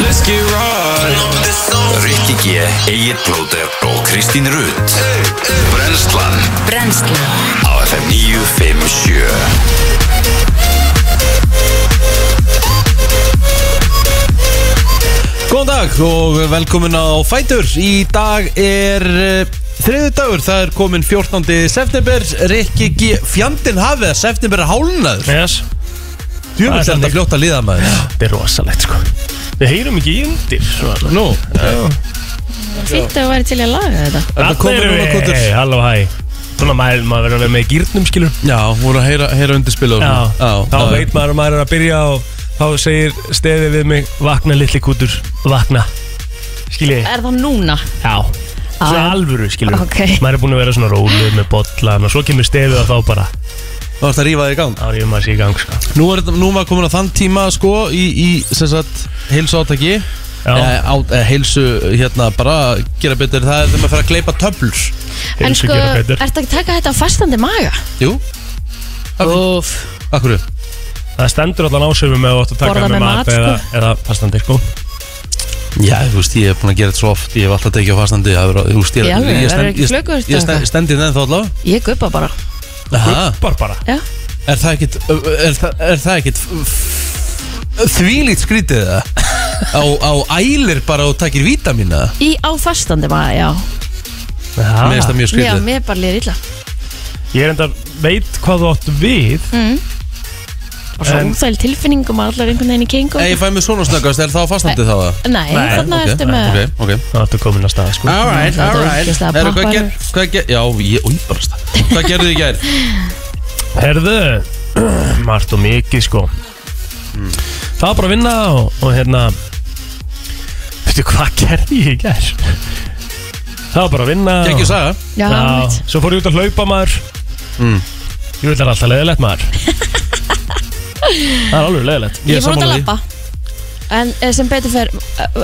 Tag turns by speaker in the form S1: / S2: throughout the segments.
S1: Let's get right
S2: Rikki G, Egil Blóter og Kristín Rutt Brenslan
S3: Brennslan
S2: á FM 957
S1: Góðan dag og velkomin á Fætur Í dag er uh, þriðu dagur, það er komin 14. september Rikki G. Fjandinn hafið að september er hálnaður
S4: Yes, Það
S1: Djúvill er
S4: er
S1: þetta
S4: þannig.
S1: fljótt að liða maður
S4: þetta er rosalegt sko Við heyrum ekki í undir svona.
S1: Nú,
S5: Fýtt að þú væri til í að laga þetta
S1: þetta
S4: Þarna
S1: komið
S4: erum
S1: núna
S4: við-
S1: kvotur
S4: Hey, Halló, hæ Svona maður, maður verður að vera með í gírnum skilur
S1: Já, voru að heyra, heyra undirspil og
S4: Já,
S1: svona.
S4: þá veit maður að maður er að byrja og þá segir stefi við mig Vakna litli kútur, vakna Skiljið,
S5: Er það núna?
S4: já Það er
S5: já.
S4: alvöru, skilur
S5: Ok.
S4: Maður er búin að vera svona rólu með bollan og svo kemur stefið og þá bara
S1: Þá er þetta rífaði í gang
S4: Þá er ég maður sér í gang, sko
S1: Nú er þetta- nú var komin á þann tíma sko í, í sem sagt heilsu átaki
S4: Já.
S1: Eh, á, eh, heilsu hérna bara gera betur það er þegar maður fer að gleypa töflur
S5: En
S4: Heilsu
S5: sko,
S4: gera
S5: ertu
S4: betur.
S5: ekki að taka þetta á fastandi maga?
S1: Jú Úf Akkur
S4: Það stendur allan ásöfum með að átt að taka
S5: Borða
S4: með
S5: með
S4: mat,
S5: mat, sko.
S4: eða, eða fastandi, sko
S1: Já, þú veist, ég hef búin að gera þetta svo oft Ég hef alltaf tekið á fastandi það er- Þú veist, ég,
S5: Já,
S1: ég,
S5: það er
S1: stend-
S5: ekki flögur,
S1: ég, ég stend,
S5: þetta.
S1: stendi þenn þá allavega
S5: Ég guppa bara
S1: Aha.
S4: Bara bara
S5: Já,
S1: Er það ekkit Er, það- er það ekkit Þvílít skrítið það á, á ælir bara og takir vítamina
S5: í á fastandi maga, já
S4: Já.
S1: Mér finnst það mjög
S5: Já,
S1: skrítið
S5: mér bara líður illa
S4: Ég er enda veit hvað þú átt við
S5: Og svo
S4: En-
S5: úþæl tilfinningum að allar einhvern veginn í kengu
S1: Ef ég fæ mig svona snöggast, er það á fastandi þá? það?
S5: Nei,
S4: Nei,
S5: þannig okay,
S1: Ok,
S5: ertu með
S1: ok, ok
S4: Þá ertu komin að staða, sko
S1: Alright,
S5: Þetta var
S1: alright
S5: ógeðslega
S1: Herru, hvað
S5: papparur.
S1: ger, hvað ger, já, ég, új, bara stað Hvað gerðu þið í gær?
S4: Herðu, margt og mikið sko Það var bara að vinna og, og hérna Veitu hvað gerði ég í gær? Það var bara að vinna
S1: Gekk
S4: og,
S1: ég saga? Mm.
S5: Já,
S4: Já,
S5: mitt.
S4: Svo fór ég út að hlaupa maður Ég vil það er alltaf leiðilegt maður Það er alveg leiðilegt
S5: Ég fór út að
S4: sammála því.
S5: labba En eh, sem betur fer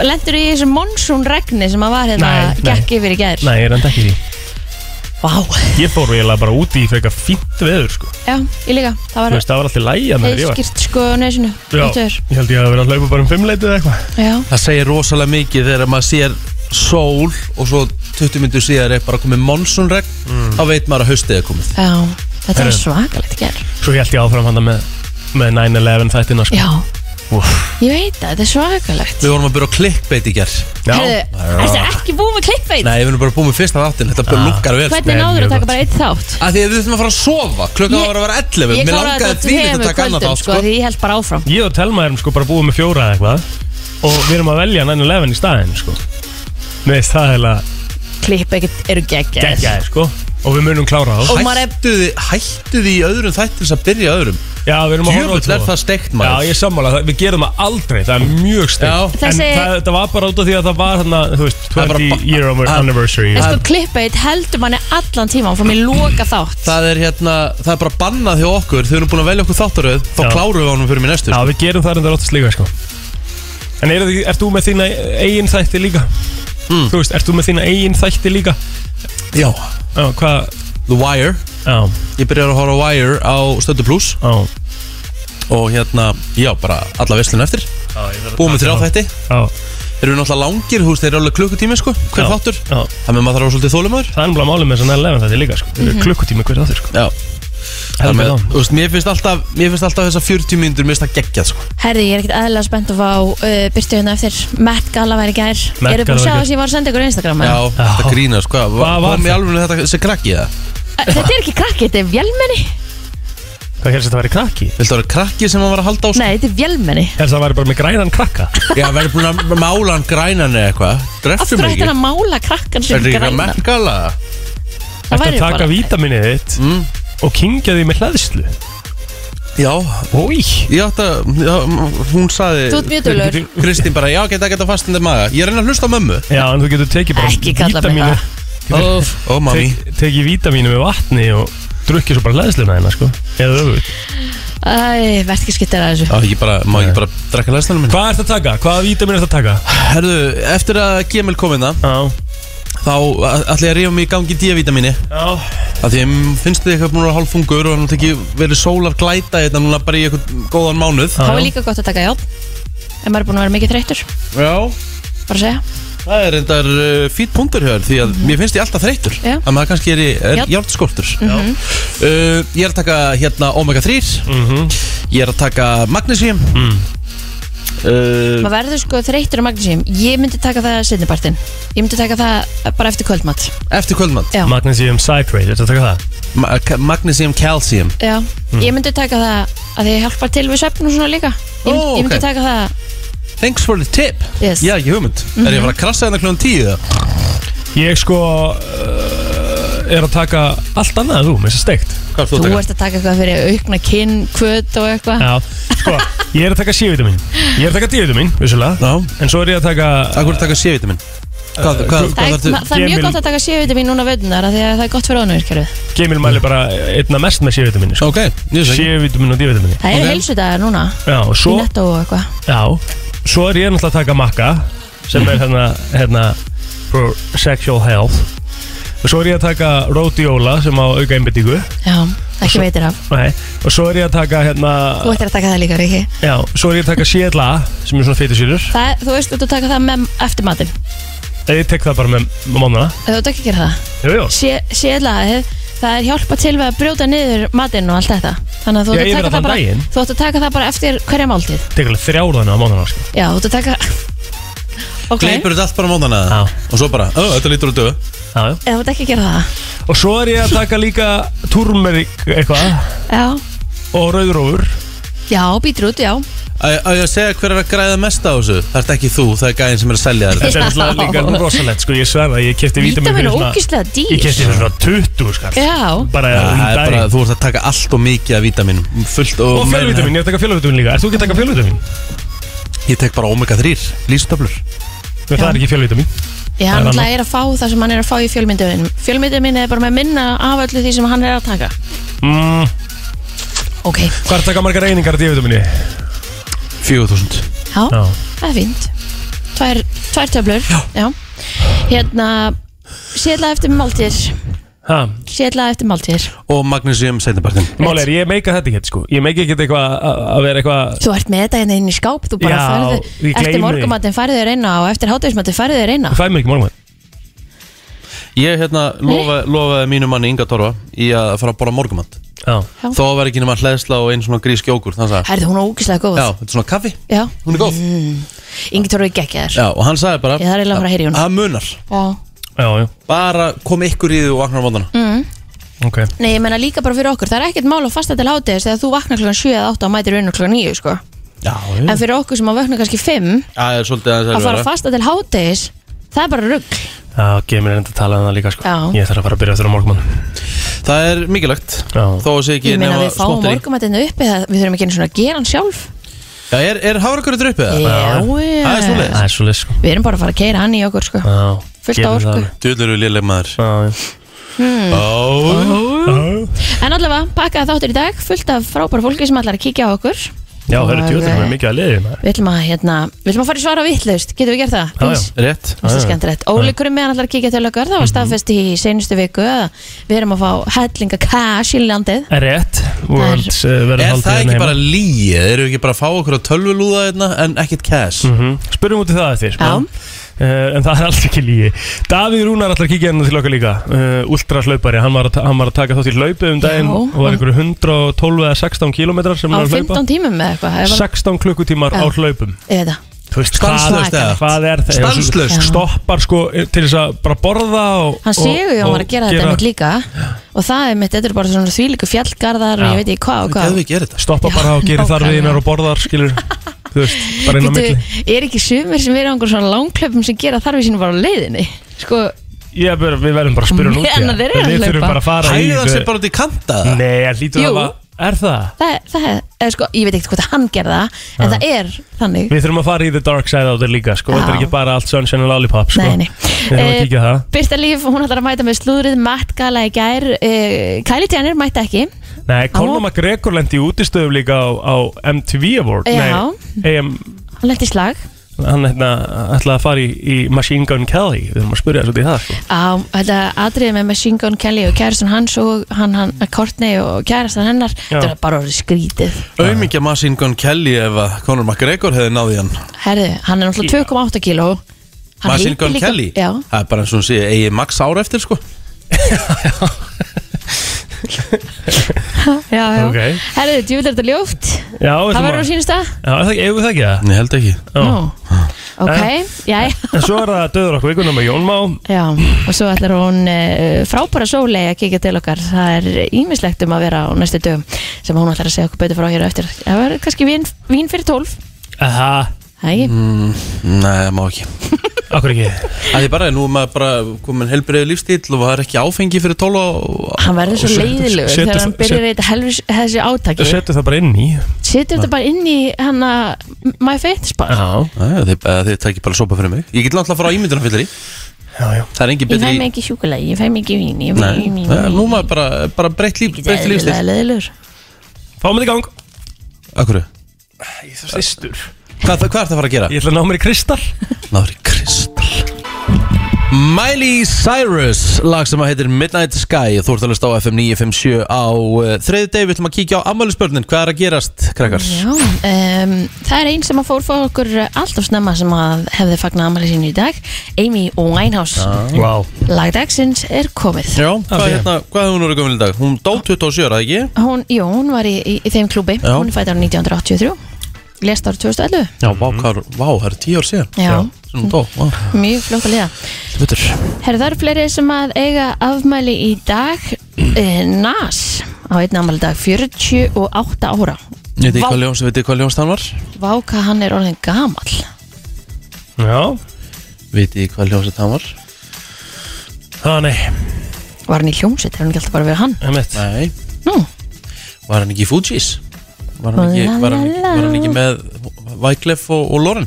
S5: Lendur í þessu monsun regni sem að var hérna
S4: Nei, nei.
S5: Gekk yfir í gær
S4: Nei, ég er enda ekki í því
S5: Vá
S4: Ég fór eiginlega bara úti í frekar fínt veður sko Þú
S5: Já, ég líka Það var
S4: veist, það var alltaf lægja með þér
S5: heiðskýrt sko á nesinu
S4: Já, ég held ég að vera að hlaupa bara um fimmleitið eða eitthvað
S5: Já,
S1: Það segir rosalega mikið þegar maður sér sól og svo 20 myndur síðar er bara komið monsunregn
S4: Mm.
S1: þá veit maður að haustið er komið
S5: já Þetta var
S4: Herru.
S5: svakalegt gerð
S4: Svo held ég áfram hann með, með 9-11 þættina sko
S5: Já,
S4: Úff.
S5: ég veit það, þetta er svakalegt
S1: Við vorum að byrja á klikkbeit í gerð
S4: Já,
S5: Herðu, ertu ekki búið með klikkveit?
S1: Nei, við erum bara búin með fyrsta þáttin, þetta bara lukkar vel sko.
S5: Hvernig
S4: Nei,
S5: náður
S4: mjög
S5: að taka
S4: gott.
S5: bara eitt þátt?
S1: Að því að við þurfum að fara að sofa, klukkan
S5: Ég-
S1: var að vera 11 Mér
S5: kláraði
S1: langaði
S5: þetta
S1: því að
S5: þremur
S1: taka annað
S5: kvöldum,
S1: þátt
S5: sko,
S1: sko.
S5: Því ég held bara áfram
S4: ég og Telma erum sko bara búið með fjóra eða eitthvað og við erum að velja 9-11 í staðin sko með það heila
S5: Klipp ekkert eru geggjæðis
S4: geggjaði sko og við munum klára þá
S5: Og maður er-
S1: Hættu þið, hættu þið í öðrum þættir að byrja í öðrum
S4: Já, við erum að horfa á
S1: Djöfull
S4: tvo.
S1: er það steikt
S4: Já,
S1: maður
S4: ég er sammála, það- við gerum það aldrei, það er mjög
S1: Já.
S4: steikt En
S5: Þessi-
S4: það, það var bara út af því að það var hann að, þú veist,
S1: Það er bara
S4: 20
S1: ba-
S4: year
S1: að-
S4: anniversary
S5: En sko klipp eitt heldur manni allan tíman frá mér loka þátt
S1: Það er hérna, það er bara bannað hjá okkur Þau eru búin að velja okkur þáttaröð Þá
S4: Já.
S1: klárum við honum fyrir mér næstu sko.
S4: Já, við gerum það en það er óttast líka sko En er, er þú með þína eigin þætti líka? Þú veist, ert þú með þína eigin þætti líka?
S1: Hmm. Já
S4: Já, hvað,
S1: The Wire
S4: já,
S1: Ég byrjar að horfa á Wire á Stöndu Plus
S4: já
S1: Og hérna, já, bara alla veslun eftir Búum við þrjá þætti
S4: Já,
S1: Þeir eru náttúrulega langir, þú veist, þeir eru alveg klukkutími sko Hver
S4: Já.
S1: þáttur
S4: já
S1: Það með maður þarf að vera svolítið þólumöður
S4: Það er náttúrulega málið með þessan 11 þetta líka sko.
S5: Mhm.
S4: mm -hmm. klukkutími hverja þáttur sko.
S1: Já Það með,
S4: Heldur þá.
S1: þú veist, mér finnst alltaf, mér finnst alltaf þessar 40 mínútur, mér finnst það geggjað sko
S5: Herði, ég er ekkert aðlega spennt að fá uh, byrtu hérna eftir Matt Gala væri gær
S4: Matt
S5: Eru búin að
S4: Galla
S5: sjá
S4: væri
S5: þess að ég var að senda ykkur á Instagram
S1: Já,
S5: eða?
S1: þetta grínast, hvað,
S4: Hvað var
S1: kom í
S4: það?
S1: alveg þetta sem krakki það?
S5: Eh, Þetta er ekki krakki, þetta er vélmenni
S4: Hvað helst þetta að vera krakki?
S1: Viltu að vera krakki sem hann var að halda á sko?
S5: Nei, þetta er vélmenni
S4: Helst það að vera bara með grænan krakka?
S1: Já, verður búin að mála hann grænan eða eitthvað
S5: Af
S1: Dreftum
S5: hverju
S1: ekki
S5: ætti hann að mála krakkan sem
S1: Er þetta ekki
S5: grænan?
S1: merkala?
S5: Það
S4: Þetta
S5: væri
S4: að taka
S5: bara-
S4: vítaminið þitt
S1: Mm.
S4: og kingja því með hlæðslu
S1: Já,
S4: Ói
S1: ég átt að, já, hún saði
S5: Þú ert mjög dölur
S1: Kristín bara, já, geta geta fastandi maga Ég reyna að hlusta á mömmu
S4: Já, en þú getur tekið bara
S5: Ekki kalla mig
S4: vítamínið-
S1: Óf, ó mami
S4: Tek, Tekið vítaminu með vatni og drukkið svo bara hlæðsluna hérna sko. Eða öfugt
S5: Æ, verð ekki skittir að þessu
S1: Já, ég bara, má ég bara drekka læslanum minn
S4: Hvað ert að taka? Hvaða vítaminu ert að taka?
S1: Herðu, eftir að Gemil kom innan
S4: Já,
S1: Þá ætla ég að rífa mig í gangi D-vitamini
S4: já
S1: Af því ég finnst þið eitthvað búin að vera hálf fungur Og hann tekið verið sólar glæta hérna núna bara í eitthvað góðan mánuð
S4: Já,
S5: Þá
S4: já.
S5: er líka gott að taka játn en maður er búin að vera mikið þreyttur
S1: Já,
S5: bara að segja, Mhm.
S1: það er reyndar uh, fýtt punktur hjá þér því að mér finnst ég alltaf þreytur
S5: Já. Mhm.
S1: að maður kannski er, í- er
S5: Já.
S1: járnskortur uh, Ég er að taka hérna omega 3
S4: Mhm.
S1: Ég er að taka magnesium uh, Mm.
S5: maður verður sko þreyttur á magnísíum, ég myndi taka það sinnipartin, ég myndi taka það bara eftir kvöldmatt,
S1: Eftir kvöldmann
S5: Já.
S4: Magnesium citrate, þetta taka það
S1: Ma Magnesium calcium
S5: já,
S1: Mm.
S5: ég myndi taka það að því að hjálpa til við svefn og svona líka ég myndi,
S1: Ó,
S5: ég myndi
S1: ok.
S5: taka það,
S1: Thanks for the tip
S5: Yes.
S1: Já, ég hugmynd Er ég að fara að krassa hérna kljóðan tíu það?
S4: Mhm. Ég sko uh, er að taka allt annað en þú, með þess að steikt
S1: Hvað er þú að
S5: þú
S1: taka?
S5: ert að taka eitthvað fyrir aukna kinn, kvöt og eitthvað
S4: Já, sko, ég er að taka C-vitamin Ég er að taka D-vitamin, vissulega
S1: Já,
S4: En svo er ég að taka
S1: að hverju taka C-vitamin? Hvað, hvað,
S5: Það
S1: hvað
S5: er,
S1: þarftu?
S5: ma- það er mjög
S4: Gemil-
S5: gott að taka sévitamín núna vöðunar því að það er gott fyrir ónurkerfið.
S4: Gemil mæli bara einna mest með C-vitamin sko.
S1: Ok, ég veist ekki
S4: C-vitamin og D-vitamin
S5: Það eru
S1: Ok.
S5: okay. heilsudagar núna
S4: Já, og
S5: í
S4: svo,
S5: netto og eitthvað.
S4: já, svo er ég náttúrulega að taka makka sem er hérna, hérna for sexual health og svo er ég að taka rhodiola sem á auka einbyttingu
S5: Já, ekki veitir af.
S4: Nei, og svo er ég að taka hérna,
S5: Þú ættir að taka það líka, Ríkki.
S4: já, svo er ég að taka CLA sem er svona fytisýrur
S5: Það, þú veist þú ert að taka það með eftir matinn.
S4: ég tek það bara með, með mónana
S5: Þú ert ekki að gera það.
S4: Jú, jú,
S5: Sérlaðið, það er hjálpa til við að brjóta niður matinn og allt þetta. Þannig að þú
S4: Já,
S5: ætti að
S4: yfir
S5: taka það
S4: allan
S5: bara,
S4: daginn.
S5: þú ætti að taka það bara eftir hverja máltíð.
S4: tek alveg þrjáðana á mónana sko.
S5: Já, þú ætti að taka... Ok,
S1: Gleipur þetta allt bara mótana
S4: Já.
S1: Og svo bara, ó, þetta lítur út döð
S4: Já, já.
S5: eða þú ert ekki að gera það.
S4: Og svo er ég að taka líka turmerik eitthvað
S5: Já,
S4: og rauðrófur
S5: já, býtur út, já.
S1: Á á ég að segja hver er að græða mest á þessu? Það ert ekki þú, það er gæðin sem er að selja þér þetta.
S4: Þetta er alltaf líka rosalegt sko, ég sverða, ég kefti vítamín
S5: Vítamín er ógíslega
S4: Ég
S5: dýr.
S4: kefti fyrir svona 20 skall
S5: Já.
S4: Bara
S1: Það
S4: um
S1: er bara,
S4: daginn
S1: þú ert að taka allt og mikið af vítaminum Fullt og
S4: Og fjölvítamín, ég er að taka fjölvítamín líka Ert þú ekki að taka fjölvítamín?
S1: Ég tek bara omega 3, lýstöflur
S4: Það er ekki fjölvítamín
S5: Já,
S4: er
S5: hann
S4: annað.
S5: náttúrulega er að fá það sem hann er að fá í fjölmyndunum. Fjölmyndun minn er bara með minna af öllu því sem hann er að taka.
S4: mm,
S5: Ok,
S4: Hvað er að taka margar einingar af D-vitamíni?
S1: 4000
S5: já, það er fínt. Tvær, tvær töflur. Já. Hérna, sérlega eftir máltíðir.
S4: Ha,
S5: Sérlega eftir máltíðir.
S1: Og magnesium setnabartin
S4: Máli er, ég meika þetta ekki sko Ég meika ekki eitthvað að að vera eitthvað
S5: Þú ert með þetta hérna inn í skáp, þú bara
S4: Já,
S5: færðu,
S4: ég gleymi
S5: eftir
S4: því.
S5: morgumattin færðu þér eina og eftir hátægismattin færðu þér eina.
S4: Þú fæði mér ekki morgun
S1: Ég hérna lofa, lofaði mínu manni Inga Torfa Í að fara að bora morgumatt
S4: Já,
S5: Já.
S1: Þó var ekki nema hleðsla og einn svona grísk jógur Þannig að,
S5: Herðu, hún er ógislega góð.
S1: já, þetta er svona kaffi
S5: Já. Mm.
S1: Hún er góð
S5: Ingi Torfi geggja þér.
S1: Já, og hann sagði bara
S5: Ég þarf eiginlega að fara að heyra í honum.
S1: Það munar
S5: Já.
S4: já, já,
S1: Bara kom ykkur í því og vaknar á mótana
S4: ok
S5: Mm. Nei, ég menna líka bara fyrir okkur, það er ekkert mál að fasta til hátægis þegar þú vaknar klokkan 7 eða 8 og mætir unnu klokkan 9, sko.
S1: Já,
S5: En fyrir okkur sem að vakna kannski 5,
S1: Það er svolítið aðeins
S5: að fara
S1: erfiðara.
S5: fasta til hátægis það er bara rugg
S4: Já, gemir er enda að tala um það líka sko
S5: Já.
S4: Ég þarf að fara að byrja eftir á morgun
S1: Það er mikilvægt
S4: Já.
S1: Þó að sé ekki
S5: ég meina
S1: nema
S5: við fáum
S1: smotteri.
S5: morgumættinu uppi það við þurfum ekki einu svona að gera hann sjálf
S1: Já, er, er hafrakur þetta uppið það?
S5: já,
S1: Það er svoleiðis.
S5: já.
S4: Það er svo leið sko
S5: við erum bara að fara að keira hann í okkur sko.
S4: Já,
S5: Fullt af
S4: gerum það
S5: orku.
S4: alveg.
S1: Djöðlur við léleg maður Mm.
S4: Já, já.
S5: Mm.
S1: Ó,
S5: en allavega pakkaði þáttur í dag fullt af frábæra fólki sem allar að kíkja á okkur
S4: Já, það eru
S5: Og,
S4: djóðum
S5: eh,
S4: með mikið að liði maður.
S5: við ætlum að, hérna, við ætlum að fara í svara vittlaust getum við gert það?
S4: Já, já. Mhm.
S5: Eins?
S1: Rétt
S5: Mér finnst Það er skemmtilegt. Óli Krummi hann ætlar að kíkja til okkar, það var staðfest í seinustu viku að við erum að fá hellinga cash í landið.
S4: Rétt, World uh, verður
S1: Er
S4: haldið
S1: það
S4: hérna
S1: ekki
S4: heima.
S1: bara líið? Eru ekki bara að fá okkur að tölvulúða hérna en ekkert cash?
S4: Mhm. Spurðum út í það eftir sko.
S5: Já.
S4: Eh, En það er alls ekki lígi Davíð Rúnar ætlar að kíkja hérna til okkar líka uh, Ultra hlaupari, hann var, að, ta- hann var að taka þátt í hlaupi um daginn
S5: Já.
S4: og var einhverju 112 eða 16 kilometrar sem
S5: Á
S4: hann var að hlaupa
S5: 15 tímum með eitthvað. ef hann-
S4: 16 klukkutímar
S5: Já.
S4: á hlaupum
S5: Eða,
S4: Þú veist,
S1: Stanslaust
S4: hvað,
S1: eða?
S4: hvað er það?
S1: Stanslaust?
S5: Já.
S4: Stoppar sko til þess að bara borða og,
S5: Hann séu að
S4: og-
S5: hann var
S4: og
S5: að gera þetta mitt líka og það er mitt, þetta er bara svona þvílíku fjallgarðar og
S4: Já.
S5: ég veit ekki hvað og
S1: Hvað
S5: hvað
S1: við gerir þetta?
S4: Stoppa bara og gera þar
S5: nákvæmlega.
S4: viðinar og borðar skilur Þú veist, bara inn á
S5: Býtu,
S4: milli
S5: er ekki sumir sem eru á einhver svona langklöpum sem gera þarfið sínum bara á leiðinni sko,
S4: Ég er bara, við verðum bara að spyrja hún út í
S5: Meðan
S4: það.
S5: þeir eru að
S4: Við
S5: hlaupa.
S4: þurfum bara að fara í
S1: Hæðan sér bara út í kanta það?
S4: Nei, ég lítur
S5: Jú.
S4: að það Er það?
S5: það, það er sko, ég veit ekkert hvort að hann gerða en það er þannig
S4: Við þurfum að fara í the dark side of the líka sko.
S5: Já.
S4: Þetta er ekki bara allt sunshine and lollipop sko.
S5: Nei, nei.
S4: Við þurfum að
S5: Eh,
S4: kíkja á það
S5: Birta Líf, hún ætlar að mæta með slúðrið Matt Gala í gær uh, Kylie Jenner mæta ekki
S4: Nei, Conor McGregor lendi í útistöðum líka á, á MTV Award
S5: Eh, Já.
S4: Nei, AM,
S5: hann lendi slag
S4: hann hérna, ætlaði að fara í, í Machine Gun Kelly Við erum að spyrja þessu í það sko.
S5: á þetta atriði með Machine Gun Kelly og kærastan hans og hann, hann Courtney og kærastan hennar
S4: Já.
S5: þetta er bara orðið skrítið
S1: Aumingja Machine Gun Kelly ef að Conor McGregor hefði náði hann
S5: herðu, hann er náttúrulega 2,8 kíló Hann
S1: Machine
S5: heitir
S1: Gun
S5: líka-
S1: Kelly
S5: já,
S1: Það er bara eins og hún sé eigi max ár eftir sko
S5: já, já.
S4: Ok.
S5: herðu, djúvill er þetta ljóft
S4: Já,
S5: það
S4: ætlum
S5: verður á
S4: að-
S5: sínsta
S4: Já, er það ekki- eigum við það ekki það?
S1: Nei, held ekki
S4: Já.
S5: Nú. ok,
S4: Eh.
S5: já,
S4: En svo er það döður okkur vikunum með Jón Má
S5: já og svo ætlar hún uh, frábæra sólei að kíkja til okkar það er ímislegt um að vera á næstu dögum sem hún ætlar að segja okkur betur frá hér á eftir það verður kannski vín, vín fyrir 12
S4: Aha,
S5: Æ,
S1: Mm, Nei, má ekki
S4: okkur ekki
S1: Það er bara, nú er maður bara komin helbriðið lífstíl og það er ekki áfengi fyrir 12 og...
S5: hann verður svo leiðilegur
S4: setur-
S5: þegar hann byrjar í þetta helvis þessi átaki
S4: Settu það bara inn í
S5: setur þetta bara inn í hann að my fitness bar
S4: Já,
S1: Æ, þið, að þið takir bara sopa fyrir mig Ég get náttúrulega að fara á ímyndunarfyllir í
S4: já, já
S1: Það er engin
S5: ég fæ
S1: betri
S5: mig ekki sjúkulega, ég fæ mig ekki vín ég fæ
S1: Nei,
S5: mig vín
S1: Nei, nú er maður bara, bara breytt líf, breytt lífstíl
S5: leiðilegur
S4: Fáum þetta í gang
S1: Akkur,
S4: Ég þarf sýstur
S1: hvað, hvað er það að fara að gera?
S4: Ég ætla að ná mér í kristal
S1: Náður í kristall Miley Cyrus lag sem að heitir Midnight Sky þú ert að hlusta á FM 957 á uh, þriði degi, við ætlum að kíkja á ammælisbörnin hvað er að gerast, krakkar?
S5: Já, um, það er einn sem að fór fór okkur alltaf snemma sem að hefði fagnað amali sínu í dag Amy Winehouse
S1: Ah.
S4: Vá
S5: Lagdagsins er komið
S1: Já, hvað,
S4: Alveg.
S1: er hérna, hvað hefur hún orðið gömul í dag? Hún dó 27, er það ekki?
S5: Hún, jú, hún var í, í, í þeim klúbi
S1: Já.
S5: Hún er fætt árið 1983 Lest árið 2011
S1: Já, vá, hvað, er- vá, það er 10 ár síðan
S5: Já,
S1: sem hún dó, vá,
S5: mjög fljótt að liða
S1: betur
S5: Herðu, það eru fleiri sem að eiga afmæli í dag eh, Nas á einn afmæli í dag 48 ára
S1: Veit þið
S5: Vá.
S1: hvað ljóns, veit þið hvað ljóns hann var?
S5: Vá hvað hann er orðin gamall
S4: Já
S1: Veit þið hvað ljóns hann var?
S4: Það nei,
S5: Var hann í hljómsveit, er hann ekki alltaf bara verið hann
S4: emitt
S1: Nei,
S5: Nú,
S1: var hann ekki í Fugees? Var hann ekki, var hann ekki, var hann ekki með Wyclef og, og Lauren?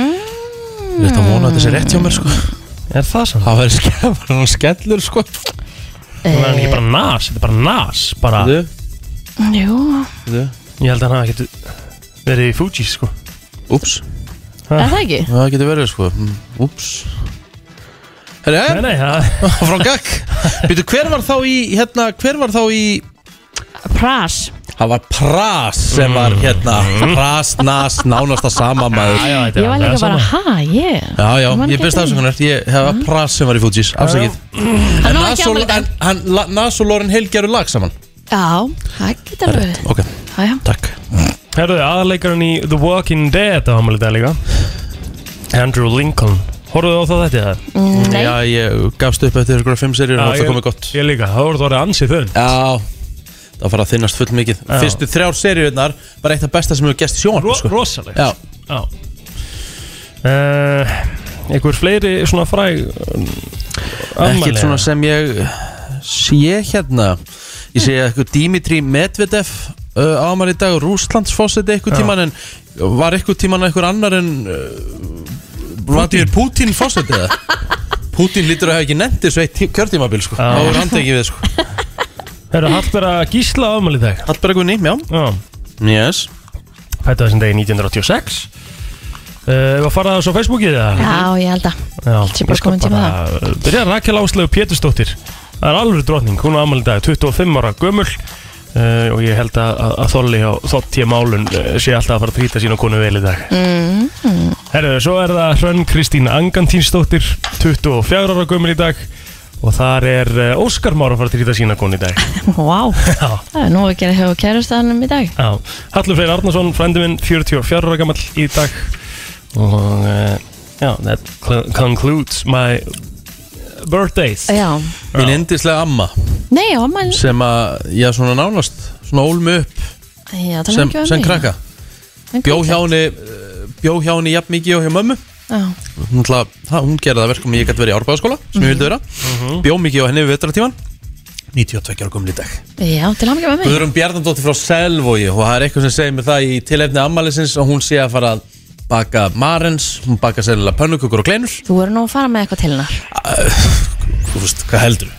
S1: Mm. Þetta vona að þetta sé rétt hjá mér sko
S5: Mm.
S4: Er það samt?
S1: Það verður skellur, var hann skellur sko
S4: Það
S5: Eh.
S4: er ekki bara nas, þetta er bara nas bara,
S1: Þú,
S5: jú
S1: þú,
S4: Ég held að hann hafi getur verið í Fugees sko
S1: úps
S5: Er það ekki?
S1: Það getur verið sko, Mm, úps Herri,
S4: Nei,
S1: en,
S4: nei, það
S1: frá gagg Býtu, hver var þá í, hérna, hver var þá í
S5: Pras
S1: Það var Pras sem var hérna Pras, Nas, nánasta sama maður
S4: Mm. Já, þetta er
S5: Ég var
S4: alveg
S5: líka bara,
S4: sama.
S5: ha, yeah
S1: Já, já,
S5: Ég man
S1: ég
S5: ekki
S1: byrst
S5: eftir því. Mm.
S1: afsökunar Ég hefa Pras sem var í Fugees, afsakið
S5: Hann á
S1: Nas
S5: ekki
S1: og-
S5: afmæli í dag
S1: en- hann- La- Nas og Lauren Hill gerur lag saman
S5: Já, það getur verið
S1: Ok,
S5: Já, já
S1: takk
S4: Herðu, aðleikarinn í The Walking Dead á hamali dag líka Andrew Lincoln Horfðu á það þetta það?
S5: Mm, Nei,
S1: Mm, Já, ég gafst upp eftir ykkur fimm serjur og það komið gott
S4: Ég líka, það voru það orðið ansið þunn
S1: Já, það fara að þinnast full mikið
S4: Já.
S1: Fyrstu þrjár serjurnar var eitt af besta sem hefur gæst í sjón
S4: Ro
S1: sko.
S4: Rosaleg
S1: Já,
S4: Já uh, Einhver fleiri svona fræg um,
S1: ekkert svona sem ég sé hérna Ég sé eitthvað Dimitri Medvedev uh, ámar í dag og Rúslandsfossið eitthvað tíman en var eitthvað tíman eitthvað annar en uh, Vladimir Putin fossið eða? Putin lítur að hafa ekki nefnt þessu eitt tí- kjörtímabil sko.
S4: Já.
S1: Það voru handtekið við sko.
S4: Herðu, Hallbera Gísla á hamali dag
S1: Hallberg Gunni, já
S4: Já
S1: Yes
S4: Fættu þessum degi 1986 Uh, var farað þessu á Facebookið eða?
S5: já, ég held að
S4: Já,
S5: sé bara komin tími
S4: það Byrja Rakel Áslegu Pétursdóttir Það er alveg drotning, hún á afmæli í dag 25 ára gömul uh, og ég held að, að, að Þolli á Þotti Málun uh, sé alltaf að fara að trýta sína konu vel í dag mm, Herru, svo er það Hrönn Kristín Angantínsdóttir 24 ára gömul í dag og þar er uh, Óskar Már að fara að trýta sína konu í dag
S5: Vá,
S4: Já,
S5: það er nú að gera hjá kærastanum í dag
S4: já Hallur Freyr Arnason, frændi minn 44 ára gamall í dag og uh, já, that cl- concludes my birthdays
S5: Já,
S1: sko. Mín endislega amma
S5: nei, já, mann
S1: sem að, já svona nánast svona ólmi upp
S5: Já, það er
S1: sem,
S5: ekki
S1: sem krakka bjó hjá henni eh, bjó hjá henni jafn mikið og hjá mömmu
S5: Já
S1: hún, ætla, það, hún gerði það verkum að ég gæti verið í árbæðaskóla sem ég vildi vera, bjó mikið á henni við vetratíman 92 ára gömul í dag
S5: Já, til hamingja með mig
S1: Guðrún Bjarnandóttir frá Selvogi og það er eitthvað sem segir mér það í tilefni ammælisins og hún sé að fara að baka marens, hún baka sérlega pönnukökur og kleinur
S5: Þú verður nú að fara með eitthvað til hennar
S1: þú veist, hvað heldur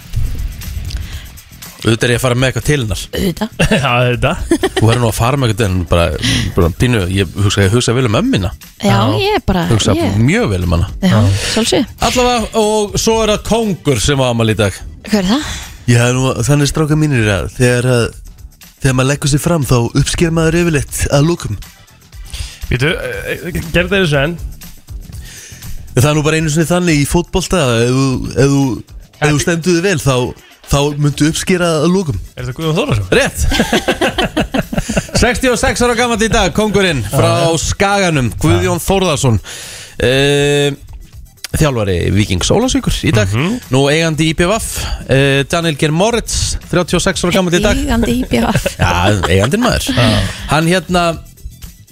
S1: Auðvitað er ég að fara með eitthvað til hennar
S5: auðvitað
S4: Já, þetta
S1: Þú verður nú að fara með eitthvað til hennar bara, bara pínu, ég hugsa, ég hugsa vel um ömmina
S5: Já, ég er bara
S1: Hugsa
S5: ég,
S1: mjög vel um hana
S5: Já, svolsvið
S1: Allavega, og svo er það kongur sem á amal í dag
S5: Hvað er það?
S1: Já, nú, þannig stráka mínir að þegar, að, þegar maður leggur sér fram þá uppsker maður yfirleitt að lúkum
S4: Býtu, gerð þeir þessu enn
S1: Það er nú bara einu sinni þannig í fótbolta að ef, þú- ef, þú- ef þú stendur þig vel þá, þá myndu uppskera að lúkum
S4: Er þetta Guðjón Þórarsson?
S1: Rétt 66 ára gammal í dag, kongurinn frá Skaganum, Guðjón Þórðarsson uh, Þjálfari Víking Sólasvíkur í dag
S4: Mhm.
S1: Nú eigandi IPVF uh, Daniel Geir Moritz, 36 ára gammal í dag
S5: Ígandi íbjöf
S1: Já, eigandinn maður Hann hérna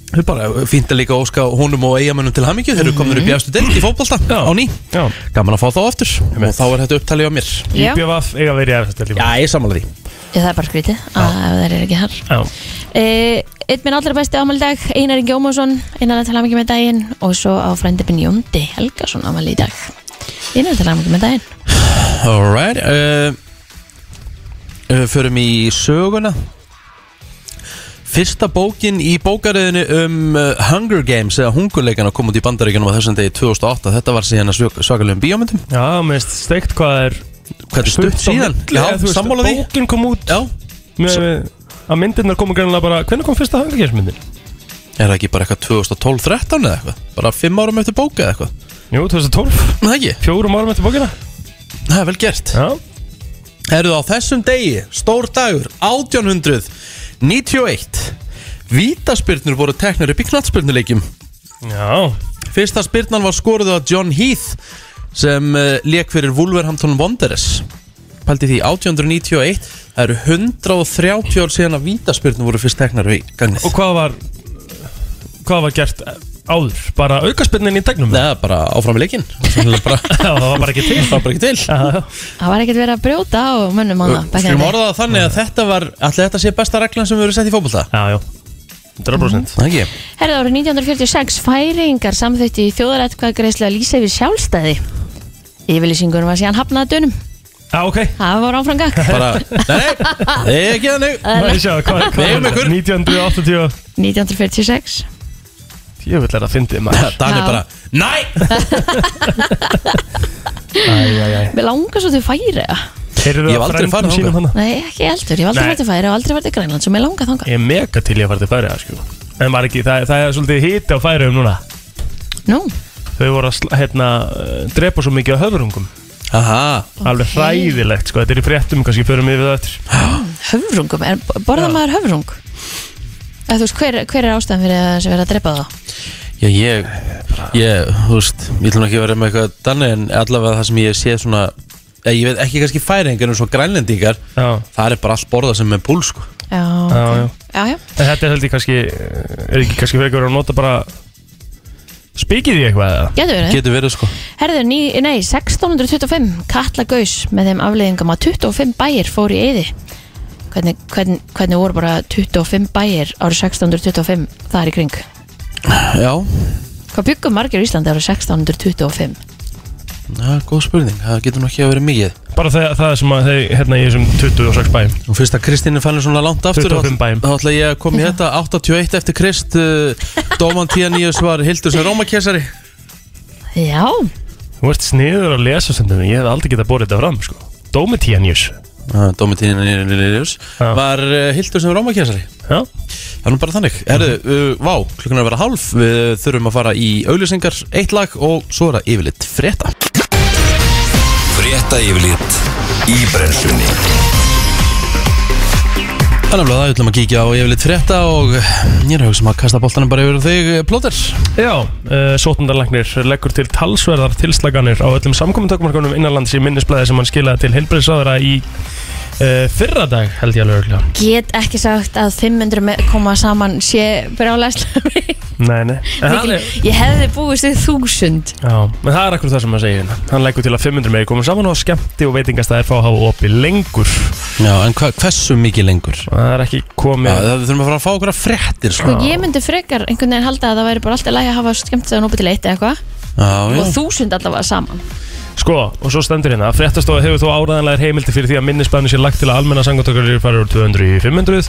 S1: Við bara eh, fínt að líka óska honum og eigamönnum til hamingju Þeir eru komin upp í efstu delt í fótbolta
S4: Mhm. Já.
S1: á ný
S4: Já
S1: Gaman að fá þá aftur Og þá er þetta upptalið á mér
S5: Já, ég,
S4: IPVF eiga verið í eftir
S1: Já,
S4: lífa
S1: ég samanlega því
S5: það er bara skrítið að ef þeir eru ekki þar
S4: Já
S5: Eh, Einn minn allra besti ámæli dag Einar Ingi Ómarsson, Einar að tala mikið með daginn og svo á frændipin Jóndi Helgason ámæli í dag Einar að tala mikið með daginn
S1: Alright uh, uh, Förum í söguna Fyrsta bókin í bókaröðinu um uh, Hunger Games eða hungurleikana kom út í bandaríkjunum á þessum degi 2008 Þetta var síðan að svakalegum bíómyndum
S4: Já, mér finnst steikt hvað er
S1: Hvernig stutt síðan? Já, sammála því
S4: Bókin kom út
S1: Já,
S4: með, Að myndirnar komu greinlega bara Hvernig kom fyrsta hangargersmyndin?
S1: Er það ekki bara eitthvað 2012-13 eða eitthvað? Bara fimm árum eftir bóka eða eitthvað?
S4: Jú, 2012
S1: Nei ekki,
S4: Fjórum árum eftir bókina
S1: það er vel gert
S4: Já
S1: Herðu á þessum degi, stór dagur, 1891 Vítaspyrnur voru teknar upp í knattspyrnuleikjum
S4: Já
S1: Fyrsta spyrnan var skoruð á John Heath sem uh, leik fyrir Wolverhampton Wanderers Paldi því 1891, það eru 130 ár síðan að vítaspyrnur voru fyrst teknar í gangnið
S4: Og hvað var Hvað var gert eh, áður? Bara aukaspinnin í tegnum?
S1: Nei, það er bara áfram í leikinn Það er bara,
S4: Já, það var bara ekki til
S1: það er bara ekki til
S4: Já, já.
S5: Það var ekkert verið að brjóta á mönnum hana
S1: Skulum orða það þannig að þetta var Ætli þetta sé besta reglan sem við verðum sett í fótbolta Mm-hmm.
S4: já, já 100%
S1: Ekki
S5: Herði árið 1946 færingar samþýtti í þjóðarætkvæðagreislu að lýsa yfir sjálfstæði. Yfirlýsingunum var síðan hafnaða dönum.
S4: Já, ok
S5: Það var áframgak.
S1: Bara, nei, nei, ekki þannig
S4: Má ég sjá, hvað hvað
S1: Við
S4: er
S1: eigum
S4: þetta?
S1: ykkur.
S4: 1980
S5: 1946.
S4: Ég vil læra að fyndið maður
S1: Dani
S5: Já.
S1: bara, næ
S4: Æjæjæj
S5: Mér langar svo til færi.
S1: Ég hef aldrei farið þangað.
S4: þangað
S5: Nei, ekki eldur. Ég hef aldrei
S4: Nei.
S5: farið til færi og aldrei farið til Grænland, svo mér langar þangað.
S4: Ég er mega til ég að fara til færiða sko En maður ekki, það, það er svolítið hiti á færiðum núna
S5: Nú,
S4: Þau voru að sl- hérna, eh, drepa svo mikið á höfrungum
S1: Aha,
S4: Alveg hræðilegt sko, þetta er í fréttum Kannski förum við við það eftir
S5: höfrungum. Er, borða
S4: Ah. Já.
S5: maður höfrung? Eða, þú veist, hver, hver er ástæðan fyrir að þessi verið að drepa það?
S1: já ég Ég, þú veist, ég ætlum ekki að vera með eitthvað Dani en allavega það sem ég sé svona Ég, ég veit ekki kannski færingar en svo grænlendingar
S4: Já,
S1: Það er bara allt borðað sem er púl sko
S5: Já,
S4: já,
S5: ok.
S4: já
S5: já, já.
S4: En þetta er heldur kannski eh, Er ekki kannski frekar að nota bara Spikið í eitthvað eða?
S5: Getur verið.
S1: Getur verið sko
S5: Herðu, ný, nei, 1625 Katla Gaus með þeim afleiðingum að 25 bæir fóru í eyði hvernig, hvernig, hvernig voru bara 25 bæir árið 1625 þar í kring
S1: Já,
S5: Hvað byggum margir í Íslandi árið 1625?
S1: það er góð spurning Það getur nú ekki að vera mikið
S4: Bara það, það sem að þeir, hérna í þessum 26 bæm
S1: Og fyrst að Kristín er fannir svona langt aftur
S4: 25 bæjum.
S1: Þá ætla ég að koma í þetta 81 eftir Krist uh, Dóman Tíaníus var Hildur sem Rómakesari
S5: Já,
S4: Þú ert sniður að lesa sem þeim Ég hef aldrei getað borðið þetta fram sko Dómitíanjus
S1: Dómi Tíaníus
S4: Já.
S1: var uh, Hildur sem Rómakesari
S4: Já,
S1: Það er nú bara þannig Herðu, uh, vá, klukkan er að vera hálf Við þurfum að fara í auglýsingar Eitt lag og svo er það yfirleitt frétta
S2: Frétta yfirlit í brennslunni
S1: Þannig að það ætlum að kíkja á yfirleitt frétta Og ég er að hugsa um að kasta boltanum bara yfir á þig eh, Plóter
S4: Já, uh, sótundarlegnir leggur til talsverðar tilslaganir á öllum samkominntökumarkunum innanlands í minnisblæði sem hann skilaði til heilbreyðsraðara í uh, fyrra dag held ég alveg örgulega.
S5: get ekki sagt að 500 me- koma saman sé brjálæslega mikið.
S4: Nei, nei. En hann er,
S5: Ég hefði búist við 1000
S4: já, en það er akkur það sem hann segir hérna. Hann leggur til að 500 meiri komum saman og skemmti og veitingastæðir fá að hafa opið lengur.
S1: Já, en hva, hversu mikið lengur?
S4: Það er ekki
S1: Já,
S4: komið...
S1: það við þurfum að fara að fá okkur að fréttir sko.
S5: Sko, ég myndi frekar einhvern veginn halda að það væri bara alltaf lægi að hafa skemmt þegar nópa til eitt eða eitthvað
S1: Já, já
S5: og 1000 allavega saman
S4: Sko, og svo stendur hérna Fréttastofa hefur þó áræðanlegar heimildi fyrir því að minnisbæðinu sé lagt til að almenna sangotökar eru farið úr 200 í 500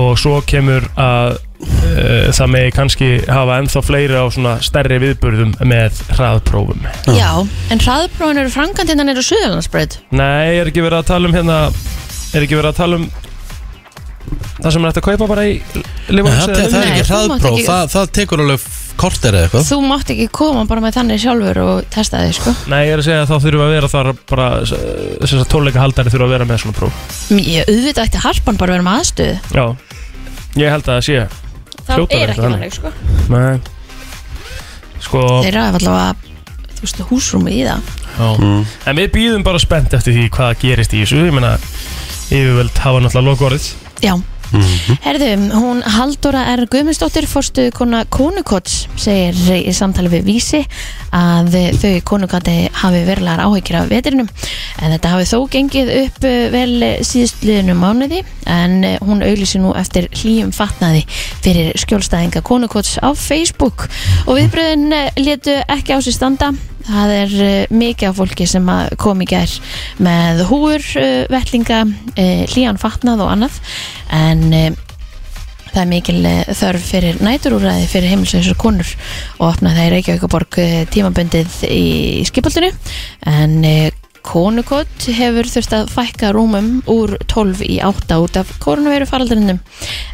S4: og svo kemur að e, það megi kannski hafa ennþá fleiri á svona stærri viðburðum með hraðprófum
S5: Já, en hraðbróin eru framkvæmd hérna nýra Suðalandsbreyt
S4: Nei, er ekki verið að tala um hérna er ekki verið að tala um það sem er hægt að kaupa bara í
S1: Nei,
S4: limans
S1: það, það, það er
S5: Nei, þú
S1: ekki
S5: mátt
S1: hraðpróf,
S5: ekki-
S1: það, það tekur alveg f- korter eða eitthvað
S5: Þú mátt ekki koma bara með þannig sjálfur og testa þig sko
S4: Nei, ég er að segja að þá þurfum við að vera þar bara eh, þess að tónleika haldari þurfum að vera með svona próf
S5: Ég auðvitað ætti harpan bara að vera með aðstöðu
S4: Já, ég held að það sé
S5: Það
S4: Hljóta
S5: er ekki
S4: þetta
S5: þannig
S4: þannig.
S5: sko
S4: Nei Sko,
S5: Þeirra er allavega, þú veist, húsrúmi í það
S4: já En við býðum bara spennt eftir því hvað gerist í þessu Ég meina, yfirvöld hafa náttúrulega lokorðið
S5: Já Herðu, hún Halldóra R. Guðmundsdóttir fórstu kona konukots segir í samtali við Vísi að þau konukati hafi verulegar áhyggjur af vetrinum en þetta hafi þó gengið upp eh, vel síðustliðinu mánuði en eh, hún auglýsi nú eftir hlýjum fatnaði fyrir skjólstæðinga konukots á Facebook og viðbröðin eh, létu ekki á sér standa það er eh, mikið af fólki sem að kom í gær með húur, eh, vellinga, eh, hlýjan fatnað og annað en eh, það er mikil eh, þörf fyrir næturúræði fyrir heimilsveisur konur og opna það í Reykjavíkuborg eh, tímabundið í skipaldinu en eh, konukott hefur þurft að fækka rúmum úr 12 í 8 út af koronaveiru faraldurinnum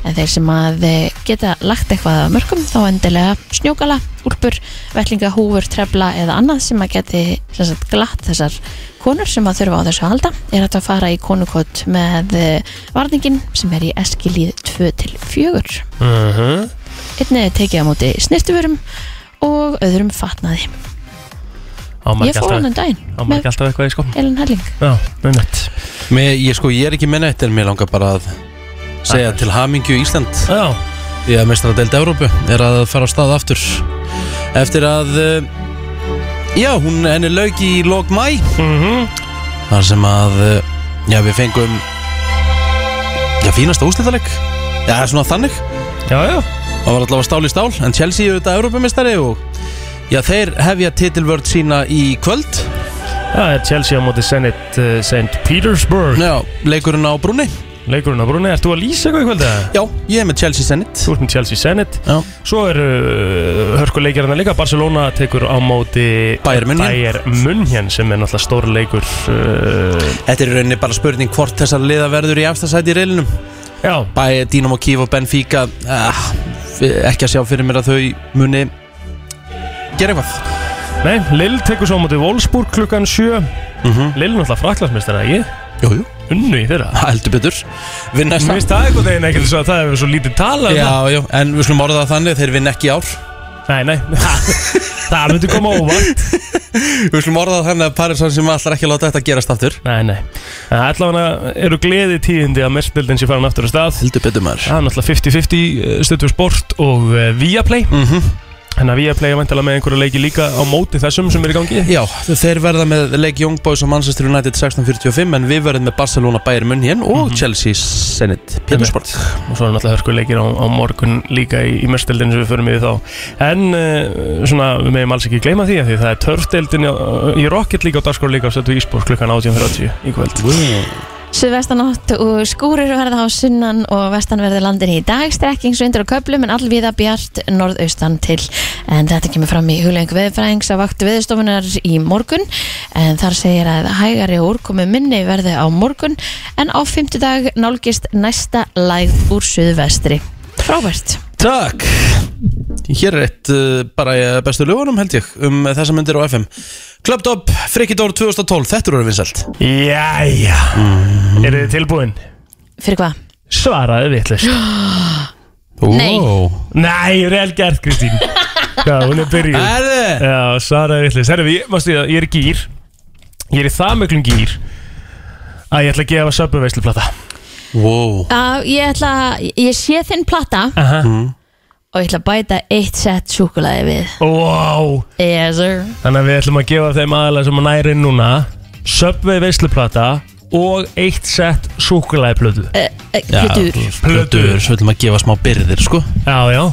S5: en þeir sem að eh, geta lagt eitthvað að mörgum þá endilega snjókala, úlpur, vellinga, húfur, trefla eða annað sem að geti sem sagt, glatt þessar konur sem að þurfa á þessu að halda er hægt að fara í konukott með eh, varningin sem er í eskilíð 2 til 4
S4: uh -huh.
S5: einnig er tekið á móti snirtuverum og öðrum fatnaði ég fór hann um daginn
S4: Ámar
S5: með
S4: ekki alltaf eitthvað í sko
S5: Elin Helling
S4: Já, með mitt
S1: mér, ég, sko, ég er ekki með neitt en mér langar bara að segja til hamingju Ísland
S4: Já,
S1: Því að mestra deild Evrópu er að fara á stað aftur Eftir að eh, Já, hún henni lauk í lok mæ
S4: mm
S1: Þar sem að eh, Já, við fengum Já, fínasta úslitaleg Já, svona þannig
S4: já, já
S1: Það var allavega stál í stál En Chelsea eru þetta Evrópumistari og Já, þeir hefja titilvörd sína í kvöld
S4: Það er Chelsea á móti Senate uh, St. Petersburg
S1: Já, leikurinn á brúni
S4: Leikurinn á Brunni, ert þú að lýsa eitthvað í kvölda?
S1: Já, ég er með Chelsea Senate
S4: Þú ert með Chelsea Senate
S1: Já,
S4: Svo eru uh, hörkuleikjarna líka Barcelona tekur á móti
S1: Bayern München.
S4: Bayern München sem er náttúrulega stór leikur uh,
S1: þetta er í rauninni bara spurning hvort þessar liða verður í afstasæti í reilinum
S4: Já,
S1: Bæ, Dynamo Kiev og Benfica ah, ekki að sjá fyrir mér að þau muni gera eitthvað
S4: nei, Lill tekur svo á móti Wolfsburg klukkan 7 Lill náttúrulega fraklasmistar ekki
S1: Mhm. Jú, jú,
S4: Unnu í þeirra
S1: heldur betur Vinna
S4: Mér
S1: samt
S4: finnst það einhvern veginn ekkert svo að það hefur svo lítið talað um það.
S1: Já, já, en við skulum orða það þannig þeir vinna ekki í ár
S4: Nei, nei, það myndi koma óvart
S1: Við skulum orða það þannig að Paris sem allar ekki að láta þetta gerast aftur
S4: Nei, nei, En allavega eru gleði tíðindi að mestbildin sé farin aftur á stað
S1: Heldur betur maður
S4: Það er náttúrulega 50-50 stöttur sport og uh, Viaplay
S1: mm
S4: Þannig að Viaplay er vantala með einhverja leiki líka á móti þessum sem er í gangi
S1: Já, þeir verða með leik Young Boys og Manchester United 1645 en við verðum með Barcelona Bayern München og
S4: Mhm.
S1: Chelsea Senate Petersburg
S4: Og svo er náttúrulega hörkuleikir á, á morgun líka í, í mörstildinu sem við förum yfir þá En uh, svona, við meðum alls ekki gleyma því að því það er törfdeildin í, í Rocket líka og Darskóra líka á stöttu Ísbór klukkan 18.30 í kvöld
S5: Suðvestanátt og skúrir verða á sunnan og vestanverði landin í dag strekkings, vindur og köplum en allvíða bjart norðaustan til en þetta kemur fram í huglengu veðfræðings að vakti veðstofunar í morgun en þar segir að hægari og úrkomi minni verði á morgun en á fymtudag nálgist næsta lægð úr suðvestri Frábært
S1: Takk Hér er eitt uh, bara í bestu lögunum held ég um uh, þessa myndir á FM Club Top, Frikidór 2012, þetta eru vinsælt
S4: Jæja Eru þið tilbúin?
S5: Fyrir hvað?
S4: Svaraði vitlust
S5: Nei.
S4: Nei, vel gert Kristín Já, hún er byrjuð
S1: Erðu
S4: Já, svaraði vittlis Herru, ég, mástu, ég er í gýr Ég er í það möglum gýr Að ég ætla að gefa söpum veisluplata
S1: Wow
S5: Uh, ég, ætla, ég sé þinn plata
S4: Aha.
S5: og ég ætla að bæta eitt sett súkulaði við
S4: wow.
S5: Yes sir
S4: Þannig að við ætlum að gefa þeim aðalega sem að næri núna Söpvei veisluplata Og eitt sett súkulæði plötu
S5: uh, uh, Plötur
S1: Plötur, svo viljum að gefa smá byrðir sko
S4: Já, já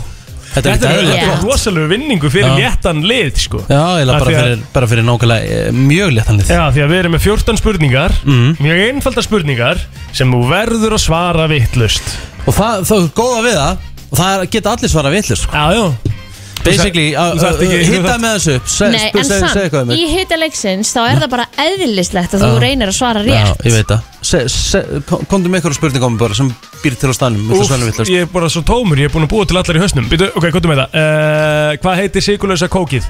S1: Þetta er
S4: Þetta er
S1: ekki
S4: þetta er
S5: erfitt.
S4: rosalegu vinningu fyrir léttan lið sko.
S1: Já, eiginlega
S4: Af
S1: bara
S4: því að-
S1: fyrir, bara fyrir nákvæmlega eh, mjög léttanlið
S4: Já, því að við erum með 14 spurningar
S1: Mm.
S4: Mjög einfaldar spurningar sem þú verður að svara vittlust
S1: Og það, það er góða við það Og það er- geta allir svara vitlis sko.
S4: Já, já
S1: Basically,
S4: þarft- þú þarft ekki- þú
S1: hitta
S4: þarft-
S1: með þessu upp seg-
S5: Nei,
S1: seg-
S5: en
S1: seg- segðu eitthvað um
S5: samt,
S1: mig.
S5: í hita leiksins þá er það bara eðlislegt að þú
S1: Já.
S5: reynir að svara
S1: Já,
S5: rétt
S1: ég veit það Se- se- kom- Komdu með eitthvað spurningum bara sem býr til á stanum
S4: Úff, ég er bara svo tómur, ég er búin að búa til allar í höstnum Býtu, ok, hvað með það? Uh, hvað heitir sigurlösa kókið?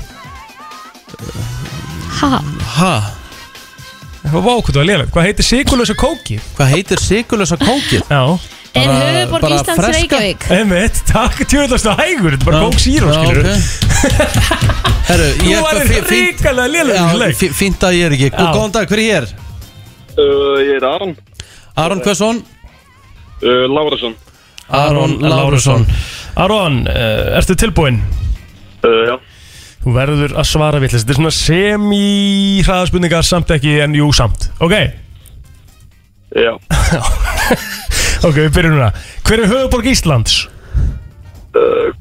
S5: Ha,
S1: Hæ,
S4: Hvað var okkur það að lélega? Hvað heitir sigurlösa kókið?
S1: hvað heitir sikulösa kókið?
S4: Já,
S5: er
S1: Bara-
S5: höfuborg
S1: bara
S5: Íslands
S1: freska?
S5: Reykjavík
S4: einmitt, Eh, takk, tjóðlastu hægur Þetta er bara kók sírum,
S1: Já,
S4: skilur
S1: ok. Herru,
S4: Þú
S1: ég er bara
S4: var
S1: fí- fínt
S4: ríkalega lélega í þessum
S1: Já,
S4: leik
S1: fí- Fínt að ég er ekki
S4: Já.
S1: Góðan dag, hver er ég er?
S3: Uh, ég er Aron
S1: Aron Kvesson
S3: uh, Lárasson
S1: Aron
S4: Lárusson
S1: Lárusson
S4: Aron, uh, ertu tilbúinn?
S3: uh, Já
S4: Þú verður að svara vitleis Þetta er svona semi-hraðaspurningar samt ekki en jú samt Ok,
S3: Já
S4: ok, við byrjum núna Hver er höfuborg Íslands?
S3: uh,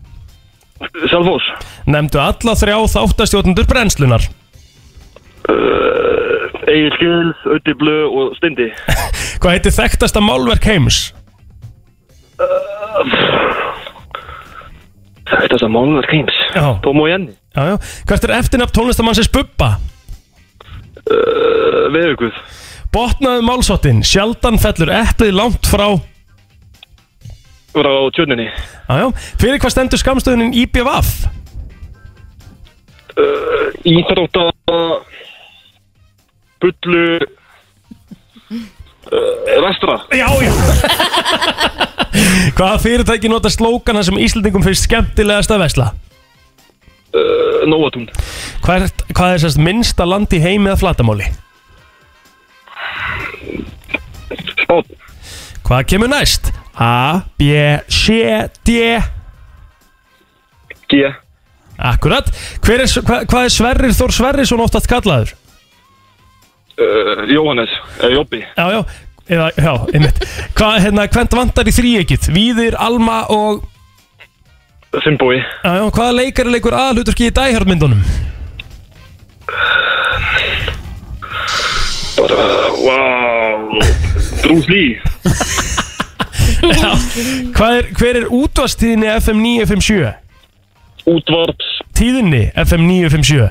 S3: Salfós
S4: Nefndu alla þrjá þáttastjóðnundur brennslunar
S3: Uh, Egil Skjöls, Ötti Blö og Stindi
S4: Hvað heitir þekktasta málverk heims?
S3: Uh, Þetta er þess að mánuðar keims
S4: Já,
S3: Tom og Jenny
S4: já, já Hvert er eftirnafn tónlistamannsins Bubba?
S3: uh, Veðuguð
S4: Botnaðu málsottin, sjaldan fellur eplið langt frá Já,
S3: Frá tjörninni
S4: já Fyrir hvað stendur skamstöðunin IBVF?
S3: Íþrótta Bullu uh, Vestra
S4: Já, já Hvaða fyrirtæki nota slókana sem Íslandingum finnst skemmtilegast að vesla?
S3: uh, Nóatún
S4: Hvert, hvað er sérst minnsta land í heimi að flatamáli?
S3: Spán
S4: Hvað kemur næst? A, B, C, D
S3: G
S4: Akkurat Hver er, hva, Hvað er Sverrir Þór Sverrisson oft að kallaður?
S3: uh, Jóhannes uh, Jobbi
S4: Já, já, eða, já, einmitt Hvað, hérna, hvern vantar í þríekitt? Víðir, Alma og
S3: Fimboi
S4: Já, já, hvaða leikari leikur aðhluturki í dæhjörnmyndunum?
S3: Wow Bruce Lee
S4: Hvað er, hver er útvastíðinni FM 957?
S3: Útvarps
S4: Tíðinni FM 957
S3: uh,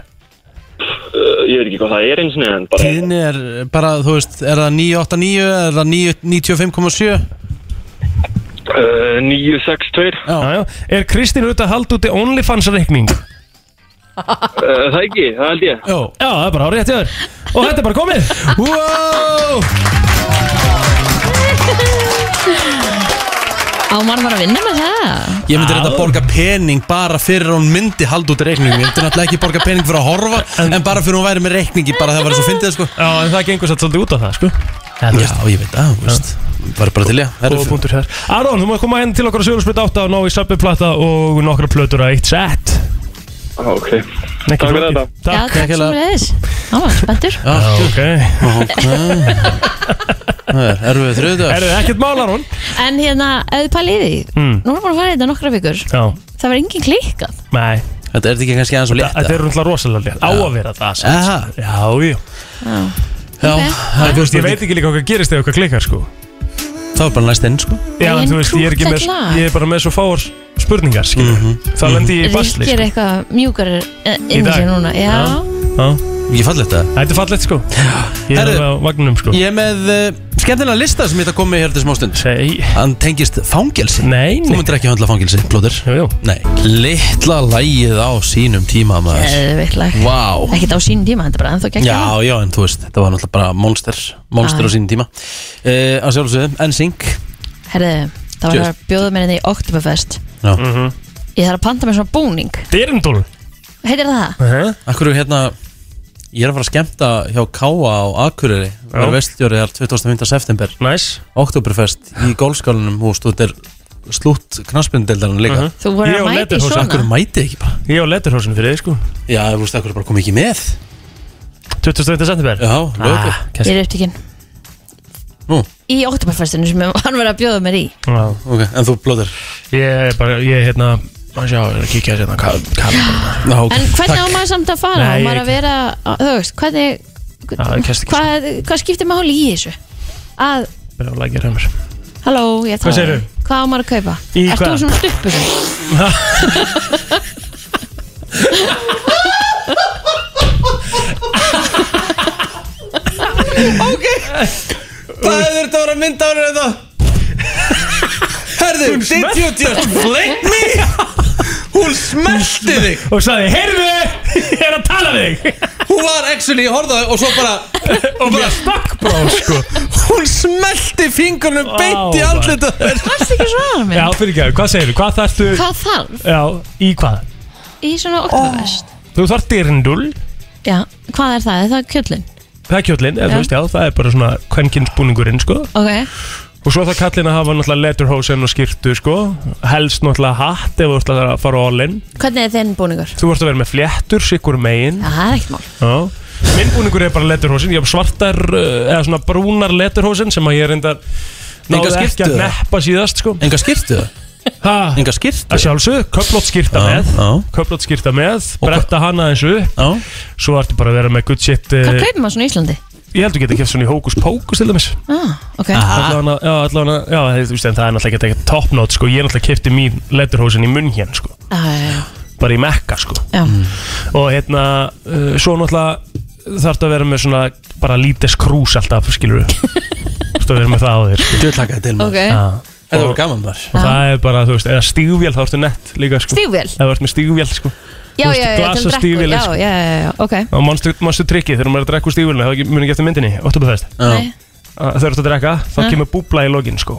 S3: Ég veit ekki hvað það er eins og neðan bara
S1: Tíðni er bara, þú veist, er það 989 er það 995,7
S3: Uh, 962 uh,
S4: Já, já. Er Kristín Rutt að halda úti OnlyFans reikning?
S3: Eh, Það ekki, það held ég
S1: Jó
S4: Já, það er bara árið eftir Og þetta er bara komið
S1: Wow!
S5: Á maður var að vinna með það
S1: Ég myndi reynda að borga pening bara fyrir hún myndi halda út reikningum Ég myndi náttúrulega ekki borga pening fyrir að horfa En, bara fyrir hún væri með reikningi Bara það var svo fyndið sko
S4: Já, en það gengur satt svolítið út á það, sko
S1: Já, ég veit það, þú veist Var bara til ég
S4: Góða punktur hér Aron, þú maður koma henn til okkar að sögursprita átta og ná í sabbiplata og nokkra plötur að eitt sett
S3: ah, Ok,
S4: Ekki
S3: Takk fyrir
S4: flókið.
S3: þetta.
S5: Já,
S4: Takk
S5: takk sem
S1: kærlega.
S5: við þess Það var spenntur
S4: Já, ok
S1: Erum við þrjöðu
S4: Er það ekkert mál, Aron?
S5: En hérna, ef þið pælið í því
S4: Mm.
S5: Nú erum við að fara í þetta nokkra vikur
S4: Já,
S5: Það var engin klikkað
S4: nei
S1: Þetta er ekki kannski aðeins og létt
S4: Þetta er rúndlega rosalega létt Á að vera það, sem
S1: Aha.
S4: sagt. Já, já
S1: Já, það er
S4: Þú veist, ég
S1: spurning.
S4: veit ekki líka hvað gerist ef eitthvað klikkar, sko
S1: Það var bara næst inn sko
S4: Já, en þú veist, ég er ekki með
S5: Krúttlegt lag.
S4: Ég er bara með svo fáar spurningar, skilur
S1: Mhm.
S4: Það lendi ég í basli,
S5: Mhm. Ríkir
S4: sko
S5: eitthvað mjúkar
S4: Í
S5: inn í
S4: dag.
S5: sig núna Já,
S4: Já.
S1: Ég fall þetta
S4: Þetta er fallegt sko Ég er
S1: Herru.
S4: alveg á vagninum sko
S1: Ég er með uh, skemmtilega lista sem ég ætla að koma með hér til smástund
S4: Nei,
S1: Hann tengist fangelsi
S4: nei
S1: Þú myndir ekki höndla fangelsi, blóður
S4: Jú, jú
S1: Nei, litla lægið á sínum tíma
S5: Eh,
S1: maður
S5: eðvitlag
S1: Vá
S5: Ekkert á sínum tíma, þetta er bara ennþá gegn
S1: Já, já, en þú veist, þetta var náttúrulega bara monster Monster
S5: Ah.
S1: á sínum tíma uh, Að sjálfsögðu, NSYNC
S5: Herðu, það var
S1: Just.
S5: að bjóða mér henni í Oktoberfest
S1: Já.
S4: Mhm.
S5: Ég þarf að panta mér svona búning
S4: Dyrndól
S5: Heitir það það?
S1: Akkur er hérna Ég er að fara að skemmta hjá Káa á Akureyri Það
S4: Já.
S1: er vestjóri þar 25. september
S4: Næs
S1: Oktoberfest í golfskálanum og þú veist, þetta er slútt knaspindeldarinn líka uh -huh.
S5: Þú voru að
S4: Ég og
S5: mæta í
S4: Letterhouse,
S5: svona
S1: Akkur mæti ekki bara
S4: Ég á leturhósinu fyrir þig sko
S1: Já, þú veist, akkur bara kom ekki með
S4: 25. september
S1: Já,
S5: Ah,
S1: lögur
S5: Ég er upptíkin
S1: Nú.
S5: Í Oktoberfestinu sem hann var að bjóða mér í
S4: Já.
S1: Ok, en þú blóður
S4: Ég er bara, ég er hérna maður sjá, ég er að kíkja hérna hvað- hvað er þetta?
S1: Ná, ok.
S5: En hvernig á
S1: Takk.
S5: maður samt að fara? Á
S4: Nei,
S5: maður
S4: ég-
S5: að vera, á- þú veist, hvernig
S4: Já, ég kemst ekki.
S5: hvað, hvað skiptir maður í þessu? Að,
S4: Byrja að lækja ræmur
S5: halló, ég tala
S4: segirðu?
S5: Hvað á maður að kaupa?
S4: Í
S5: Ert þú
S4: hvað?
S5: svona stuppu sem?
S1: Hvað hefur þetta að vera mynd á hérna þá? Herðu, did you just flick me? Hún smelti þig
S4: Og sagði, heyrðu, ég er að tala við þig
S1: Hún var actually, ég horfði á það og svo bara
S4: Og mér stakk brá, sko
S1: Hún smelti fingurnum beint í
S4: Vá,
S1: andlita þér
S5: Varst ekki svona mér?
S4: Já, fyrir ekki, hvað segirðu, hvað þarftu
S5: Hvað þarf
S4: Já, í hvað?
S5: í svona okkurvest?
S4: Þú þarft dirndul
S5: Já, hvað er það? Er það kjöllin?
S4: Það er kjóllinn, eða þú
S5: Já.
S4: veist, já, það er bara svona kvenkinsbúningurinn, sko
S5: Ok,
S4: Og svo þarf kallinn að hafa náttúrulega letterhosen og skirtu, sko Helst náttúrulega hatt ef þú ert að fara all-in
S5: hvernig er þinn búningur?
S4: Þú ert að vera með fléttur, sikkur megin
S5: Já, það er ekkert mál
S4: Já Minn búningur er bara letterhosen Ég hef svartar, uh, eða svona brúnar letterhosen sem að ég reyndar náði
S1: Enga
S4: ekki að
S1: skyrtu, eða?
S4: neppa síðast, sko
S1: Enga skýrtu það?
S4: Ha,
S1: Enga skýrtu?
S4: að sjálfsög, köflótt skýrta
S1: Já,
S4: með
S1: já.
S4: Köflótt skýrta með,
S1: Og
S4: bretta hana eins upp
S1: Já
S4: Svo ertu bara að vera með good shit uh,
S5: Hvað kaupir maður svona í Íslandi?
S4: Ég heldur geta keft svona í hókus pókus til dæmis
S5: Ah, ok
S4: Allavega, já, allavega, já, þú veist, en það er náttúrulega ekki eitthvað top note, sko Ég er náttúrulega kefti mín letterhosen í munn hér, sko
S5: Já, Ah, já, já,
S4: Bara í mekka, sko
S5: já
S1: Mm.
S4: og hérna uh, svo náttúrulega þarf að vera með svona bara lítið skrús alltaf skilur við þarf að vera með það á þér sko.
S1: Þú tlakaði til
S5: Ok,
S1: maður Þetta
S4: og,
S1: voru gaman þar
S4: og það er bara þú veist eða stígvél þá ertu nett líka sko
S5: stígvél
S4: eða ertu með stígvél sko
S5: Já,
S4: Þú
S5: já,
S4: veist,
S5: já,
S4: glas
S5: til
S4: og stígvél,
S5: drekku Já,
S4: sko.
S5: já, já, já, ok
S4: og mannstu, mannstu trikkið þegar maður er að drekka úr stígvélinu það er ekki- muni ekki eftir myndinni Oktoberfest
S5: Nei,
S4: Að þegar ertu að drekka þá
S5: Ah.
S4: kemur búbla í lokin sko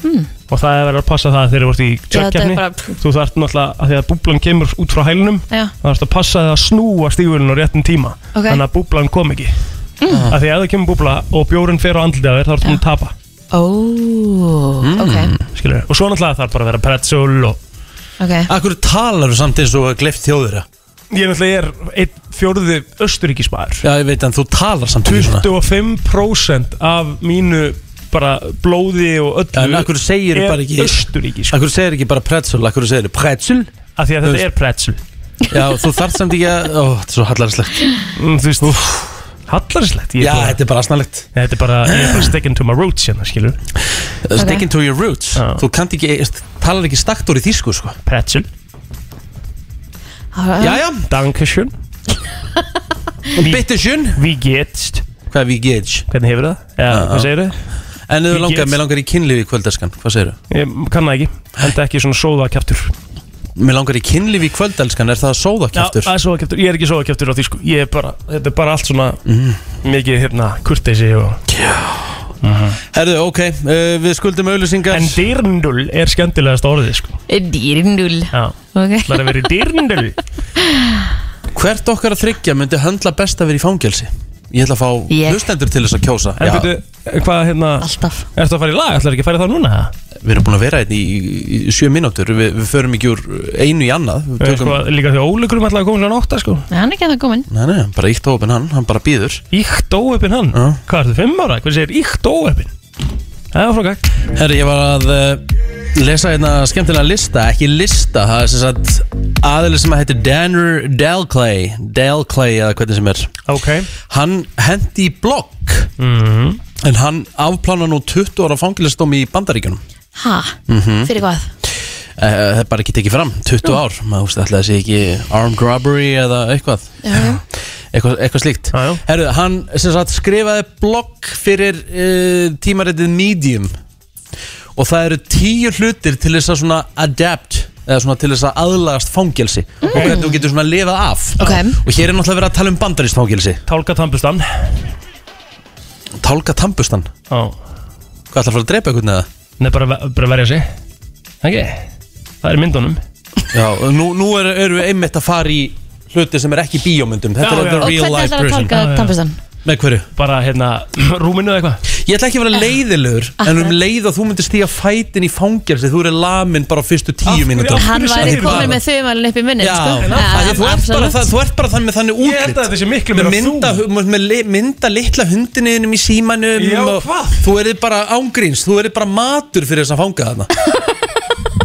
S4: og það er verið að passa það þegar þú ert í
S5: Hmm. Já, þetta er
S4: tjökkjafni
S5: bara-
S4: þú þarf náttúrulega að því að búblan kemur út frá hælunum
S5: já,
S4: þá þarfst að passa það að snúa stígvélinu á réttin tíma
S5: Ok. Ah.
S4: þannig að búblan kom ekki af því að ef það kemur búbla og bjórinn fer á andlitið á þér þá ertu hún að tapa
S5: ó, ok,
S4: skilur. og svo náttúrulega þarf bara að vera pretzel og
S5: ok
S1: Akkur talar þú samt eins og eh? gleift þjóður
S4: ég náttúrulega er einn fjórði östuríkismæður
S1: Já, ég veit en þú talar samt ekki svona
S4: 25% af mínu bara blóði og öllu
S1: En akkur segir
S4: er
S1: bara ekki
S4: östuríki sko.
S1: Akkur segir ekki bara pretzel Akkur segir pretzel
S4: af því að þetta er pretzel
S1: Já, þú þarft samt ekki að Ó, þetta er svo hallarslegt
S4: mm, þú veist hallarslegt ég,
S1: Já,
S4: er bara-
S1: þetta er bara asnalegt
S4: þetta er bara, ég er bara sticking to my roots hérna skilur
S1: Sticking Uh, to your roots
S4: Já.
S1: Þú kannt ekki, talar ekki stakt úr í þýsku sko.
S4: pretzel
S5: Ah.
S1: Já, já,
S4: Dankeschön
S1: bitte schön
S4: Wie geht's?
S1: Hvað er við gage?
S4: Hvernig hefur það? Já,
S1: Já, já.
S4: hvað segir þau?
S1: En ef þú
S4: Við
S1: langar,
S4: gage.
S1: mér langar í kynlífi í kvöldelskan Hvað segir þú?
S4: Ég kann það ekki, enda ekki svona sóðakjaftur
S1: Mér langar í kynlífi í kvöldelskan Er það sóðakjaftur?
S4: það er sóðakjaftur, ég er ekki sóðakjaftur á því sko Ég er bara, þetta er bara allt svona
S1: Mhm.
S4: Mikið hérna kurteisi og
S1: Herðu, ok, uh, við skuldum auðlýsingar
S4: En dyrndul er skemmtilegast orðið sko
S5: Dýrindul
S4: Já,
S5: Ok,
S4: það er að vera í dyrndul
S1: Hvert okkar að þryggja myndi höndla best að vera í fangelsi? Ég ætla að fá
S5: Ég.
S1: hlustendur til þess að kjósa
S4: En veitu, hvað hérna
S5: alltaf
S4: Ertu að fara í lag, ætlar ekki að fara í það núna?
S1: Við erum búin að vera hérna í, í, í sjö mínútur við, við förum ekki úr einu í annað Við
S4: Tökum.
S1: tökum,
S4: Sko, líka því ólegurum ætlar að koma hérna átta sko
S5: Nei, hann er ekki að það komin
S1: Nei, nei, bara ítt á opinn hann, hann bara býður
S4: Íkt óöpinn hann,
S1: Já.
S4: hvað ertu, fimm ára? Hvað segir íkt óöpinn? Það var frá gagn
S1: Herri, ég var að uh, lesa hérna skemmtilega lista, ekki lista það er sem sagt aðili sem að heitir Danner Dalclay Dalclay eða hvernig sem er
S4: Ok Mhm.
S1: hann hendi í blogg en hann afplána nú 20 ára fangilistómi í bandaríkjunum
S5: Ha, fyrir hvað?
S1: Eh, Það er bara ekki tekið fram, 20 ár maður úst alltaf að sé ekki armed robbery eða eitthvað
S5: Já, já.
S1: eitthvað, eitthvað slíkt
S4: Já, já.
S1: Herru, hann sem sagt skrifaði blogg fyrir uh, tímaritið Medium og það eru tíu hlutir til þess að svona adapt eða svona til þess að aðlagast fangelsi og
S5: Mm.
S1: hvernig þú getur svona lifað af
S5: Ok.
S1: og hér er náttúrulega verið að tala um bandarist fangelsi
S4: Tálka tampustan
S1: Tálka tampustan,
S4: Já
S1: hvað ætlar að fara að drepa eitthvað neða?
S4: Nei, bara, bara verja sig Ekki? Það er í myndunum
S1: Já, og nú, nú er, erum við einmitt að fara í hluti sem er ekki í bíómyndum þetta
S4: Já, já.
S1: er the
S5: Og
S1: real
S5: hvernig
S1: life
S5: ætlar að
S1: person
S5: tálka
S4: Já, já.
S5: tampustan?
S1: með hverju?
S4: Bara hérna, rúminu eða eitthvað
S1: Ég ætla
S5: Ah.
S1: ekki að vera leiðilegur En um leið að þú myndir stíga fætin í fangelsi Þú eru lamin bara á fyrstu tíu mínútur
S4: Af
S5: Hann
S4: hverju
S5: væri
S4: segirðu
S5: komin
S1: það?
S5: með þumælun upp í munni
S1: Já,
S5: sko.
S1: en af því þú ert bara það- þú ert bara þannig með þannig
S4: Ég held að
S1: útlitt
S4: þetta sé miklu
S1: Með
S4: meira
S1: mynda,
S4: þú.
S1: með li- mynda litla hundiniðinum í símanum
S4: Já,
S1: og
S4: hvað?
S1: Þú erið bara ángríns Þú erið bara matur fyrir þess að fanga þarna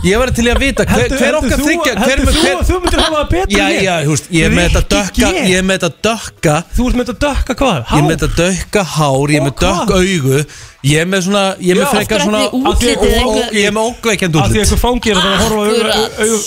S1: Ég var til í að vita hver,
S6: Heldur-
S1: hver
S6: heldur
S1: okkar
S6: þú-
S1: þryggja hver,
S6: heldur þú
S1: hver,
S6: að þú myndir hafa það betur
S1: Já,
S6: en ég?
S1: já, þú veist, ég er með þetta
S6: Rikki
S1: dökka
S6: G.
S1: Ég er með þetta dökka
S6: Þú ert með þetta dökka hvað?
S1: Ég er með þetta dökka hár, ég er með
S6: Og hvað?
S1: dökk augu Ég er með svona, ég er
S6: Já.
S1: með frekar
S5: Af
S1: svona
S5: hverju ætli útlitið
S1: og- og-
S5: eitthvað-
S1: Ég er með
S6: Af
S1: ógveikend
S6: því
S1: útlit
S6: einhver fangir að það að horfa
S5: Akkurat.
S6: á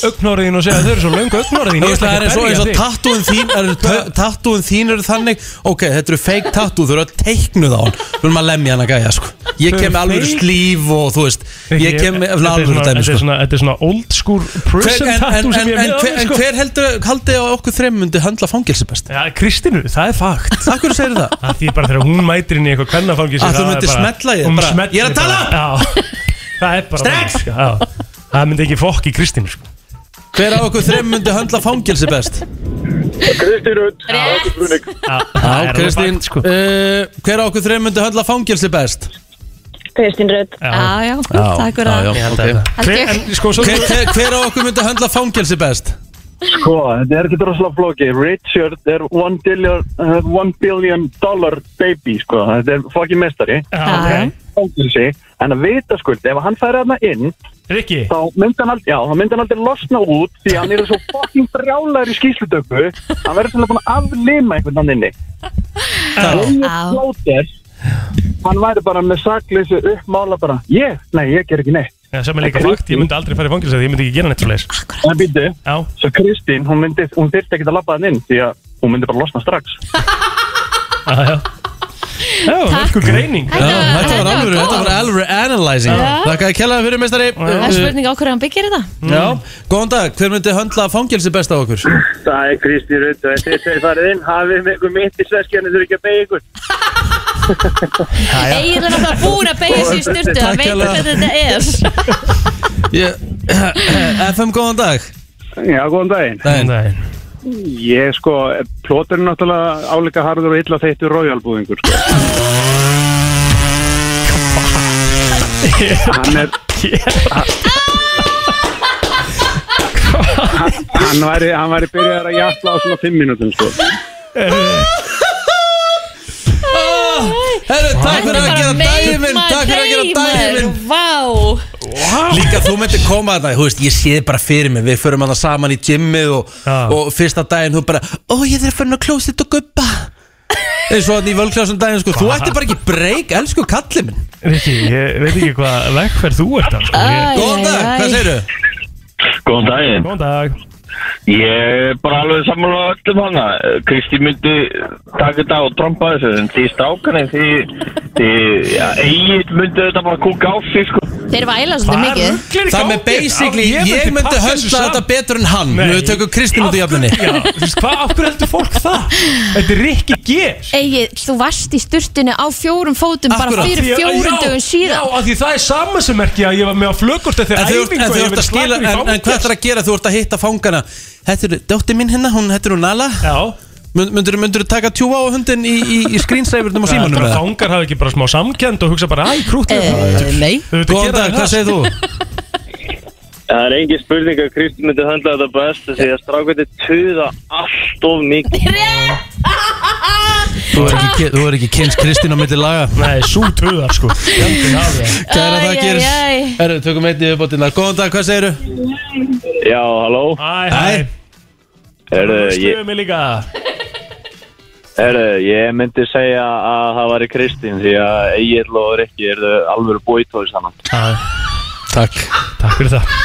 S6: augnhóriðin og segja þau eru svo löngu augnhóriðin
S1: Þú veist, Það er eins og, eins og tattúin þín það eru Tattúin þín eru þannig Ok, þetta eru fake tattú, þau eru að teiknuð á hann Þú erum að lemja hann að gæja, sko Ég
S6: Þau
S1: kem með
S6: eru
S1: alveg
S6: fake?
S1: slíf og þú veist Ég kem með alveg dæmi,
S4: Þetta er
S1: sko
S4: svona- þetta er svona old school
S1: Hver,
S4: prison
S1: en, en,
S4: tattoo
S1: en,
S4: sem ég
S1: en,
S4: er
S1: hver,
S4: með
S1: en
S4: sko.
S1: hver heldur, haldið að okkur þreim myndi höndla fangilsi best?
S4: Já, Kristínu, það er fakt
S1: Akkur segir það?
S4: Það því bara þegar hún mætir inn í eitthvað kvennafangis
S1: Að þú myndir smella í þig bara, "Ég er að tala!"
S4: Já, það er bara
S1: Strax!
S4: málið, sko, já. Það myndi ekki fokk í Kristínu sko.
S1: Hver af okkur þreim myndi höndla fangilsi best?
S3: Kristi Rutt Ekki spurning
S4: Já, það
S1: Já,
S4: er alveg
S1: Kristín
S4: fakt, sko.
S1: uh, Hver af okkur þreim myndi höndla fangilsi best?
S7: Kristín Rutt
S5: Já, já, takk fyrir það
S1: já,
S4: Ég held
S1: ok.
S4: að-
S5: Held
S4: Hver-
S5: ég.
S4: En sko, svo
S1: Hver, hver, hver af okkur myndi höndla fangilsi best?
S8: Sko, þetta er ekki droslega flóki Richard er one billion, uh, one billion dollar baby sko. Þetta er fokkin mestari
S4: Já, ok.
S8: Fangelsi. En að vita skuld, ef hann færi þarna inn
S4: Rikki,
S8: þá myndi hann aldrei, já, þá myndi hann aldrei losna út því hann er svo fokkin brjálæður í skýslutöku hann verður svolítið búin að aflima einhvern hann inni
S5: Já.
S8: Slóter, hann væri bara með sakleysu uppmála bara ég, nei, ég ger ekki neitt
S4: já, sem er líka fakt, ég myndi aldrei fara í fangils Ég myndi ekki gera neitt svo leis
S8: en býttu,
S4: Já,
S8: svo Kristín, hún myndi hún þyrfti ekki að labba hann inn því að hún myndi bara losna strax
S4: já, já Já, virku greining
S1: Já, þetta var alveg,
S5: góð.
S1: þetta var alveg analyzing Þakka að kella fyrir meistari
S5: Það er spurning á hverju hann byggir þetta
S1: Já, góðan dag, hver myndi höndla fangilsi best af okkur?
S3: Það er Kristi Rutt og þetta er þeir farið inn hafið með ykkur mitt í sveskjana þurfi ekki að beigja ykkur
S5: Egil er náttúrulega búin að beigja sig í snurtu
S1: Takk
S5: Það veit
S1: hérlega.
S5: hvernig þetta er
S1: Ég- FM, góðan dag
S8: Já, góðan daginn.
S1: Daginn.
S4: Nei.
S8: Ég sko, plótur er náttúrulega áleika harður og illa þeittur raujalbúðingur. Sko. hann er... Hann- hann væri, hann væri byrjaður að jafla á svona 5 mínútum sko.
S1: Herru, takk fyrir að gera daginn minn Takk fyrir að gera daginn minn
S5: Vá
S1: Líka þú myndir koma að það, þú veist, ég sé þið bara fyrir mig Við förum hana saman í gymmið og,
S4: Já.
S1: og fyrsta daginn þú bara Ó, ég þarf að fara inn á klósitt og guppa eins og hann í völklásum daginn sko, Þú ætti bara ekki breyk, elsku kallið minn
S4: Rikki, ég veit ekki hvað vegferð þú ert á sko. Ég-
S1: Góðan dag, hvað segirðu?
S3: Góðan daginn
S4: Góðan dag
S3: Ég er bara alveg samanlega öllum hana Kristi myndi taka þetta og tromba þessu en því strákanin því, því ja, eigin myndi þetta bara kúka á sig sko
S5: Þeir væla svolítið mikið
S1: Það með basically, ég myndi höndla þetta betur en hann Nú við tökum Kristinn út í jafninni
S4: Hvað, af hverju heldur fólk það? Þetta er Rikki G
S5: Egil, þú varst í sturtunni á fjórum fótum
S1: Akkúrat.
S5: bara fyrir
S4: Ég-
S5: fjórum
S4: já,
S5: dögum síðan
S4: Já, af því það er samansumerki að ég var með á flögurta
S1: En
S4: þegar
S1: þú ert-
S4: æfingu
S1: en
S4: og ég
S1: þú ert að
S4: verið
S1: skila,
S4: slagur í
S1: en, en hvað
S4: fangelsi.
S1: ætlar að gera? Þú ert að hitta fangana Þetta eru, dótti mín hérna, hún hættir hún Nala
S4: Já,
S1: Myndur þú taka tjúa á hundin í, í, í screensaverðum og símanum
S4: bara
S1: með það?
S4: fangar hafa ekki bara smá samkend og hugsa bara, æ, krútið
S5: Eh, Nei
S1: Góðan dag, hvað segir þú?
S3: Það er engin spurning að Kristi myndi handla þetta best því að strákan þetta tuða allt of mikið
S1: Þú er ekki, þú er ekki kynns Kristín á milli laga
S4: Nei, sú töðar sko Jöndin hafi það.
S1: Kæra
S5: Æ, æ,
S1: þakkir
S5: æ.
S1: Herru, tökum eitt í uppbótina Góðan dag, hvað segiru?
S3: Já, halló
S4: Æ,
S1: Æ.
S4: hæ
S3: Herðu, ég,
S4: Stöðu mig líka
S3: herðu, ég myndi segja að það væri Kristín því að Egil og Rikki eru alveg bóitói saman
S4: Æ,
S1: Takk
S4: Takk fyrir það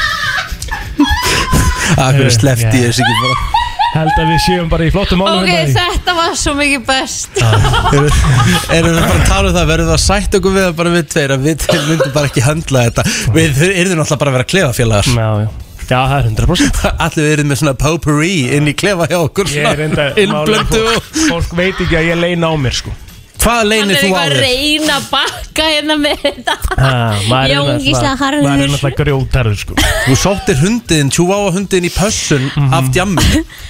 S1: Akkur
S4: Herru,
S1: slefti
S4: já.
S1: ég þessi ekki bara
S4: Held að við séum bara í flottum málum
S5: Ok,
S4: hérna í-
S5: þetta var svo mikið best
S4: Ah.
S1: Eru- Erum við bara að tala um það Verðum við að sætt okkur við það bara við tveir að Við tveir myndum bara ekki höndla þetta Við erum náttúrulega bara að vera klefafélagar
S4: Já, já Já, það er 100%
S1: Allir við erum með svona potpourri inn í klefa hjá okkur
S4: Ég er enda
S1: Innblöndu
S4: málið,
S1: og
S4: fólk, fólk veit ekki að ég leina á mér sko
S1: Hvað
S5: Hann
S1: leynir
S5: er
S1: þú á
S5: eitthvað að
S1: þér?
S5: reyna að bakka hérna með þetta
S4: Ha, maður er
S5: Jón
S4: náttúrulega-
S5: Gísla harður.
S4: Maður er náttúrulega grjótarður sko Mhm.
S1: Þú sóttir hundin, tjúváa hundin í pössun af djammi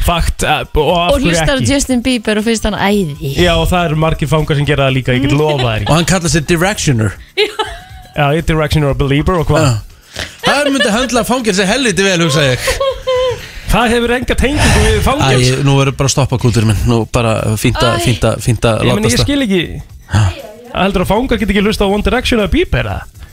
S4: Fakt, eh, og
S5: Og
S4: af hverju
S5: hlustar á
S4: ekki
S5: Justin Bieber og finnst hann æði
S4: Já, og það eru margir fangar sem gera það líka, ég get lofa þér
S1: Og hann kallar sér Directioner
S4: Já, ég er directioner og believer og hvað
S1: Já. Það myndi höndla fangilsi helviti vel, hugsa ég
S4: Það hefur enga tengingu við fangils
S1: Æ, nú verður bara að stoppa kútur minn Nú bara fínta,
S5: Æ.
S1: fínta, fínta
S4: Ég meni, ég
S1: látast
S4: skil ekki Heldur að fangar get ekki hlusta á One Direction eða Bieber eða?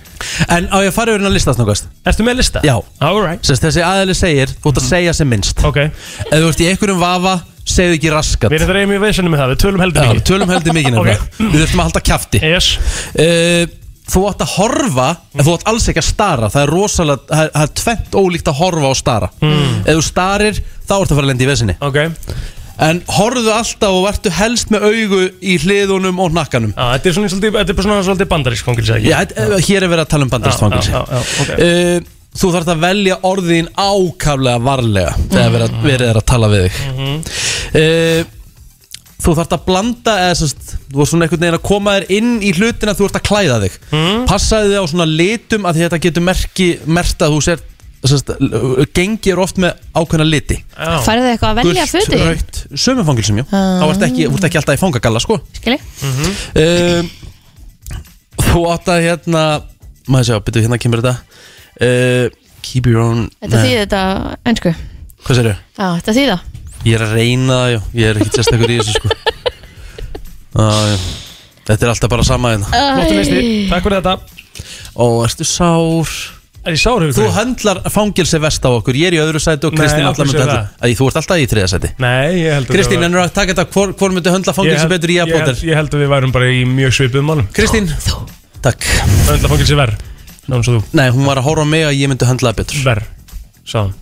S1: En á ég að fara yfir hérna listast nokkast
S4: Ertu með lista?
S1: Já
S4: Alright
S1: Sest, Þessi aðeili segir, þú ert að segja sem minnst
S4: Ok
S1: Ef þú ert í einhverjum vafa, segðu ekki raskat
S4: Við erum dreifum í veðsynum með það, við tölum heldur
S1: Já, við tölum heldur mikið nefnilega Við þurfum að halda kjafti
S4: Yes
S1: uh, Þú átt að horfa En þú átt alls ekki að stara Það er rosalega, það er, það er tvennt ólíkt að horfa og stara Ef þú starir, þá ertu að fara að lenda í vesinni
S4: Hmm. Ok Já,
S1: En horfðu alltaf og ertu helst með augu Í hliðunum og nakkanum
S4: Þetta er svona svolítið, þetta er bara svona svolítið bandarísk fangils ekki
S1: Já, eh, Hér er verið að tala um bandarstfangilsi
S4: Já, já, já, ok.
S1: uh, Þú þarf að velja orðin ákaflega varlega Þegar verið,
S4: Mhm.
S1: að- verið er að tala við þig uh, Þú þarf að blanda eða, sest, Þú ert svona einhvern veginn að koma þér inn í hlutina Þú ert að klæða þig
S4: Mhm.
S1: Passaði þig á svona litum að þetta getur merki, Merta að þú sér sest, Gengir oft með ákveðna liti
S4: Já,
S5: Færðu þið eitthvað að velja Ah. fötu?
S1: raut, sömufangilsum já Þá ert ekki, þú ert ekki alltaf í fangagalla sko
S5: Skilji?
S1: um, Þú átt að hérna Maður sjá, byrju hérna kemur þetta uh, Keep your own
S5: Þetta
S1: nei,
S5: þýði þetta einsku Já,
S1: Hvað sérðu?
S5: þetta þýði það
S1: Ég er að reyna það, já Ég er ekki sérstakur í þessu sko ah, Þetta er alltaf bara sama hérna
S4: flottu listi, takk fyrir þetta
S1: Ó, ertu sár
S4: Er ég sár hefur
S1: Þú höndlar fangilsi vest á okkur Ég er í öðru sæti og
S4: Nei,
S1: Kristín
S4: af hverju
S1: allar myndi
S4: segirðu
S1: höndla Æ, Þú ert alltaf í þriða sæti
S4: Nei, ég heldur
S1: Kristín, en að taka þetta Hvor, hvor myndi höndla fangilsi betur ég að bóttir?
S4: Ég held að við værum bara í mjög svipuð málum
S1: Kristín, takk
S4: Öndla fangilsi verð Náðum svo þú
S1: Nei, hún var að horfa á mig að ég myndi höndla það betur
S4: Verð Sáðan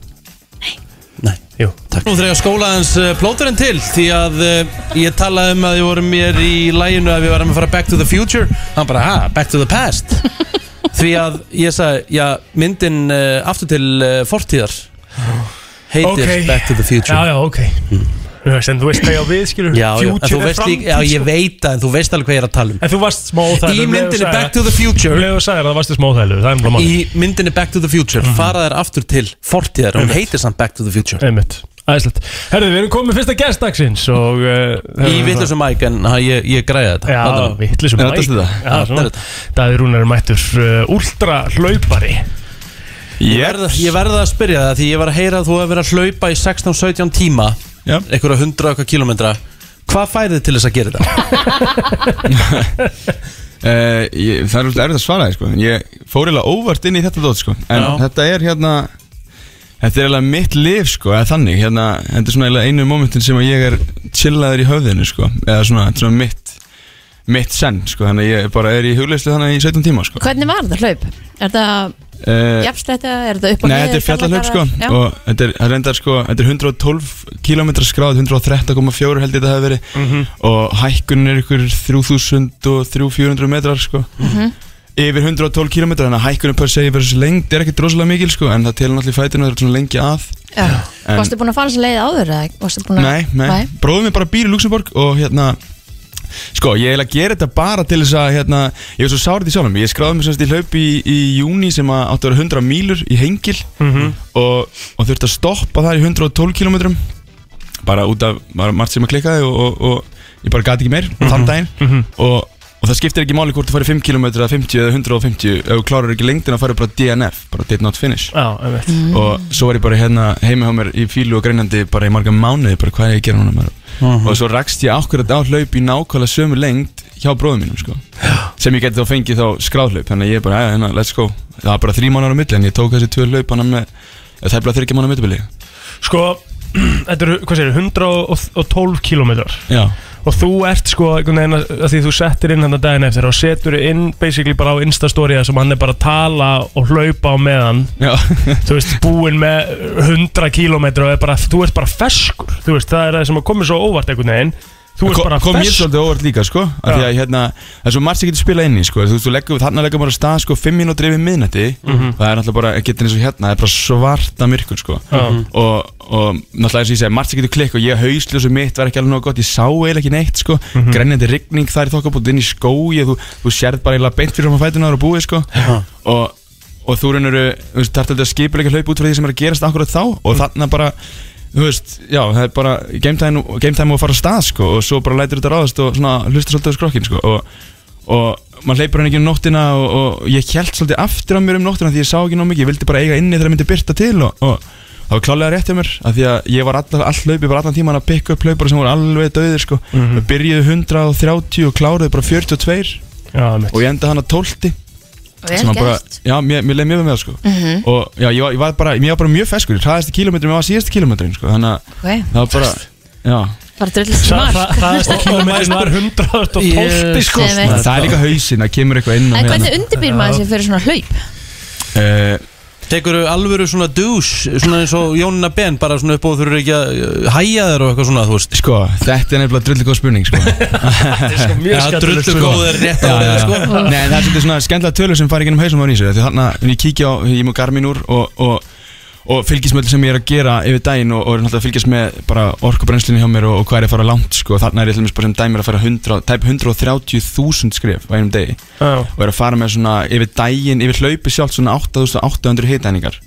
S1: Nei
S4: Jú
S1: Takk. Nú þreif að skóla hans uh, plóturinn til því að uh, ég talaði um að við vorum mér í læginu að við varum að fara back to the future hann bara, ha, back to the past því að ég sagði, já, myndin uh, aftur til uh, fortíðar heitir
S4: Ok.
S1: back to the future Hmm.
S4: Já, já, ok Þú veist, En þú veist hvað ég á við, skilur
S1: já, já, en þú
S4: Future er
S1: veist líka,
S4: framtíð, sko.
S1: já, ég veit það en þú veist alveg hvað ég er að tala um
S4: En þú varst smá óþægilegur, um
S1: í
S4: leið og
S1: myndinni
S4: sagði
S1: back to
S4: það.
S1: the
S4: Um
S1: future
S4: leið og sagðir að það varst smá þælu Það er bara mann
S1: í myndinni back to the future
S4: Mhm.
S1: fara þær aftur til fortíðar hún heitir samt back to the future
S4: Einmitt Æðislegt Herðu, við erum komið með fyrsta gest dagsins og uh,
S1: í vitlusum mæk en ha, ég, ég græði þetta
S4: Já,
S1: Þarna.
S4: vittlisum
S1: Er þetta stuð það? Já,
S4: Já,
S1: þetta er
S4: svona
S1: þetta.
S4: Daði Rúnar er mættur uh, Últra hlaupari
S1: Ég verð, ég verð að spyrja það því ég var að heyra að þú hefur verið að hlaupa í 16-17 tíma
S7: Já.
S1: einhverja hundra okkar kilometra Hvað færið þið til þess að gera þetta?
S7: Uh, ég, það er alltaf erfitt að svara þér sko Ég fór eiginlega óvart inn í þetta dót sko En
S1: Já.
S7: þetta er hérna Þetta er eiginlega mitt lif sko Eða þannig, hérna, þetta er svona eiginlega einu momentin sem að ég er chillaður í höfðinu sko Eða svona, þetta er svona mitt Mitt senn sko, þannig að ég bara er í hugleyslu þannig í 17 tíma sko uh,
S5: Hvernig var þetta hlaup? Er þetta
S1: Eh.
S5: jafnstætt eða er þetta upp og
S7: Nei, þetta er fjallahlaup sko
S5: Já,
S7: Og þetta er, það er reyndar sko, þetta er 112 km skráð 113,4 held ég þetta hafi verið Og hækkun er ykkur 3300-400 metrar sko yfir 112 km þannig að hækkunum per se versus lengd er ekkert rosalega mikil sko, en það telur náttúrulega í fætinu það er svona lengi að
S5: já.
S7: en-
S5: Varstu búin að fara þess að leiða áður? eða varstu búin að-
S7: nei, nei, bróðum við bara býr í Luxemburg og hérna sko, ég eiginlega gera þetta bara til þess að hérna, ég var svo sárið í sjálfum ég skráði mig semst í hlaup í, í júni sem að átti að vera 100 mílur í hengil og, og þurfti að stoppa það í 112 km bara út af, var margt sem að klikkaði og, og, og ég bara gati ekki meir þann daginn og, og það skiptir ekki máli hvort þú farið 5 km eða 50 eða 150 ef þú klárar ekki lengdina farið bara DNF bara did not finish
S4: Já, einmitt
S7: og svo var ég bara hérna heima hjá mér í fílu og greinandi bara í marga mánuði bara hvað er ég að gera núna maður og svo rakst ég akkurat á hlaup í nákvæmlega sömu lengd hjá bróðum mínum sko sem ég geti þá fengið þá skráðhlaup þannig að ég bara, "Jæja, hérna, let's go það var bara þrý mánuðar á milli en ég tók þessi tvö hlaup hann með það er bara þryggja mánuðar millibili
S4: Sko, þetta eru, hvað segir, 112 kilometrar
S7: já,
S4: og þú ert sko einhvern veginn að að því þú settir inn hann að daginn eftir og setur inn basically bara á instastóriða sem hann er bara að tala og hlaupa á meðan
S7: já,
S4: þú veist, búinn með 100 kilometra og er bara, þú ert bara ferskur þú veist, það er það sem að komið svo óvart einhvern veginn þú ert
S7: Ko-
S4: bara
S7: kom ég
S4: ferskur
S7: svolítið óvart líka sko af því að hérna, það er svo margt sem getur spilað inn í sko þú veist, þú leggur, þarna leggur maður af stað sko 5 mínútur yfir miðnætti það er náttúrulega bara, getur eins og hérna, það er bara svarta myrkur sko
S4: Já.
S7: og, og náttúrulega eins og ég segi, margt sem getur klikk og ég hausljósu mitt var ekki alveg nóg gott, ég sá eiginlega ekki neitt sko, grenjandi rigning þar í þokkabótt inn í skói, þú, þú sérð bara eiginlega beint fyrir frá fætunar og búið sko og, og þú reynir, þú veist, þarf þetta að skipulega hlaup út frá því sem er að gerast akkurat þá og þarna bara, þú veist, já, það er bara game time, game time og fara af stað sko og svo bara lætur þetta ráðast og svona hlusta svolítið á skrokkin sko og og maður hleypur hann ekki um nóttina og, og ég held svolítið aftur á mér um nóttina því ég sá ekki nóg mikið, ég vildi bara eiga inni þegar það myndi byrta til og, og það var klálega rétt hjá mér af því að ég var all, all hlaupi, var allan tíman að pikka upp hlaupar sem voru alveg döðir sko mm
S4: Mhm.
S7: byrjuðu 130 og kláruðu bara 42
S4: Já, einmitt.
S7: og ég enda hann að 12
S5: Vel
S7: sem að bara,
S5: gert.
S7: já, mér, mér leið mjög vel með það sko
S5: Mhm.
S7: og já, ég var, ég var bara, mér var bara mjög feskur hraðasti kílómetrin, mér var síðasti kílómetrin sko þannig að
S5: Ok.
S7: það var bara, já
S5: Bara drullist
S4: Sa-
S5: mark
S4: það- Hraðasta kílómetrin var 112 sko
S5: Nei, nei.
S7: það, er líka hausin að kemur eitthvað inn og
S5: En
S7: hérna.
S5: hvernig undirbýr maður sér fyrir svona hlaup?
S7: Eh,
S1: Tekur alvöru svona douche Svona eins og Jónina Ben Bara svona upp og þú eru ekki að uh, hæja þér og eitthvað svona Þú veist
S7: sko, þetta er nefnilega drullu góð spurning sko.
S1: Já, drullu góður rétt á þér sko
S7: Nei, en það er svolítið svona skemmtilega tölur sem fara í gennum hausum á nýsir Því þarna, ef ég kíkja á, ég mú garmin úr og, og, og fylgist með öllu sem ég er að gera yfir daginn og, og er náttúrulega að fylgjast með bara orkubrennslinu hjá mér og, og hvað er ég að fara langt sko Þarna er ég til dæmis bara sem dæmir að fara 100, tæp 130.000 skrif á einum degi og er að fara með svona yfir daginn, yfir hlaupi sjálft svona 8800 hitæningar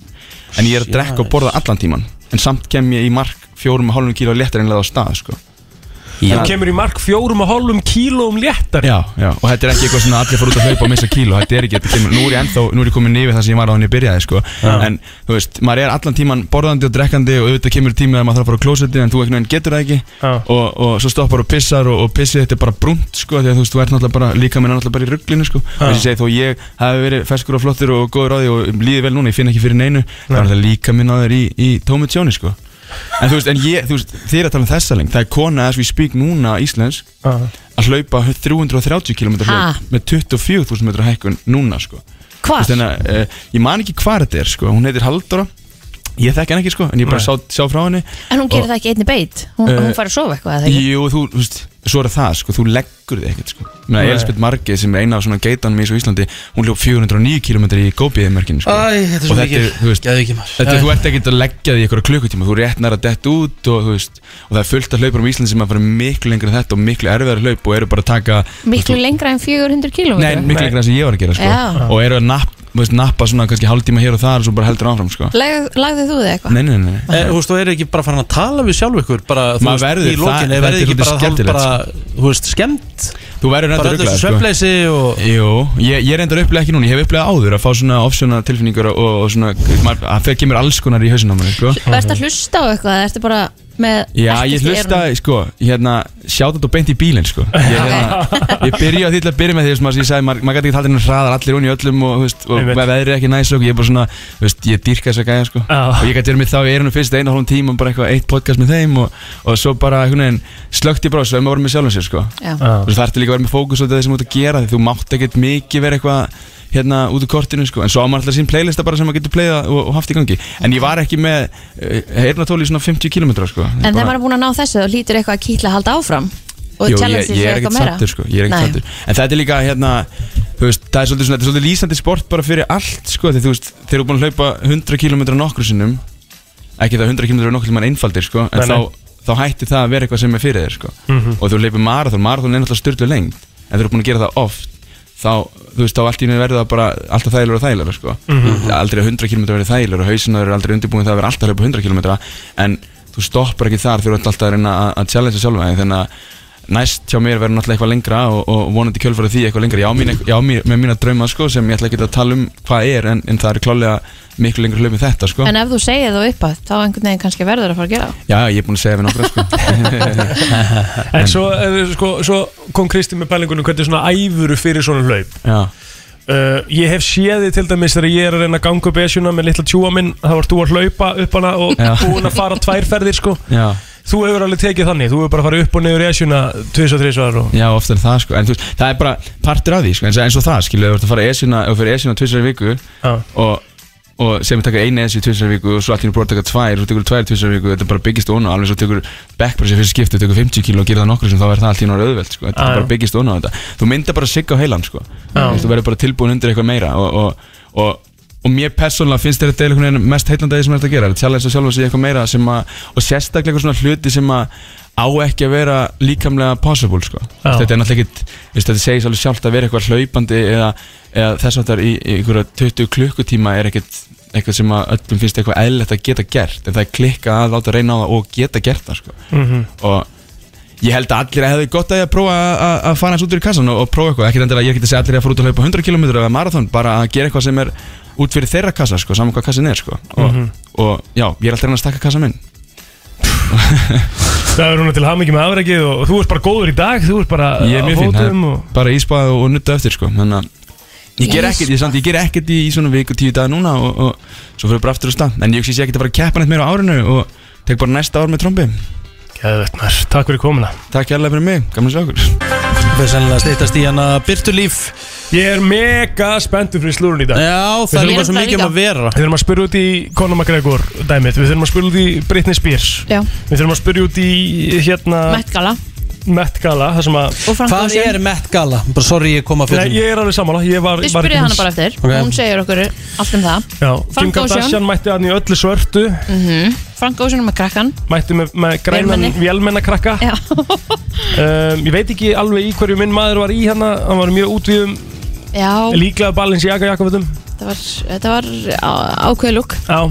S7: En ég er að drekka og borða allan tíman En samt kem ég í mark 4,5 kíló léttar einlega á stað sko
S4: Þú kemur í mark fjórum og hálfum kílóum léttar
S7: Já, já, og þetta er ekki eitthvað svona að allir fara út að hlaupa og missa kíló, þetta er ekki, þetta kemur, nú er ég ennþá, nú er ég komin yfir það sem ég var á henni byrjaði, sko, en þú veist, maður er allan tíman borðandi og drekkandi og auðvitað kemur tímið að maður þarf að fara á klósetti en þú einhvern veginn getur það ekki
S4: Já.
S7: og, og svo stoppar og pissar og, og pissið þetta er bara brúnt, sko, því að þú veist, þú ert náttúrulega bara, líka minn náttúrulega bara í rugglinu, sko, og þess að segja þó ég hafi verið feskur og flottur og góður á því og líði vel núna, ég finn ekki fyrir neinu, þá er þetta líka minn á þér í, í tómu tjóni, sko. En þú veist, en ég, þú veist, þið er að tala um þessa lengt, það er kona as we speak núna íslensk að hlaupa 330 km
S5: Ha?
S7: hlaup með 24.000 metra hækkun núna sko. Þú veist,
S5: Hvað?
S7: þannig að, uh, ég man ekki hvað þetta er sko. hún heitir Halldóra ég þekki hann ekki sko, en ég bara sá, sá frá henni
S5: En hún gerir það ekki einni beit Hún,
S7: Eh,
S5: hún fari að sofa eitthvað eða ekki?
S7: Jú, þú, þú veist, svo er það sko, þú leggur þig ekkert sko. Ég meina, Elisabeth Marge sem er eina af svona geitanum í svo Íslandi hún hljóp 409 km í góbiðimörkinu sko.
S1: Æ, þetta er svo
S7: Og
S1: mikið.
S7: þú veist,
S1: Geðveiki maður.
S7: þetta,
S1: Já,
S7: þú ert ekkert að leggja því einhverja klukkutíma, þú rétt nær að dett út og, þú veist, og það er fullt af hlaupur um Íslandi sem að fara miklu lengra en þetta og miklu erfiðar hlaup og eru bara að taka
S5: Miklu lengra en 400 km
S7: Nei, miklu lengra en sem ég var að gera sko.
S5: Já.
S7: og eru að napp, þú veist, nappa svona kannski hálftíma hér og þar og svo bara heldur áfram sko.
S5: Lag, Lagðið þú þig eitthvað?
S7: Nei, nei, nei, nei.
S1: Eh, Þú veist, þú er ekki bara farin að tala við sjálf ykkur bara, þú
S7: Maður verður,
S1: í
S7: það-
S1: lokin,
S7: þetta
S1: eða
S7: er
S1: verður ekki
S7: svolítið skemmtilegt, sko.
S1: bara, hálf bara þú veist, skemmt
S7: Þú verður
S1: bara
S7: reynda
S1: öllu þessu
S7: rugglaður sko.
S1: svefleysi og
S7: Jú, ég, ég reyndar upplega ekki núna, ég hef upplegað áður að fá svona ofsjóna tilfinningur og, og svona, maður, að fyrir kemur alls konar í hausinn á manni sko.
S5: Ertu að hlusta á eitthvað? eða Ertu bara með
S7: Já,
S5: ekkert
S7: ég
S5: í eyrunum?
S7: hlusta, sko, hérna, sjáta þetta beint í bílinn, sko Ég, hérna, ég byrja á því til að byrja með því, sem að ég sagði, maður mað gæti ekki haldið hennar hraðar allir hún í öllum og, þú veist, og
S4: Einmitt.
S7: veðrið er ekki næs og ég er bara svona, þú veist, ég dýrka þess að gæja, sko
S4: Já.
S7: Og ég gæti verið með þá í eirunum fyrst einu hálfum tíma, um bara eitthvað, eitt podcast með þeim og, og svo bara, einhvern veginn, slökkt ég bara, svo ef maður voru með sjálfum sér, sko
S5: Já.
S7: Þú veist, það ertu líka að vera með fókus á það sem þú ert að gera því þú mátt ekkert mikið vera eitthvað hérna út úr kortinu sko, en svo á maður alltaf sín playlista bara sem maður getur playað og, og haft í gangi en ég var ekki með heyrna tóli í svona 50 km sko
S5: En
S7: Bara-
S5: þegar maður er búin að ná þessu þá lítur eitthvað að kýtla að halda áfram og
S7: Jú, ég,
S5: challenge sér
S7: ég er
S5: eitthvað
S7: ekkert
S5: meira
S7: sattur sko, ég er ekkert
S5: Nei.
S7: sattur En þetta er líka hérna, þú veist, það er svolítið, svona, þetta er svolítið lýsandi sport bara fyrir allt sko Þegar þú veist, þegar þú er búin að hlaupa 100 km nokkru sinnum Ekki það 100 km er nokkru sinnum einfaldir sko En
S4: Nei, Mhm. nei.
S7: Þá, þá hætti það að vera eitthvað sem er fyrir þér sko Og þú leipir marathon, marathon er náttúrulega styrlu lengt En þú eru búin að gera það oft Þá, þú veist, þá allt í henni verður það bara alltaf þægilega og þægilega sko
S4: Mhm.
S7: Aldrei að 100 km verður þægilega og hausinu er aldrei undirbúin það að vera alltaf að hlaupa 100 km En þú stoppar ekki þar þegar þú ert alltaf að reyna að- að challenge sjálfa þig, Þannig að næst hjá mér verður náttúrulega eitthvað lengra og, og vonandi kjölfara því eitthvað lengra ég á, mín, ég á mín, með mína drauma sko sem ég ætla ekki að tala um hvað er en, en það er klálega miklu lengra hlaup en þetta sko
S5: En ef þú segir þú upp að þá einhvern veginn kannski verður að fara að gera það.
S7: já ég er búin að segja við nokkra sko
S4: En svo, eh, sko, svo kom Kristi með pælingunum hvernig svona æfuru fyrir svona hlaup
S7: já,
S4: Uh, ég hef séð þið til dæmis þegar ég er að reyna að ganga upp esjuna með litla tjúa minn þá ert þú að hlaupa upp hana og
S7: Já.
S4: búin að fara tvær ferðir sko
S7: já,
S4: þú hefur alveg tekið þannig, þú hefur bara farið upp og niður esjuna tvis og þrisvar og
S7: já ofta er það sko en þú veist, það er bara partur af því sko eins, og- eins og það skilur, þú ert að fara esina og fyrir esina tvisar í viku
S4: Já.
S7: og og sem er taka einu esju tvisar í viku og svo allir búin að taka tvær og tekur tvær tvisar í viku þetta bara byggist ón á alveg svo tekur backpressi fyrir skiptu tekur 50 kíl og gerir það nokkru sem þá verður það allt í náður auðvelt sko. þetta
S4: Já, já.
S7: bara byggist ón á þetta þú myndar bara sigga á heilan sko.
S4: Já.
S7: Þú veist, þú verður bara tilbúin undir eitthvað meira og, og, og, og mér persónulega finnst þetta einhvern veginn mest heitlandagi sem þetta gera þetta challenge og sjálfa sig í eitthvað meira sem að og sérstaklega eitthvað svona hluti sem að á ekki að vera líkamlega possible sko. Þú
S4: Já.
S7: veist, þetta er náttúrulega ekkit þú veist, þetta segis alveg sjálft að vera eitthvað hlaupandi eða, eða þess að það er í, í einhverja 20 klukkutíma er ekkit eitthvað sem að öllum finnst eitthvað eðlilegt að geta gert en það er klikka að láta reyna á það og geta gert það sko. -hmm. og Ég held að allir hefðu gott að ég að prófa að- að að fara hans út úr í kassan og, og prófa eitthvað Ekkert endilega ég er ekki að segja að allir að fara út að hlaupa 100 km eða marathon Bara að gera eitthvað sem er út fyrir þeirra kassa sko, saman hvað kassin er sko Og, og já, ég er alltaf að reyna að stakka kassa minn
S4: það er núna til hamingi með afrækið og þú ert bara góður í dag, þú ert bara
S7: Ég er
S4: á
S7: mjög fín, það
S4: fótum
S7: er
S4: og...
S7: bara íspað og, og nutta eftir sko Þannig að Ég ger ekkert, ég, samt, ég ger ekkert í, í svona viku tíu daga núna og, og svo fyrir bara aftur á stað En ég hugsi ég sé ekkert að fara að keppa neitt meira á árinu og tek bara næsta ár með trombi
S4: Gæðvett maður, takk fyrir komuna
S7: Takk hérlega fyrir mig, gaman að sjá okkur
S1: Það er sennilega að steytast í hana Byrtulíf
S4: Ég er mega spenntur fyrir slúrun í dag
S1: Já, það
S5: Ég
S1: er líka
S5: er
S1: svo mikið um
S5: líka.
S1: að vera
S4: Við þurfum að spyrja út í Conor McGregor dæmið Við þurfum að spyrja út í Britney Spears
S5: Já,
S4: Við þurfum að spyrja út í hérna
S5: Met Gala
S4: Met Gala Það sem að
S5: og Frank
S1: Hvað
S5: Ocean
S1: er Met Gala? Bara sorry ég kom að
S4: Nei,
S1: fjöldum
S4: ég er alveg sammála Ég var,
S5: Við
S4: var
S5: spurðum hana bara eftir,
S1: Ok.
S5: hún segir okkur allt um það
S4: Já, Kim
S5: Frank Ocean. Mhm.
S4: Kardashian mætti hann í öllu svörtu
S5: Frank Ocean er með krakkan
S4: Mætti með, með grænan
S5: Vélmenni.
S4: vélmennakrakka
S5: Já,
S4: um, Ég veit ekki alveg í hverju minn maður var í hana Hann var í mjög útvíðum
S5: Já
S4: Líklega balins í Jakobutum
S5: þetta var, þetta var ákveði lúk
S4: Já,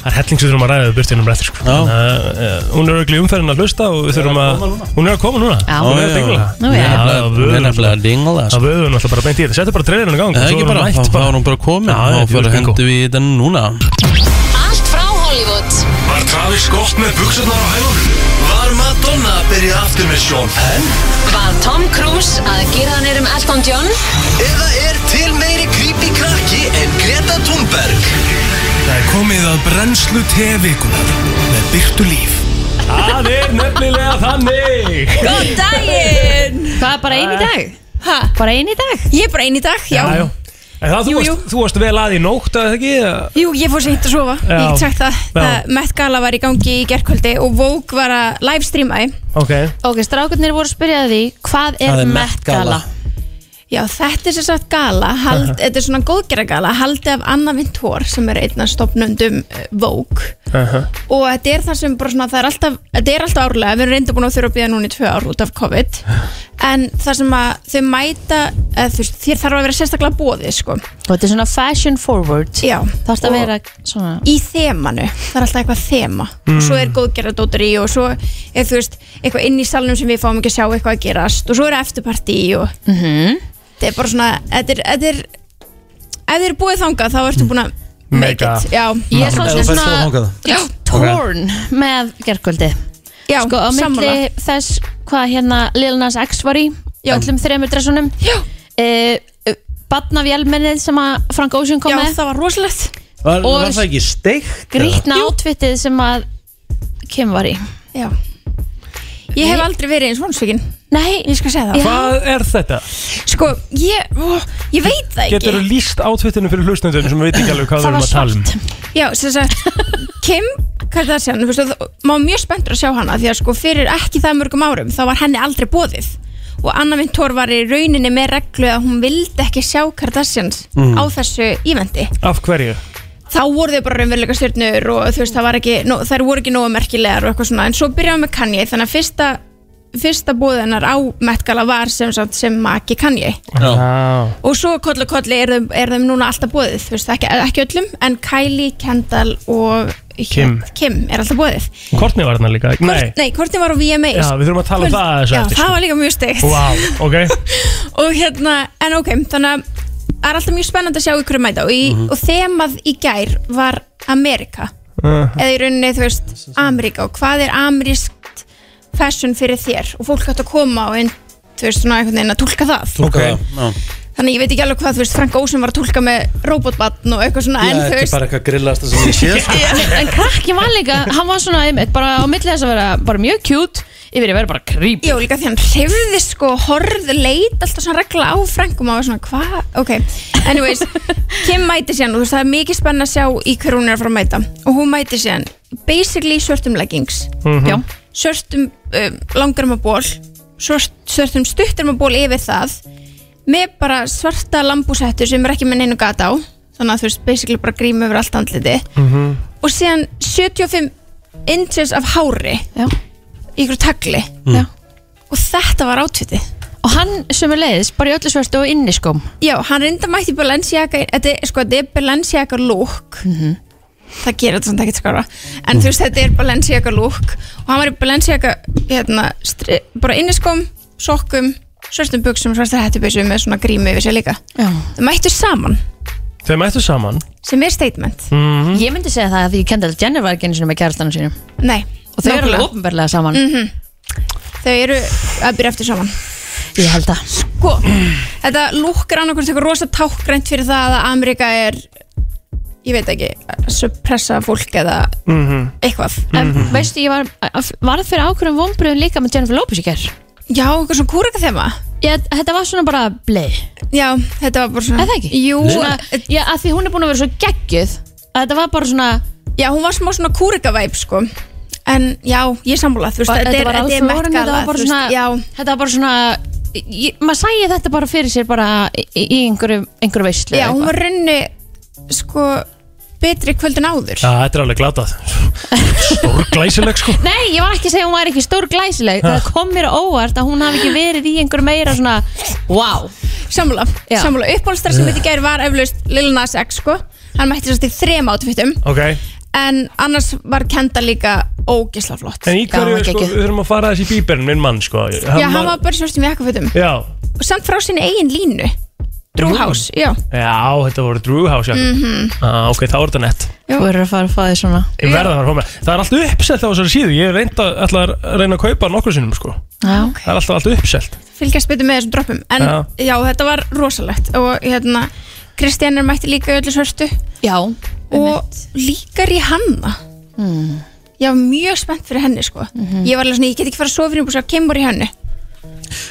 S4: það er helling sem við þurfum að ræða við burtinum réttir sko.
S1: Já.
S4: Þannig að, eh, Hún er auðvitað umferðin að hlusta og við þurfum að Hún er að koma núna
S5: Já.
S4: Hún er að
S1: Já, já.
S4: dingla
S5: Nú, já.
S4: Já, við
S1: Hún er
S4: erum
S1: nefnilega að dingla sko.
S4: Það vöðum alltaf bara beint í þetta Settu bara treyðinu í gang
S1: Það er ekki bara, þá þá er hún bara komin
S4: Já, já,
S1: Þá
S4: þetta
S1: fyrir
S4: er bingo.
S1: hendu við þetta núna
S9: Allt frá Hollywood
S2: Var Travis gott með buksanar á hælunum? Var Madonna að byrja aftur með Sean Penn?
S9: Var Tom Cruise að gera hann erum Elton John
S2: Eða er til meiri creepy krakki en Greta Thunberg? Það er komið að brennslu tevikunar með byrtu líf.
S4: Það er nefnilega þannig
S10: Góð daginn
S5: Hvað, bara einn í dag?
S10: Hæ?
S5: Bara einn í dag?
S10: Ég er bara einn í dag, já,
S4: já. En það, þú,
S10: Jú, jú.
S4: varst, þú varst vel að í nótt, eða ekki? Já,
S10: Jú, ég fór seint að sofa, ég
S4: Já.
S10: get sagt það, það Met Gala var í gangi í gerkvöldi og Vogue var að livestreama í.
S4: Ok
S5: Ok, strákarnir voru að spyrja því Hvað er,
S1: Það er Met
S5: Met Gala?
S1: Gala.
S10: Já, þetta er sem sagt gala, hald, þetta er svona góðgerra gala, haldi af Anna Vintor sem er einn af stopnundum eh, Vogue og þetta er það sem bara svona, það er alltaf, þetta er alltaf árlega, við erum reynda búin að þurfa að býða núna í tvö ár út af COVID en það sem að þau mæta, eða, þú veist, þér þarf að vera sérstaklega bóðið sko.
S5: Og þetta er svona fashion forward
S10: Já.
S5: Það er að
S10: Og-
S5: vera svona Mm.
S10: í þemanu, það er alltaf eitthvað þema og svo er góðgerðardóttur í og svo er þú veist, eitthvað inn í salnum sem við fáum ekki að sjá eitthvað að gerast og svo er eftirparti í og þetta er bara svona þetta er, þetta er ef þið eru búið þangað þá ertu búin að make
S4: Mega.
S10: it, já,
S5: Ég er svona,
S1: Ef þú færð svo
S5: svona
S1: þangað.
S5: torn með gerkvöldi
S10: já,
S5: Sko, á
S10: sammála
S5: milli þess hvað hérna Lil Nas X var í
S10: Já.
S5: Öllum þremur dressunum
S10: já,
S5: uh, Badnavjálmennið sem að Frank Ocean kom
S10: já,
S5: með
S10: það var rosalegt
S1: Var,
S5: Og-
S1: var það ekki steikt?
S5: Grýtna átvittið sem að Kim var í
S10: já. ég hef aldrei verið eins vonsvíkin
S5: Nei,
S10: ég skal segja það
S5: Já.
S4: Hvað er þetta?
S10: sko, ég, ó, ég veit það ekki
S4: Getur þú líst átfittinu fyrir hlustnundunum sem veit ekki alveg hvað við
S5: það
S4: erum
S5: var
S4: að tala um?
S5: svart
S10: Já, sem sagt, Kim Kardashian, þú veist, og maður er mjög spenntur að sjá hana því að sko fyrir ekki það mörgum árum þá var henni aldrei bóðið og Anna Vintor var í rauninni með reglu að hún vildi ekki sjá Kardashians á þessu ívendi
S4: Af hverju?
S10: þá voru þau bara raunveruleika stjörnur og þú veist, það var ekki, nó, þær voru ekki nógu merkilegar og eitthvað svona, en svo byrjaði hún með Kanye þannig að fyrsta, fyrsta bóðið hennar á Met Gala var sem, sagt sem maki Kanye
S4: Já
S10: og svo kollu kollu er þeim, er þeim núna alltaf bóðið þú veist, ekki, ekki öllum, en Kylie, Kendall og
S4: Kim.
S10: Kim er alltaf bóðið
S4: Kortni var þarna líka, ekki? Nei
S10: Nei, Courtney var á VMA
S4: Já, við þurfum að tala um það aðeins
S10: Já,
S4: eftir,
S10: það
S4: sko.
S10: var líka mjög steikt
S4: Vá, ok
S10: og hérna, en ok, þannig að það er alltaf mjög spennandi að sjá ykkur mæta og, í,
S4: Mhm.
S10: og þemað í gær var Amerika
S4: Eh,
S10: eða í rauninni, þú veist, Amerika og hvað er amerískt fashion fyrir þér og fólk átt að koma og inn, þú veist, svona einhvern veginn að tólka það
S1: Ok
S10: þannig að ég veit ekki alveg hvað, þú veist, Frank Ocean var að tólka með robotbatn og eitthvað svona, en þú
S1: Þetta er
S10: veist
S1: bara eitthvað grillast sem ég sé sko.
S5: En krakki var líka, hann var svona einmitt, bara á milli þess að vera bara mjög cute yfir að vera bara creepy
S10: Já, líka því hann hrifði sko horð leit alltaf svona regla á frangum og maður var svona, hvað? Ok, anyways Kim mæti síðan og þú veist það er mikið spenn að sjá í hver hún er að fara að mæta og hún mæti síðan basically í svörtum leggings
S4: Mhm.
S5: Já,
S10: svörtum um, langarmaból svört, svörtum stuttarmaból yfir það með bara svarta lambúsettur sem er ekki með neinu gata á þannig að þú veist basically bara gríma yfir allt andliti
S4: Mhm.
S10: -hmm. og síðan 75 inches af hári
S5: já,
S10: í ykkur tagli
S2: Mm.
S5: já
S10: og þetta var átvitið
S5: Og hann sem er leiðis, bara í öllu svörstu og sko. inniskóm
S10: Já, hann reynda mætti Balenciaga þetta er, sko, þetta er Balenciaga look
S5: Mhm.
S10: það gerir þetta samt ekkert skára en þú veist, þetta er Balenciaga look og hann var í Balenciaga hérna, stri, bara inniskom, sokkum svörstum buksum, svörstum hættubysum með svona grími yfir sér líka
S5: Já
S10: þau mættu saman,
S4: Þau mættu saman Mhm.
S10: sem er statement
S5: Mm. Ég myndi segja það að því Kendall Jenner var ekki einu sinni með kærastanum sínum
S10: Nei,
S5: Og þau eru
S10: nákvæmlega. Mm. Mhm.
S5: alveg ofnverlega saman
S10: þau eru að byrja eftir saman
S5: Ég held að
S10: sko, þetta lúkkar annarkvæmst eitthvað rosa tákgrænt fyrir það að Amerika er ég veit ekki, að suppressa fólk eða
S4: Mhm.
S10: eitthvað
S5: En veistu, ég var, varð fyrir ákveðum vonbröðum líka með Jennifer Lopez í ger
S10: Já, eitthvað svona kúrika þema
S5: Þetta var svona bara bleið
S10: Já, þetta var bara svona
S5: Eða ekki?
S10: Jú,
S5: svona, já, að því hún er búin að vera svo geggjuð að þetta var bara svona
S10: Já, hún var smá svona kúrika væp sko En já, ég sammála, þú veist,
S5: Var-
S10: þetta
S5: þetta
S10: er,
S5: var
S10: þetta er
S5: alflórinn,
S10: Met
S5: þetta
S10: Gala,
S5: var bara
S10: þú veist,
S5: svona-
S10: Já,
S5: þetta var bara svona ég, maður sæði þetta bara fyrir sér bara í, í einhverju, einhverju veislu
S10: já hún var runni sko betri kvöldin áður
S4: Já, þetta er alveg glatað Stórglæsileg sko
S5: Nei, ég var ekki að segja að hún var ekki stór glæsileg
S4: Ha.
S5: það kom mér á óvart að hún hafi ekki verið í einhverju meira svona, wow
S10: Sammála,
S5: Já.
S10: sammála, uppbólstar sem þetta gæri var eflaust Lil Nas X sko Hann mætti sérst í þrem átfittum
S4: Ok
S10: En annars var Kenda líka ógisla flott
S4: En í hverju, sko, við þurfum að fara þessi bíberinn, minn mann, sko
S10: Já, hann var bara svörstum jakkafötum
S4: Já
S10: Og samt frá sinni eigin línu Drew House, já
S4: Já, þetta voru Drew House, já
S10: Mhm.
S4: ah, Ok, þá er þetta nett
S5: Þú verður að fara að fá því svona
S4: Ég verða að fara að fá mér Það er alltaf uppselt á þessari síðu Ég er reynd að, ætla að reyna að kaupa nokkur sinnum, sko
S5: Já,
S4: Það er alltaf alltaf uppselt
S10: fylgjast betur með þessum droppum en já.
S4: Já.
S10: þetta var rosalegt og hérna Kristján er mætti líka í öllu svörstu
S5: já,
S10: og líka Rihanna
S5: mm.
S10: ég var mjög spennt fyrir henni sko
S5: Mhm.
S10: ég var alveg svona, ég get ekki fara að sofa fyrir hún og kemur í henni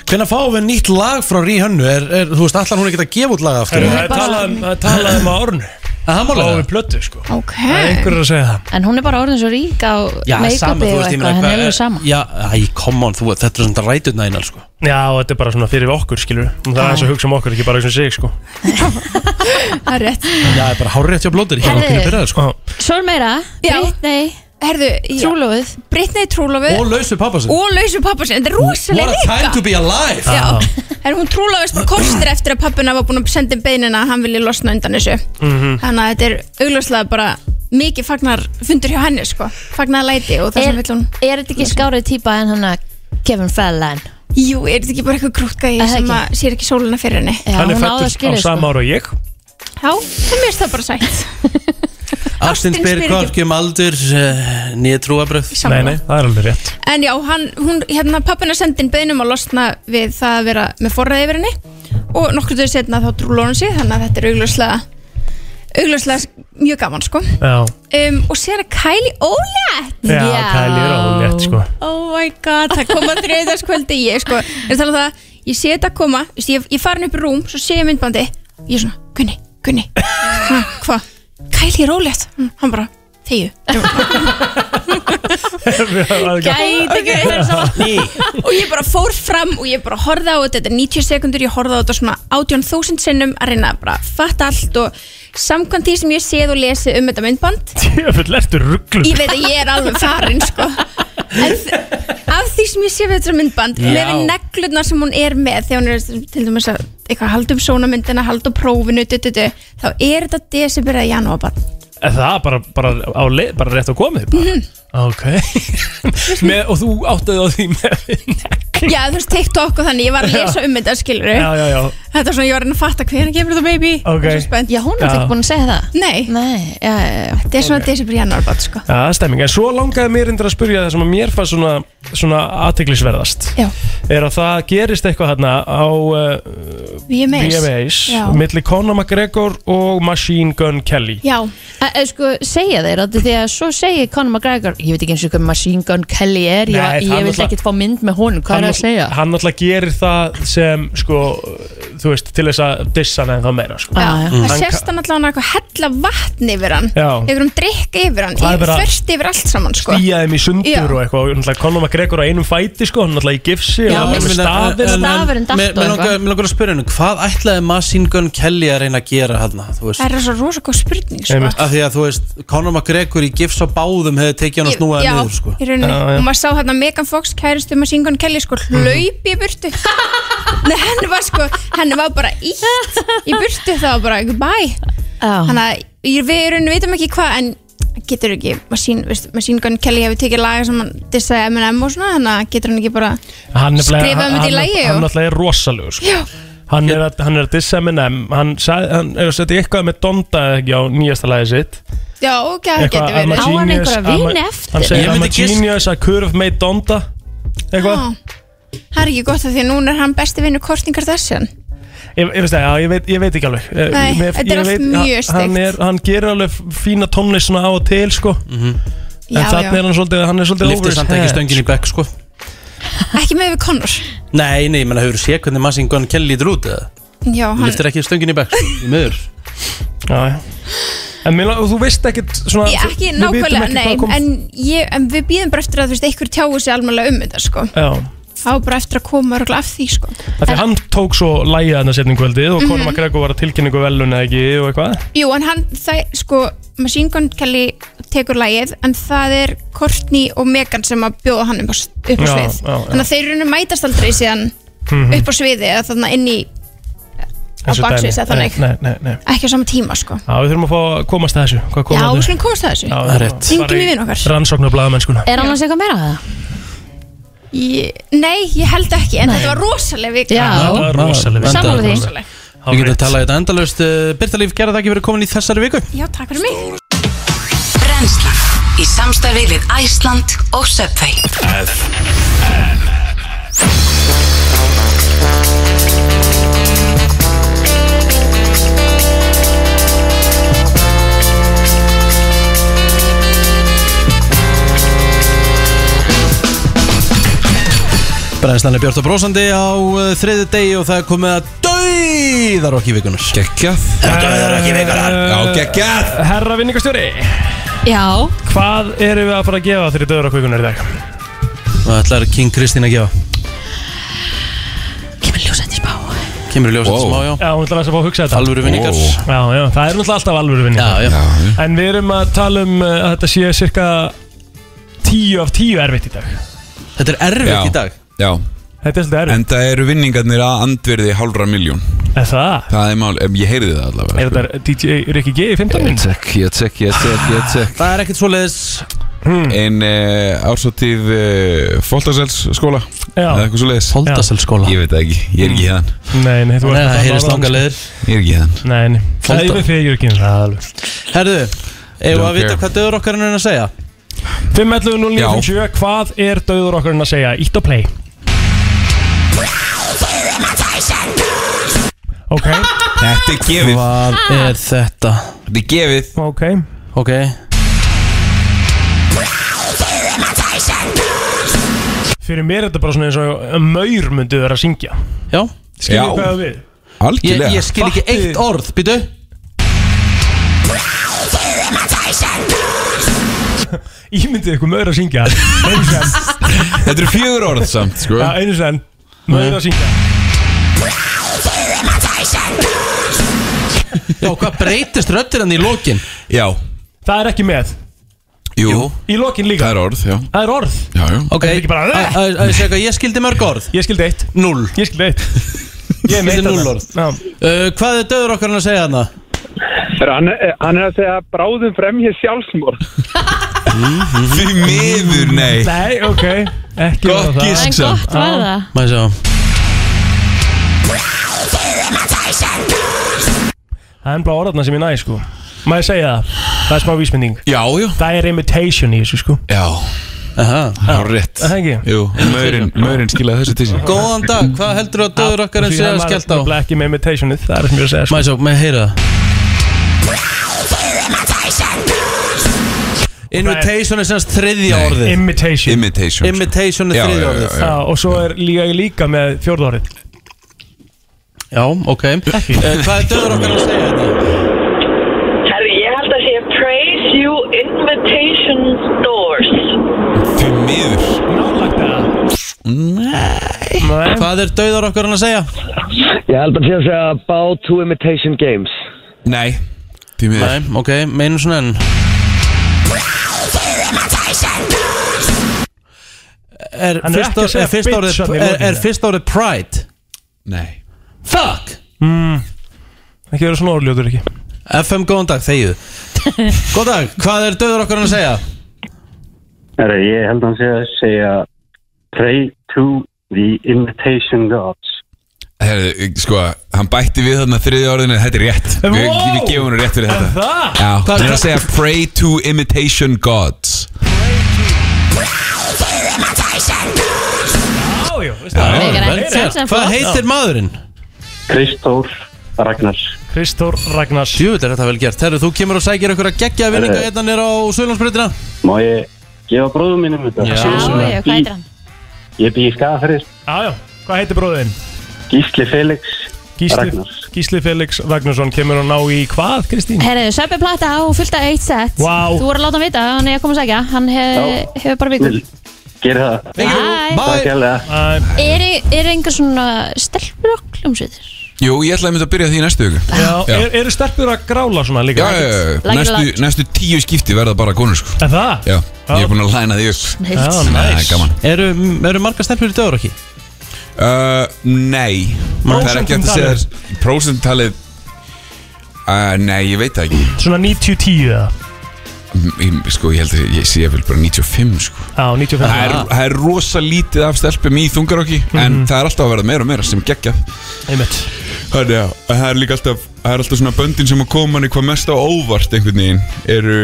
S2: Hvernig fáum við nýtt lag frá Ríhönnu? Er, er, þú veist, allan hún er ekki að gefa út lag aftur
S4: Það er talað um- það er talað um að ornu
S2: Það er
S4: Fáum
S2: málega
S4: við plötu, sko
S10: ok
S4: Það er einhverjur að segja það
S5: en hún er bara orðin svo rík á make-upi og eitthvað, henni er alveg sama
S2: Já, æ, come on, þú, þetta er svona rætutna einar sko.
S4: Já, þetta er bara svona fyrir okkur, skilur Það er aðeins að hugsa um okkur, ekki bara hugsa um sig, sko
S10: það er rétt
S2: Já, það er bara hárrétt hjá blóður
S5: Herðu.
S2: byrjaði, sko.
S5: Svo er meira,
S10: Já.
S5: Britney,
S10: herðu,
S5: trúlófið
S10: Brittany
S2: Og
S10: trúlofið
S2: lausu pappa sinn
S10: og lausu pappasinn, þetta er rosalega
S2: What a
S10: líka
S2: time to be alive
S10: já,
S4: Ah.
S10: en hún trúlofist bara kostir eftir að pappina var búin að senda um beinina að hann vilji losna undan þessu
S4: Mhm.
S10: Þannig að þetta er augljóslega bara mikið fagnar fundur hjá henni sko fagnar læti og það
S5: er,
S10: sem vill hún
S5: er þetta ekki skárið típa en hann að Kevin Fallon
S10: Jú, er þetta ekki bara eitthvað grútka í
S5: Er það
S10: sem
S5: ekki?
S10: að sér ekki sóluna fyrir henni
S5: Já,
S4: Hann er
S5: hún á það
S4: fættur á
S5: skilið
S4: sama
S5: sko.
S4: ára og ég
S10: Já, það mérst það bara sætt
S2: Ástin spyr
S10: spyr ekki
S2: hvorki um aldur uh, Nýja trúabröð
S10: Sammála. Nei, nei,
S4: það er alveg rétt
S10: En já, hann, hún, hérna pappina sendi inn beinum að losna við það að vera með forræði yfir henni og nokkur döðu setna þá trúlónum sig þannig að þetta er augljóslega augljóslega mjög gaman sko
S4: Já,
S10: um, og sér að Kylie Ólet
S4: já, Kylie er alveg rétt, sko
S10: Oh my god, það koma þriðarskvöldi ég sko, ég tala um það ég sé þetta koma, veist, ég, ég farin upp í rúm svo sé ég myndbandi, ég er svona Gunni, Gunni, Ha, hvað Kæli er ólétt, Hm, hann bara þegju
S5: Gæti ekki verið sama
S10: og ég bara fór fram og ég bara horfði á þetta, þetta er 90 sekundur ég horfði á þetta svona 18.000 sinnum að reyna að bara fatta allt og samkvæmt því sem ég séð og lesi um þetta myndband
S4: Tjöfull, ertu rugglu
S10: ég veit að ég er alveg farin sko en þ- af því sem ég sé við þetta myndband
S2: Já.
S10: með neglurnar sem hún er með þegar hún er til dæmis að eitthvað halda um sónamyndina, halda um prófinu du, du, du, þá er þetta desember eða janúar bara
S4: Er það bara, bara, á, leið- bara rétt á komið bara? Ok með, Og þú áttaði á því með
S10: já þú veist TikTok og þannig, ég var að
S4: Já.
S10: lesa um þetta skilur
S4: Já, já, já
S10: þetta er svona, ég var að reyna að fatta hvernig kemur þetta baby
S4: Ok.
S10: Ég er svo spennt.
S5: Já, hún er
S4: Já.
S5: ekki búin að segja það
S10: nei,
S5: Nei, já, já, já
S10: þetta er svona desember janúar bara sko
S4: Já, það er stemming, en svo langaði mér endur að spyrja það sem að mér fannst svona, svona aðteglisverðast
S10: já,
S4: er að það gerist eitthvað hérna á uh,
S10: VMAs
S4: VMAs
S10: Já.
S4: milli Conor McGregor og Machine Gun Kelly
S10: já,
S5: Að- að Sko, segja þeir að því að svo segir Conor McGregor Ég veit ekki eins og hvað Machine Gun Kelly er Ég,
S4: Nei, það
S5: ég
S4: er
S5: vil
S4: náttúrulega-
S5: ekkert fá mynd með hún, hvað er að
S4: náttúrulega-
S5: segja?
S4: Hann alltaf gerir það sem sko, þú veist, til þess að dissa hann en það meira sko.
S10: já.
S5: Já, Ah, já.
S10: það
S4: Hann
S10: sést hann allavega hann eitthvað hella vatn yfir hann
S4: Já.
S10: eitthvað um drikk yfir hann,
S4: Það er bara-
S10: först yfir allt saman sko
S4: Íja þeim í sundur
S10: Já.
S4: og eitthvað og náttúrulega Conor McGregor á einum fæti sko, hann alltaf í gifsi
S5: Já,
S4: og hann með
S5: minnst-
S4: stafinn
S5: en- Stafurinn datt og
S2: Mér
S5: eitthvað.
S2: langar að spyrja hennu Hvað ætlaði Machine Gun Kelly að reyna að gera hann Þú veist
S10: það er svo rosa góð spurning sko.
S4: Einmitt.
S2: Af því að þú veist Conor McGregor í gifs á báðum hefði tekið hann að snúa
S10: já,
S2: það niður sko.
S10: í rauninni
S4: Já, já.
S10: og maður sá hérna Megan Fox kæristu maður Singon Kelly sko
S5: Mhm.
S10: hlaup í burtu Nei, henni var sko, henni var bara ítt í burtu það var bara goodbye
S5: Já.
S10: þannig að ég- við í rauninni veitum ekki hvað en getur ekki, maður Singon Kelly hefur tekið laga sem hann dissaði M&M og svona þannig að getur hann ekki bara
S4: Hann er bara-
S10: Skrifaði
S4: hann-
S10: þetta í lagi og-
S4: Hann alltaf er rosalegu sko.
S10: já,
S4: hann, er að, hann er að dissa Eminem Hann, sagði- hann er að setja eitthvað með Donda eða ekki á nýjasta lagi sitt
S10: já ok, það getur
S4: I'm a
S10: verið
S5: Á hann
S4: genius,
S5: einhverja
S4: I'm a-
S5: vini eftir?
S4: Hann segir
S2: Ég
S4: I'm a
S2: myndi giska-
S10: Ah.
S4: genius, a curve made Donda Eitthvað
S10: Já. það er ekki gott af því að núna er hann besti vinnu Kourtney Kardashian
S4: Ég, ég, veist það, já, ég, veit, ég veit ekki alveg Eh,
S10: Nei,
S4: mér-
S10: þetta er
S4: ég
S10: allt
S4: veit-
S10: mjög
S4: ha- hann,
S10: steikt.
S4: er, hann gerir alveg fína tónlist svona á og til sko. En
S10: Já,
S4: þannig
S10: já.
S4: er hann svolítið, hann er svolítið
S1: Mhm.
S4: Eh,
S1: Lyftir samt ekki stöngin í bekk sko
S10: ekki með við Connor
S1: Nei, nei, menn hefur séð hvernig Massing Gunn Kelly lítur út eða
S10: já,
S1: Hann
S10: hann,
S1: lyftir ekki stöngin í bekk sko, í miður
S4: Já, já En mér, la- þú veist ekkert svona
S10: ég, ekki
S4: við vitum
S10: nákvæmlega,
S4: ekki hvað
S10: nei
S4: kom-
S10: en, ég, en við býðum bara eftir að þú veist einhver tjáu sér almennilega um þetta sko
S4: Já,
S10: þá bara eftir að koma örugglega af því sko
S4: af því hann tók svo lægið þarna setning kvöldið og
S10: Mhm.
S4: Conor McGregor var að tilkynningu velun eða ekki og eitthvað
S10: Jú, en hann, það, sko, Machine Gun Kelly tekur lægið, en það er Courtney og Megan sem að bjóða hann upp á, s- upp á
S4: Já,
S10: svið.
S4: já, já.
S10: Þannig að þeir eru mætast aldrei síðan
S4: Mhm.
S10: upp á sviði eða þannig inn í, á
S4: Eins og
S10: baksvið,
S4: dæmi.
S10: sagði þannig.
S4: Nei, nei, nei
S10: ekki á sama tíma, sko.
S4: Já, við þurfum að fá að komast að þessu Hvað kom
S10: já,
S4: þarna?
S10: við skulum komast að þessu.
S4: Já, það er rétt.
S10: Ringjum í vinn okkar.
S4: Rannsóknar blagamennskuna
S5: Er annars eitthvað meira að það?
S10: Ég, nei, ég held ekki, en þetta var rosaleg vika.
S1: Það var rosaleg vika.
S10: Sammála því.
S1: Rosaleg. Við getum talað þetta endalaust Uh, Birta Líf, gera það ekki verið komin í þessari viku
S10: Já, takk fyrir mig.
S11: Brennslan í samstarfi við Æsland og Subway
S1: Brænslan er Björn og Brósandi á uh, þriði degi og það er komið að dauðarokki vikunar Gekkjað Dauðarokki vikunar
S4: Já, geggjað Eh, Herra vinningastjóri
S5: Já
S4: Hvað erum við að fara að gefa þér í döðurakvíkunar í dag?
S1: Hvað ætlar King Kristín að gefa? Kemur ljósætti smá Kemur ljósætti smá, já
S4: Já, hún ætlar að þess að fá að hugsa þetta
S1: Alvöru vinningar. Ó.
S4: Já, já, það er náttúrulega alltaf alvöru vinningar
S1: Já, já.
S4: En við erum að tala um uh, að þetta sé cirka 10 af 10 erfitt í dag
S1: Þetta er
S4: erfitt í
S1: dag
S12: Já
S4: Þetta er svolítið erfitt
S12: En það eru vinningarnir að andverði hálfra miljón
S4: Er það?
S12: Það er mál, em, ég heyrði það allavega sko.
S4: Er þetta DJ Rikki G í 15 minn?
S12: Ég tek, ég tek, ég tek, ég tek
S1: Það er ekkert svo leiðis
S12: En uh, ársóttíð uh, Foltasels skóla
S4: Já. Hmm.
S12: Eða eitthvað svo leiðis
S1: Foltasels skóla
S12: Ég veit það ekki, ég er ekki hérna
S4: Nei, nei, þú
S12: Nei,
S4: ert
S12: það
S4: að
S12: heyrist
S4: tala um-
S12: langar leiðir. Ég er ekki hérna
S4: Nei, nei, það er
S1: Folda.
S4: yfir því að ég er ekki eins og það alveg
S1: Herðu, eigum við
S4: Don't
S1: að vita
S4: care.
S1: hvað dauðarokkarinn er að segja?
S4: 5.11.09.57 Hvað er döður okkur að segja? Ítt og play Ok
S12: Þetta er gefið
S1: Hvað er þetta?
S12: Þetta er gefið
S4: Ok
S1: Ok
S4: Fyrir mér er þetta bara svona eins og Maur myndi vera að syngja
S1: Já
S4: Skilja
S12: Já.
S4: hvað það við
S1: Ég,
S12: Algjörlega
S1: ég skil ekki eitt orð, býtu
S4: Ímyndið ykkur maur að syngja Einu sem
S12: Þetta eru fjögur orð samt sko
S4: Já, einu sem Maur
S1: Mm.
S4: að syngja
S1: Já, hvað breytist röttir hann í lokin?
S12: Já
S4: Það er ekki með
S12: Jú
S4: Í lokin líka
S12: Það er orð, já
S4: Það er orð
S12: Já, já
S1: Ok,
S4: Það er ekki bara-
S1: að- að- að ég segja hvað, ég skildi mörg orð
S4: Ég skildi eitt
S1: Null
S4: Ég skildi eitt Ég er
S1: skildi
S4: meitt
S1: null
S4: þarna.
S1: orð
S4: Já.
S1: uh, Hvað er dauðarokkarinn að segja þarna?
S8: Hann, er- hann er að segja bráðum fremja sjálfsmorð
S1: Mhm.
S12: Því miður, nei
S4: Nei, ok Ekki
S12: Gott
S4: var það.
S12: gísk En samt. gott var það.
S1: Má ég sjá
S4: Það er bara orðarna sem ég næ sko Má ég segja það? Það er smá vísmynding
S12: Já, já
S4: Það er imitation í þessu sko
S12: Já Há rétt
S4: Það ekki
S12: Jú, maurinn, maurinn skilaði þessu til sín
S1: Góðan dag, hvað heldur að um döðurokkarinn sé að
S4: Því
S1: skellta á?
S4: það var ekki með imitationið Það er sem ég er að segja sko
S1: Má ég sjá, með heyra það Invitation er semst þriðja orðið
S4: Imitation
S12: Imitation
S1: Imitation
S12: Já,
S1: er þriðja
S12: já,
S1: orðið
S4: Já, og svo er líka ég líka með fjórða orðið
S1: Já, ok
S4: Ekki.
S1: Eh, Hvað er döðurokkarinn að segja þetta?
S13: Herri, ég held að sé Praise You Invitation Doors
S12: Því miður
S4: Nálagt það Nei
S1: Hvað er döðurokkarinn að segja?
S14: Ég held að sé að segja Bow to Imitation Games
S12: Nei Því miður
S1: Nei, ok, meinu svona enn Er
S4: Hann er
S1: fyrst
S4: ekki að
S1: orð-
S4: segja
S1: er fyrst
S4: bitch
S1: orðið
S4: hann í
S1: er-
S4: lokin,
S1: er
S4: eða?
S1: fyrst orðið pride?
S12: Nei
S1: Fuck!
S4: mm, Ekki vera svona orðljótur ekki
S1: FM, góðan dag, þegið Góðan dag, hvað er döðurokkarinn að segja?
S15: Herra, ég held að hann sé að segja Pray to the invitation gods
S12: Herðu, sko, hann bætti við þarna þriðja orðinu Þetta er rétt Við, við gefum hann rétt fyrir þetta
S4: Það
S12: Já, hann er að segja Pray to imitation gods
S4: Já, já já, veistu það.
S5: Megar
S4: Vel
S5: ekkert
S4: gert.
S5: sens, en
S1: Hvað
S5: flott.
S1: heitir maðurinn?
S15: Kristór Ragnars
S4: Kristór Ragnars
S1: Júvill er þetta vel gert Herru, þú kemur og sækir okkur að geggja vinninga
S15: Herru.
S1: hérna nýra á Söðlandsbreytina
S15: Má ég gefa bróðum mínum þetta?
S1: Já,
S15: Ég
S5: já, hvað heitir hann?
S15: bý- Ég bý í skafafyrir
S4: Já, já, hvað heitir bróðin?
S15: Gísli Felix
S4: Gísli,
S15: Ragnars
S4: Gísli Felix Ragnarsson kemur að ná í hvað, Kristín?
S5: Herðu, Söpbi Plata á fullt af eitt sett
S4: Vá.
S5: Þú voru að láta hann vita, hann er að koma að segja Hann hefur
S15: Já.
S5: hef bara vikur
S15: Gerið það
S5: Thank you. Bye.
S15: Takk hérlega
S5: Er, er einhver svona stelpur og kljómsveitir?
S12: Jú, ég ætlaði að mynda að byrja því í næstu viku
S4: Já, er, eru stelpur að grála svona líka?
S12: Já, já, já,
S4: Lækir
S12: næstu,
S4: lágt.
S12: næstu tíu skipti verða bara konur sko
S4: Er það?
S12: Já, ég er búin að læna því upp
S4: Já, Ah, nice.
S12: Það er gaman
S1: Eru, eru margar stelpur í dagur ekki?
S12: Uh, nei Það er ekki hægt að segja
S4: Prósentumtalið?
S12: þér Prósentalið uh, Nei, ég veit það ekki
S4: Svona 90-10 eða?
S12: M- ég- Sko, ég held að ég sé vel bara 95 sko
S4: Já, 95
S12: Það er, það er rosa lítið af stelpum í þungarokki
S4: Mhm.
S12: En það er alltaf að verða meira og meira sem geggja
S4: Einmitt
S12: Þannig að það er líka alltaf Það er alltaf svona böndin sem að koma manni hvað mest á óvart einhvern veginn Eru,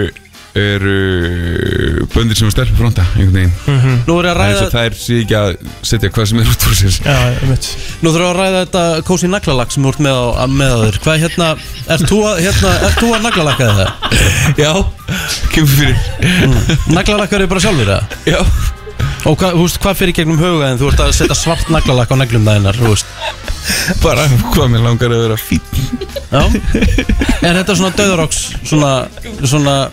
S12: eru böndin sem að stelpur fronta einhvern veginn
S1: Mhm. Nú er ég
S12: Það
S1: að
S12: er
S1: ræða-
S12: eins og þær sé ekki að setja hvað sem er út úr sér
S4: Já, einmitt
S1: Nú þurfum við að ræða þetta kósi naglalag sem þú ert með á, að- með á þér Hvað hérna, ert þú að, hérna, ert þú að naglalakka það?
S12: Já, kemur fyrir
S1: Naglalakkar eru Mm. bara sjálfur það?
S12: Já
S1: Og hvað, þú veist, hvað fyrir gegnum huga en þú ert að setja svart naglalakk á neglum þæginar, þú veist
S12: Bara hvað mér langar að vera fín
S1: Já Er þetta svona döðuroks, svona, svona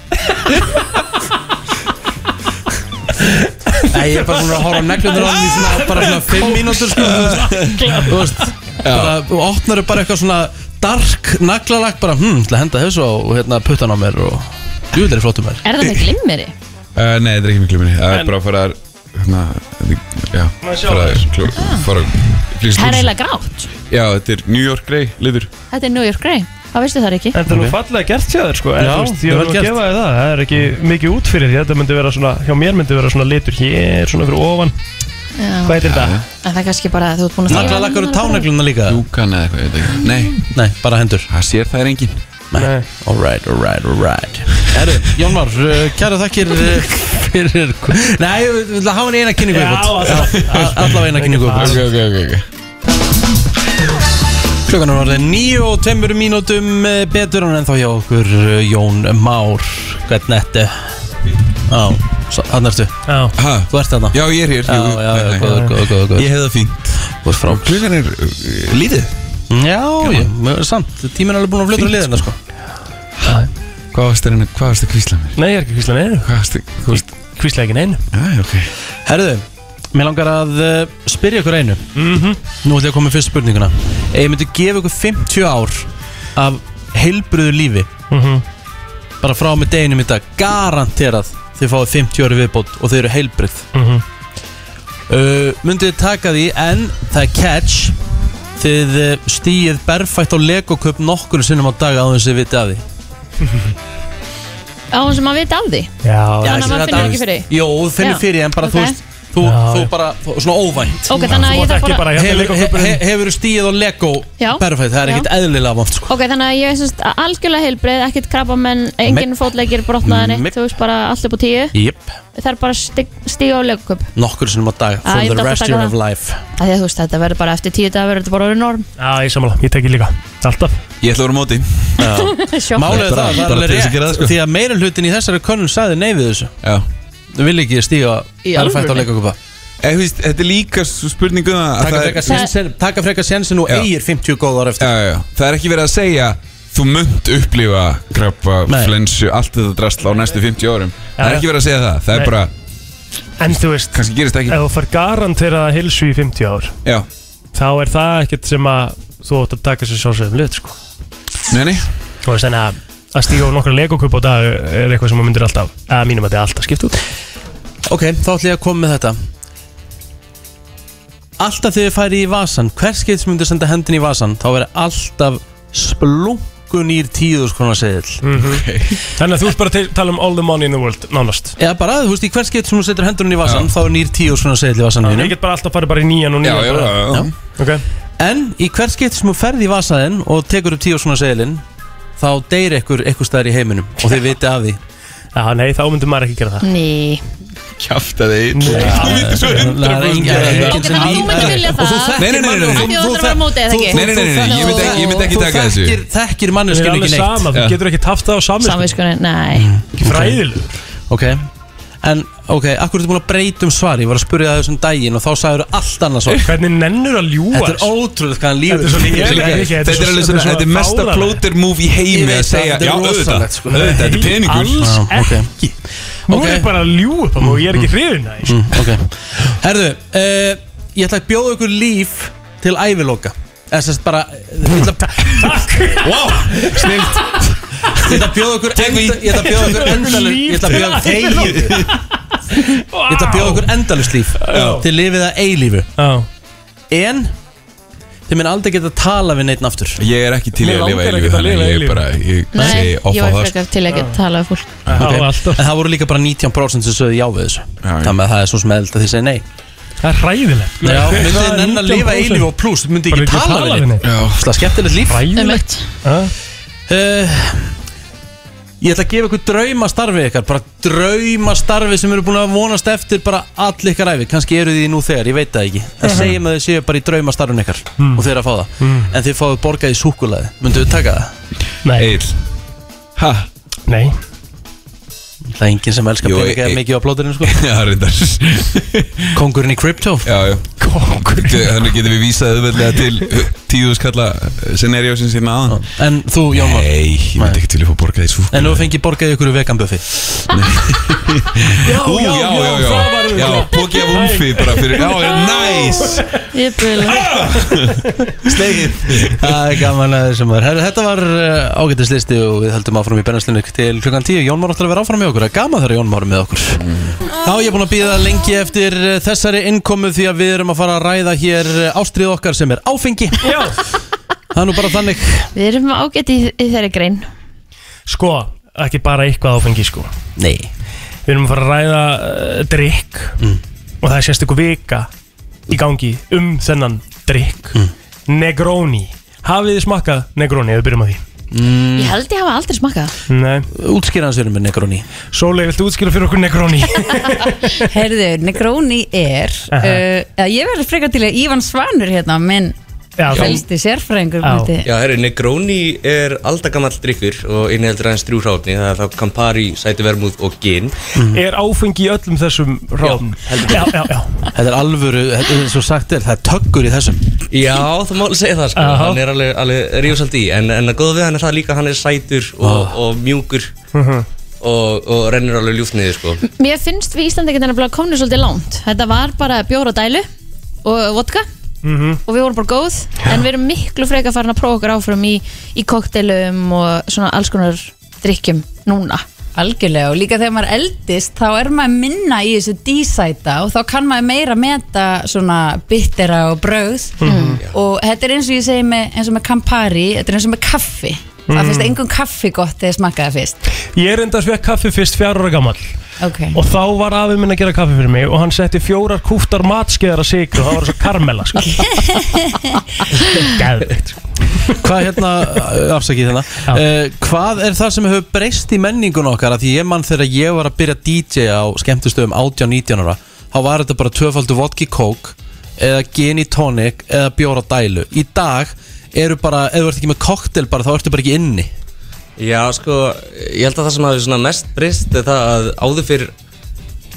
S1: Nei, ég er bara svona að horfa á neglundur á hann í svona, bara svona 5 mínútur sko Þú veist, bara, og opnar upp bara eitthvað svona dark naglalakk bara, hm, ætla að henda þessu á hérna, puttan á mér og djúðlega er flottum mér
S5: Er það með glimmeri?
S12: Uh, nei, þetta er ekki miklu minni Það er
S5: En-
S12: bara að fara að hérna, Já,
S5: Maður sjá
S12: fara að
S5: þér.
S12: kló- fara að
S5: Ah. Það er
S12: flýsa
S5: eiginlega grátt
S12: Já, þetta er New York Grey litur
S5: Þetta er New York Grey, það veistu það ekki
S4: En það er nú fallega gert hjá þér sko en
S12: Já,
S4: þú veist, Ég
S12: vel
S4: vil að
S12: gert.
S4: gefa þér það, það er ekki mikið út fyrir því Þetta myndi vera svona, hjá mér myndi vera svona litur hér, svona fyrir ofan Hvað heitir þetta?
S5: En það er kannski bara að þú ert búin að
S1: Naglalakkur og tánegluna líka
S12: Dúkan eða eitthvað, ég veit ekki Nei
S1: Nei, bara hendur
S12: Það sér það er engin
S1: Nei Alright, alright, alright Herru, Jónmar, uh, kæra þakkir uh, fyrir Nei, við við ætlum að hafa hann í eina kynningu
S2: Já,
S1: viðbót.
S2: alltaf.
S1: A- Allavega eina kynningu
S12: Ok, ok, ok, ok
S1: Klukkan er orðið nýju og tveimur mínútum eh, betur en ennþá hjá okkur eh, Jón Már Hvernig þetta? Já, hann ertu
S4: Já
S1: Þú ert þarna
S12: Já, ég er hér
S1: Já,
S12: jú,
S1: já,
S12: nei,
S1: já,
S12: nei.
S1: góður, góður, góður, góður.
S12: Ég hef það fínt
S1: Þú ert frá
S12: Klukkan er uh, lítið
S1: Já, ég, mjög samt Tíminn er alveg búin að flutra liðina, sko
S12: Hvað varst það, hvað varst það kvísla mér?
S4: Nei, ég er ekki kvísla neinu
S12: Hvað varst það, þú veist
S4: Kvísla ekki neinu
S12: Æ, ok
S1: Herðu, mér langar að eh, spyrja ykkur einu
S4: Mhm.
S1: Nú ætlum ég að koma með fyrst spurninguna Ef ég myndi gefa ykkur 50 ár af heilbröðu lífi
S4: Mhm.
S1: bara frá og með deginum í dag garanterað þið fáið 50 ári viðbót og þið eru heilbröð
S4: Mhm.
S1: uh, Myndið þið taka því en það er catch þið stýið berfætt á legoköp nokkur sinnum á dag á þess að þið viti af því
S5: Á hann sem maður veit af því
S4: Já,
S5: þannig að maður finnur ekki fyrir því?
S1: Jó, þú finnir
S5: Já.
S1: fyrir því, en bara þú
S5: Ok.
S1: veist Þú, þú bara, þú, svona óvænt
S5: Ok, þannig að Þú ég mátt þarf ekki bara- bara, hérna,
S1: Hefur-
S5: Lego-kubburinn.
S1: he- Hefurðu stíð á Lego
S5: Já.
S1: Perfect, það er
S5: Já.
S1: ekkert eðlilega vant sko.
S5: Ok, þannig að ég veist algjörlega heilbreið, ekkert krabba menn, engin
S1: Me-
S5: fótleikir brotnaðan eitt,
S1: Me-
S5: þú veist bara allt upp á tíu
S1: Jep,
S5: Það er bara stíga á leikuköp
S1: nokkur sinnum á dag
S5: Ah,
S1: For
S5: ég
S1: the
S5: ætla að
S1: rest
S5: taka
S1: of
S5: það.
S1: life
S5: Þegar þú veist þetta verður bara eftir tíu dag verður þetta bara orðið norm
S4: Já, ég samanlega, ég tek ég líka Alltaf
S12: Ég ætla að vera á móti
S5: Sjokk.
S1: Málið er það, það er
S12: bara til
S1: alveg
S12: þess að gera það,
S1: rétt
S12: sko.
S1: Því að meira hlutin í þessari könnun sagði nei við þessu
S12: Já
S1: Þú vil ekki stíga
S12: Í
S1: Perfect á
S12: alvöru?
S1: Lego-kupa
S12: Eh, þú veist, Þetta er líka um spurningu
S1: Taka frekar sénsinn- Taka frekar sensin og
S12: Já.
S1: eigir 50 góð ára eftir
S12: já, já, já. Það er ekki verið að segja Þú munt upplifa krabba,
S1: Nei.
S12: flensu, allt þetta drasl á næstu 50 árum Það er
S4: já.
S12: ekki verið að segja það, það er
S4: Nei.
S12: bara,
S4: En þú veist
S12: kannski gerist ekki
S4: Ef þú fær garanteraða hilsu í 50 ár
S12: Já,
S4: Þá er það ekkert sem að þú átt að taka sér sjálfsögum lit sko.
S12: nei, nei
S4: Þú veist þannig að að stíga á nokkra legokup á dag er eitthvað sem maður myndir alltaf að mínum að þetta er alltaf skipt út
S1: Ok, þá ætlum ég að koma með þetta Alltaf þegar þið færi í vasan Hvers skeitt sem myndir senda hendin í vasan Þá verður alltaf splunkun í tíður konar seðil
S4: Mhm. Þannig að þú ert bara að tala um all the money in the world Nánast
S1: Eða bara, þú veist, í hvers skeitt sem þú setur hendurinn í vasan Þá er nýr tíður konar seðil í vasan
S4: Ég get bara alltaf farið bara í nýjan og nýjan bara. Ok.
S1: En í hvers skeitt sem þú ferði í vasaðinn Og tekur upp tíður konar seðilinn Þá deyr ekkur ekkur staðar í heiminum Og þið viti af því
S4: Já, nei, þá myndir maður ekki gera það
S5: Ný,
S12: kjafta þig
S4: Nei.
S12: Þú vitur svo hundra
S4: Það er engin-
S5: Ok, þannig að þú myndir vilja það
S12: Og þú
S5: Nei, nei, nei, nei, nei. Þú þjóðlar að vera á móti, eða ekki?
S12: Nei, nei, nei, nei, nei, ég myndi ekki, ég myndi ekki
S4: Þú
S12: taka þessu
S4: þekkir-
S1: þekkir
S4: manneskjuna ekki neitt.
S12: sama, þú
S4: getur
S1: ekki haft það á
S4: sko.
S5: Samviskunni, nei
S1: Ekki fræðilegur Ok En, ok, akkur er þetta búin að breyta um svar Ég var að spyrja það þessum daginn og þá sagður allt annars svar
S4: Eh, Hvernig nennur að ljúga
S1: Þetta er
S4: þessu?
S1: ótrúlega hvað hann lífur
S4: Þetta er svo lélegt, Rikki, þetta er
S12: Þetta er alveg
S4: svo- þetta er
S12: svona,
S4: svo
S12: þetta er mesta
S4: fáránlegt.
S12: plóter move í
S4: Ég
S12: heimi
S4: veit
S12: að segja,
S4: það, þetta er
S12: já, auðvitað,
S4: rosalegt, sko.
S12: auðvitað, þetta er
S4: Nei,
S12: peningur
S4: alls
S12: Já, ok.
S4: ekki Nú er ég bara að ljúga upp á mig og ég er ekki hrifin að
S1: mm, Ok Herðu, uh, ég ætla að bjóða ykkur líf til æviloka Eða sérst bara eh, ég ætla, Takk Wow, snilt Ég ætla að bjóða ykkur enda- Ég ætla að bjóða ykkur endalur Ég ætla að bjóða þeir Ég ætla að bjóða ykkur endalust líf Þið lifið að eilífu En Þið minn aldrei geta að tala við neitt aftur
S12: Ég er ekki til í að lifa eilífi Þannig ég er bara, ég segi
S5: Nei,
S12: off
S5: ég
S12: á
S5: var
S12: það
S5: frekar til að geta talað við fólk
S1: okay. En það voru líka bara 19% sem sögðu já við þessu Þannig að það er svo sem eld að þið segja nei
S4: Það er hræðilegt
S1: Já,
S4: Það er
S1: myndið þið nenn að lifa
S4: 19%.
S1: eilíf og pluss myndið
S4: Bara
S1: ekki tala við neitt
S4: Já.
S1: Það er skemmtilegt líf
S4: Hræðilegt
S1: uh, Ég ætla að gefa ykkur draumastarfi ykkar Bara draumastarfi sem eru búin að vonast eftir Bara all ykkar æfi Kanski eru þið nú þegar, ég veit það ekki Það
S4: Mhm.
S1: segjum að þið séu bara í draumastarfin ykkar
S4: Mm.
S1: Og þeir að fá það
S4: Mm.
S1: En þið fáið borgað í súkulaði Myndu þið taka það?
S4: Nei
S1: Eil Ha?
S4: Nei
S1: Það er enginn sem elskar
S12: Jú,
S1: peninga
S12: e-
S1: mikið á plóturinn sko
S12: Já, reyndar
S1: Kongurinn í crypto
S12: Já, já Kongurinn Þannig getum við vísað auðveldlega til tíðuskalla scenariósin sem aðan
S1: En þú, Jón Már?
S12: hérna Nei, ég myndi ekki til að fá borgað í súkulaði
S1: En nú fengið borgað í ykkur vegan buffi
S12: Ú, já, já, já, já, já, póki af umfi bara fyrir, já, já, nice
S5: Ég byrja
S1: Slegið Það er gaman að þessum var Herru, þetta var uh, ágættislisti og við höldum áfram í bennarslinu til klukkan 10 Jón Már ætlar að vera áfram með okkur Það er gaman þegar Jón Már er með okkur Þá ég er búin að býða lengi eftir uh, þessari innkomu því að við erum að fara að ræða hér uh, ástríð okkar sem er áfengi Já Það er nú bara þannig
S5: Við erum ágætt í, í þeirri grein
S4: Sko, ekki bara eitthvað áfengi sko
S1: Nei Mm.
S4: Við erum að fara að ræða uh, drikk og það er sérstakur vika í gangi um þennan drikk
S1: Mm.
S4: Negroni Hafið þið smakkað Negroni, ef við byrjum að því
S1: mm,
S5: Ég held ég hafa aldrei smakað
S4: Nei
S1: Útskýra hans verið með Negroni
S4: Sólei, viltu útskýra fyrir okkur Negroni?
S16: Herðu, Negroni er uh,
S4: Aha.
S16: eða Ég verður frekar til að Ívan Svanur hérna minn
S4: Já,
S16: fælsti sérfræðingur myndi-
S17: Já, herri, Negroni er aldagamall drikkur og inniheldur aðeins þrjú hráfni, það er þá Campari, sæti vermúð og gin.
S4: er áfengi í öllum þessum ráðum? Já, já, já
S1: Þetta er alvöru, þetta er svo sagt er, það er töggur í þessum
S17: Já, það má alveg segja það, sko,
S1: Aha.
S17: hann er alveg, alveg rífsald í, en, en að góða við hann er það líka, hann er sætur og, og mjúkur
S4: Mhm.
S17: og, og rennir alveg ljúft niður, sko.
S5: Mér finnst við Íslandi getur nefnilega komnir svolítið langt Þetta var bara bjóra dælu og vodka
S4: Mm -hmm.
S5: og við vorum bara góð en við erum miklu freka farin að prófa okkur áfram í, í koktelum og svona alls konar drikkjum núna
S16: Algjörlega og líka þegar maður eldist þá er maður minna í þessu dísæta og þá kann maður meira meta svona bittera og brauð
S5: Mhm.
S16: og þetta er eins og ég segi með, eins og með Campari, þetta er eins og með kaffi
S4: Mhm.
S16: það finnst engum kaffi gott þegar smakkaði fyrst
S4: Ég er enda að svekk kaffi fyrst fjár ára gammal
S16: okay.
S4: Og þá var afið minn að gera kaffi fyrir mig Og hann setti fjórar kúftar matskeiðar að sigru Og það var svo karmela sko. Gæðvikt
S1: Hvað hérna, uh, afsakið hérna uh, Hvað er það sem hefur breyst í menningun okkar Af Því ég mann þegar ég var að byrja DJ á skemmtustöðum 18-19 ára Þá var þetta bara tvöfaldu vodki kók Eða gin í tónik Eða bjóra dælu Í dag eru bara, ef þú ert ekki með koktel bara Þá ertu bara ekki inni
S17: Já, sko, ég held að það sem hafi svona mest breyst er það að áður fyrir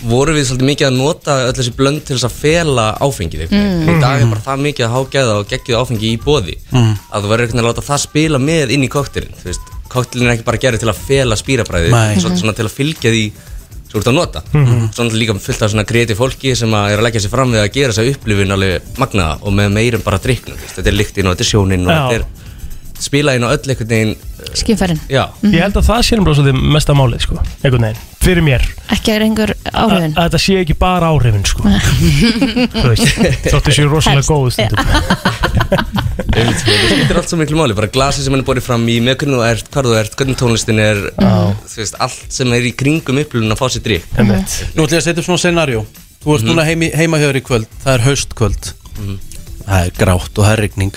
S17: voru við svolítið mikið að nota öll þessi blönd til þess að fela áfengið mm.
S16: Mm.
S17: í dag er bara það mikið að hágæða og geggjuð áfengi í bóði
S1: Mm.
S17: að þú verður einhvern veginn að láta það spila með inn í koktelin þú veist, koktelin er ekki bara gerður til að fela spírabræði,
S1: Nei.
S17: svolítið svona til að fylgja því svo ert að nota
S1: Mhm.
S17: svona líka fullt af svona kreatív fólki sem að er að leggja sér fram við að gera þessa upplifun alveg magnaða og með meirum bara drikknum þú veist, þetta er lyktinn og þetta er sjónin og
S4: Já.
S17: þetta er spila inn á öll einhvern veginn
S5: skifærin
S17: Já,
S4: Ég held að það sé bara svolítið mesta málið sko, einhvern veginn, fyrir mér
S5: ekki er einhver
S4: að
S5: áhrifin
S4: að þetta sé ekki bara áhrifin sko. Þú veist, þóttu séu rosalega
S5: Mm. Helst.
S4: góð stundum
S17: Einmitt, sko, Það skiptir allt svo miklu máli, bara glasið sem hann er borðið fram í, með hvernig þú ert, hvar þú ert, hvernig tónlistin er, þú veist, allt sem er í kringum upplifun að fá sér drikk.
S1: Nú ætlum ég að setja upp svona scenarjó Þú ert
S17: Mhm.
S1: núna heimi, heima hjá þér í kvöld Það er haustkvöld Það er grátt og það er rigning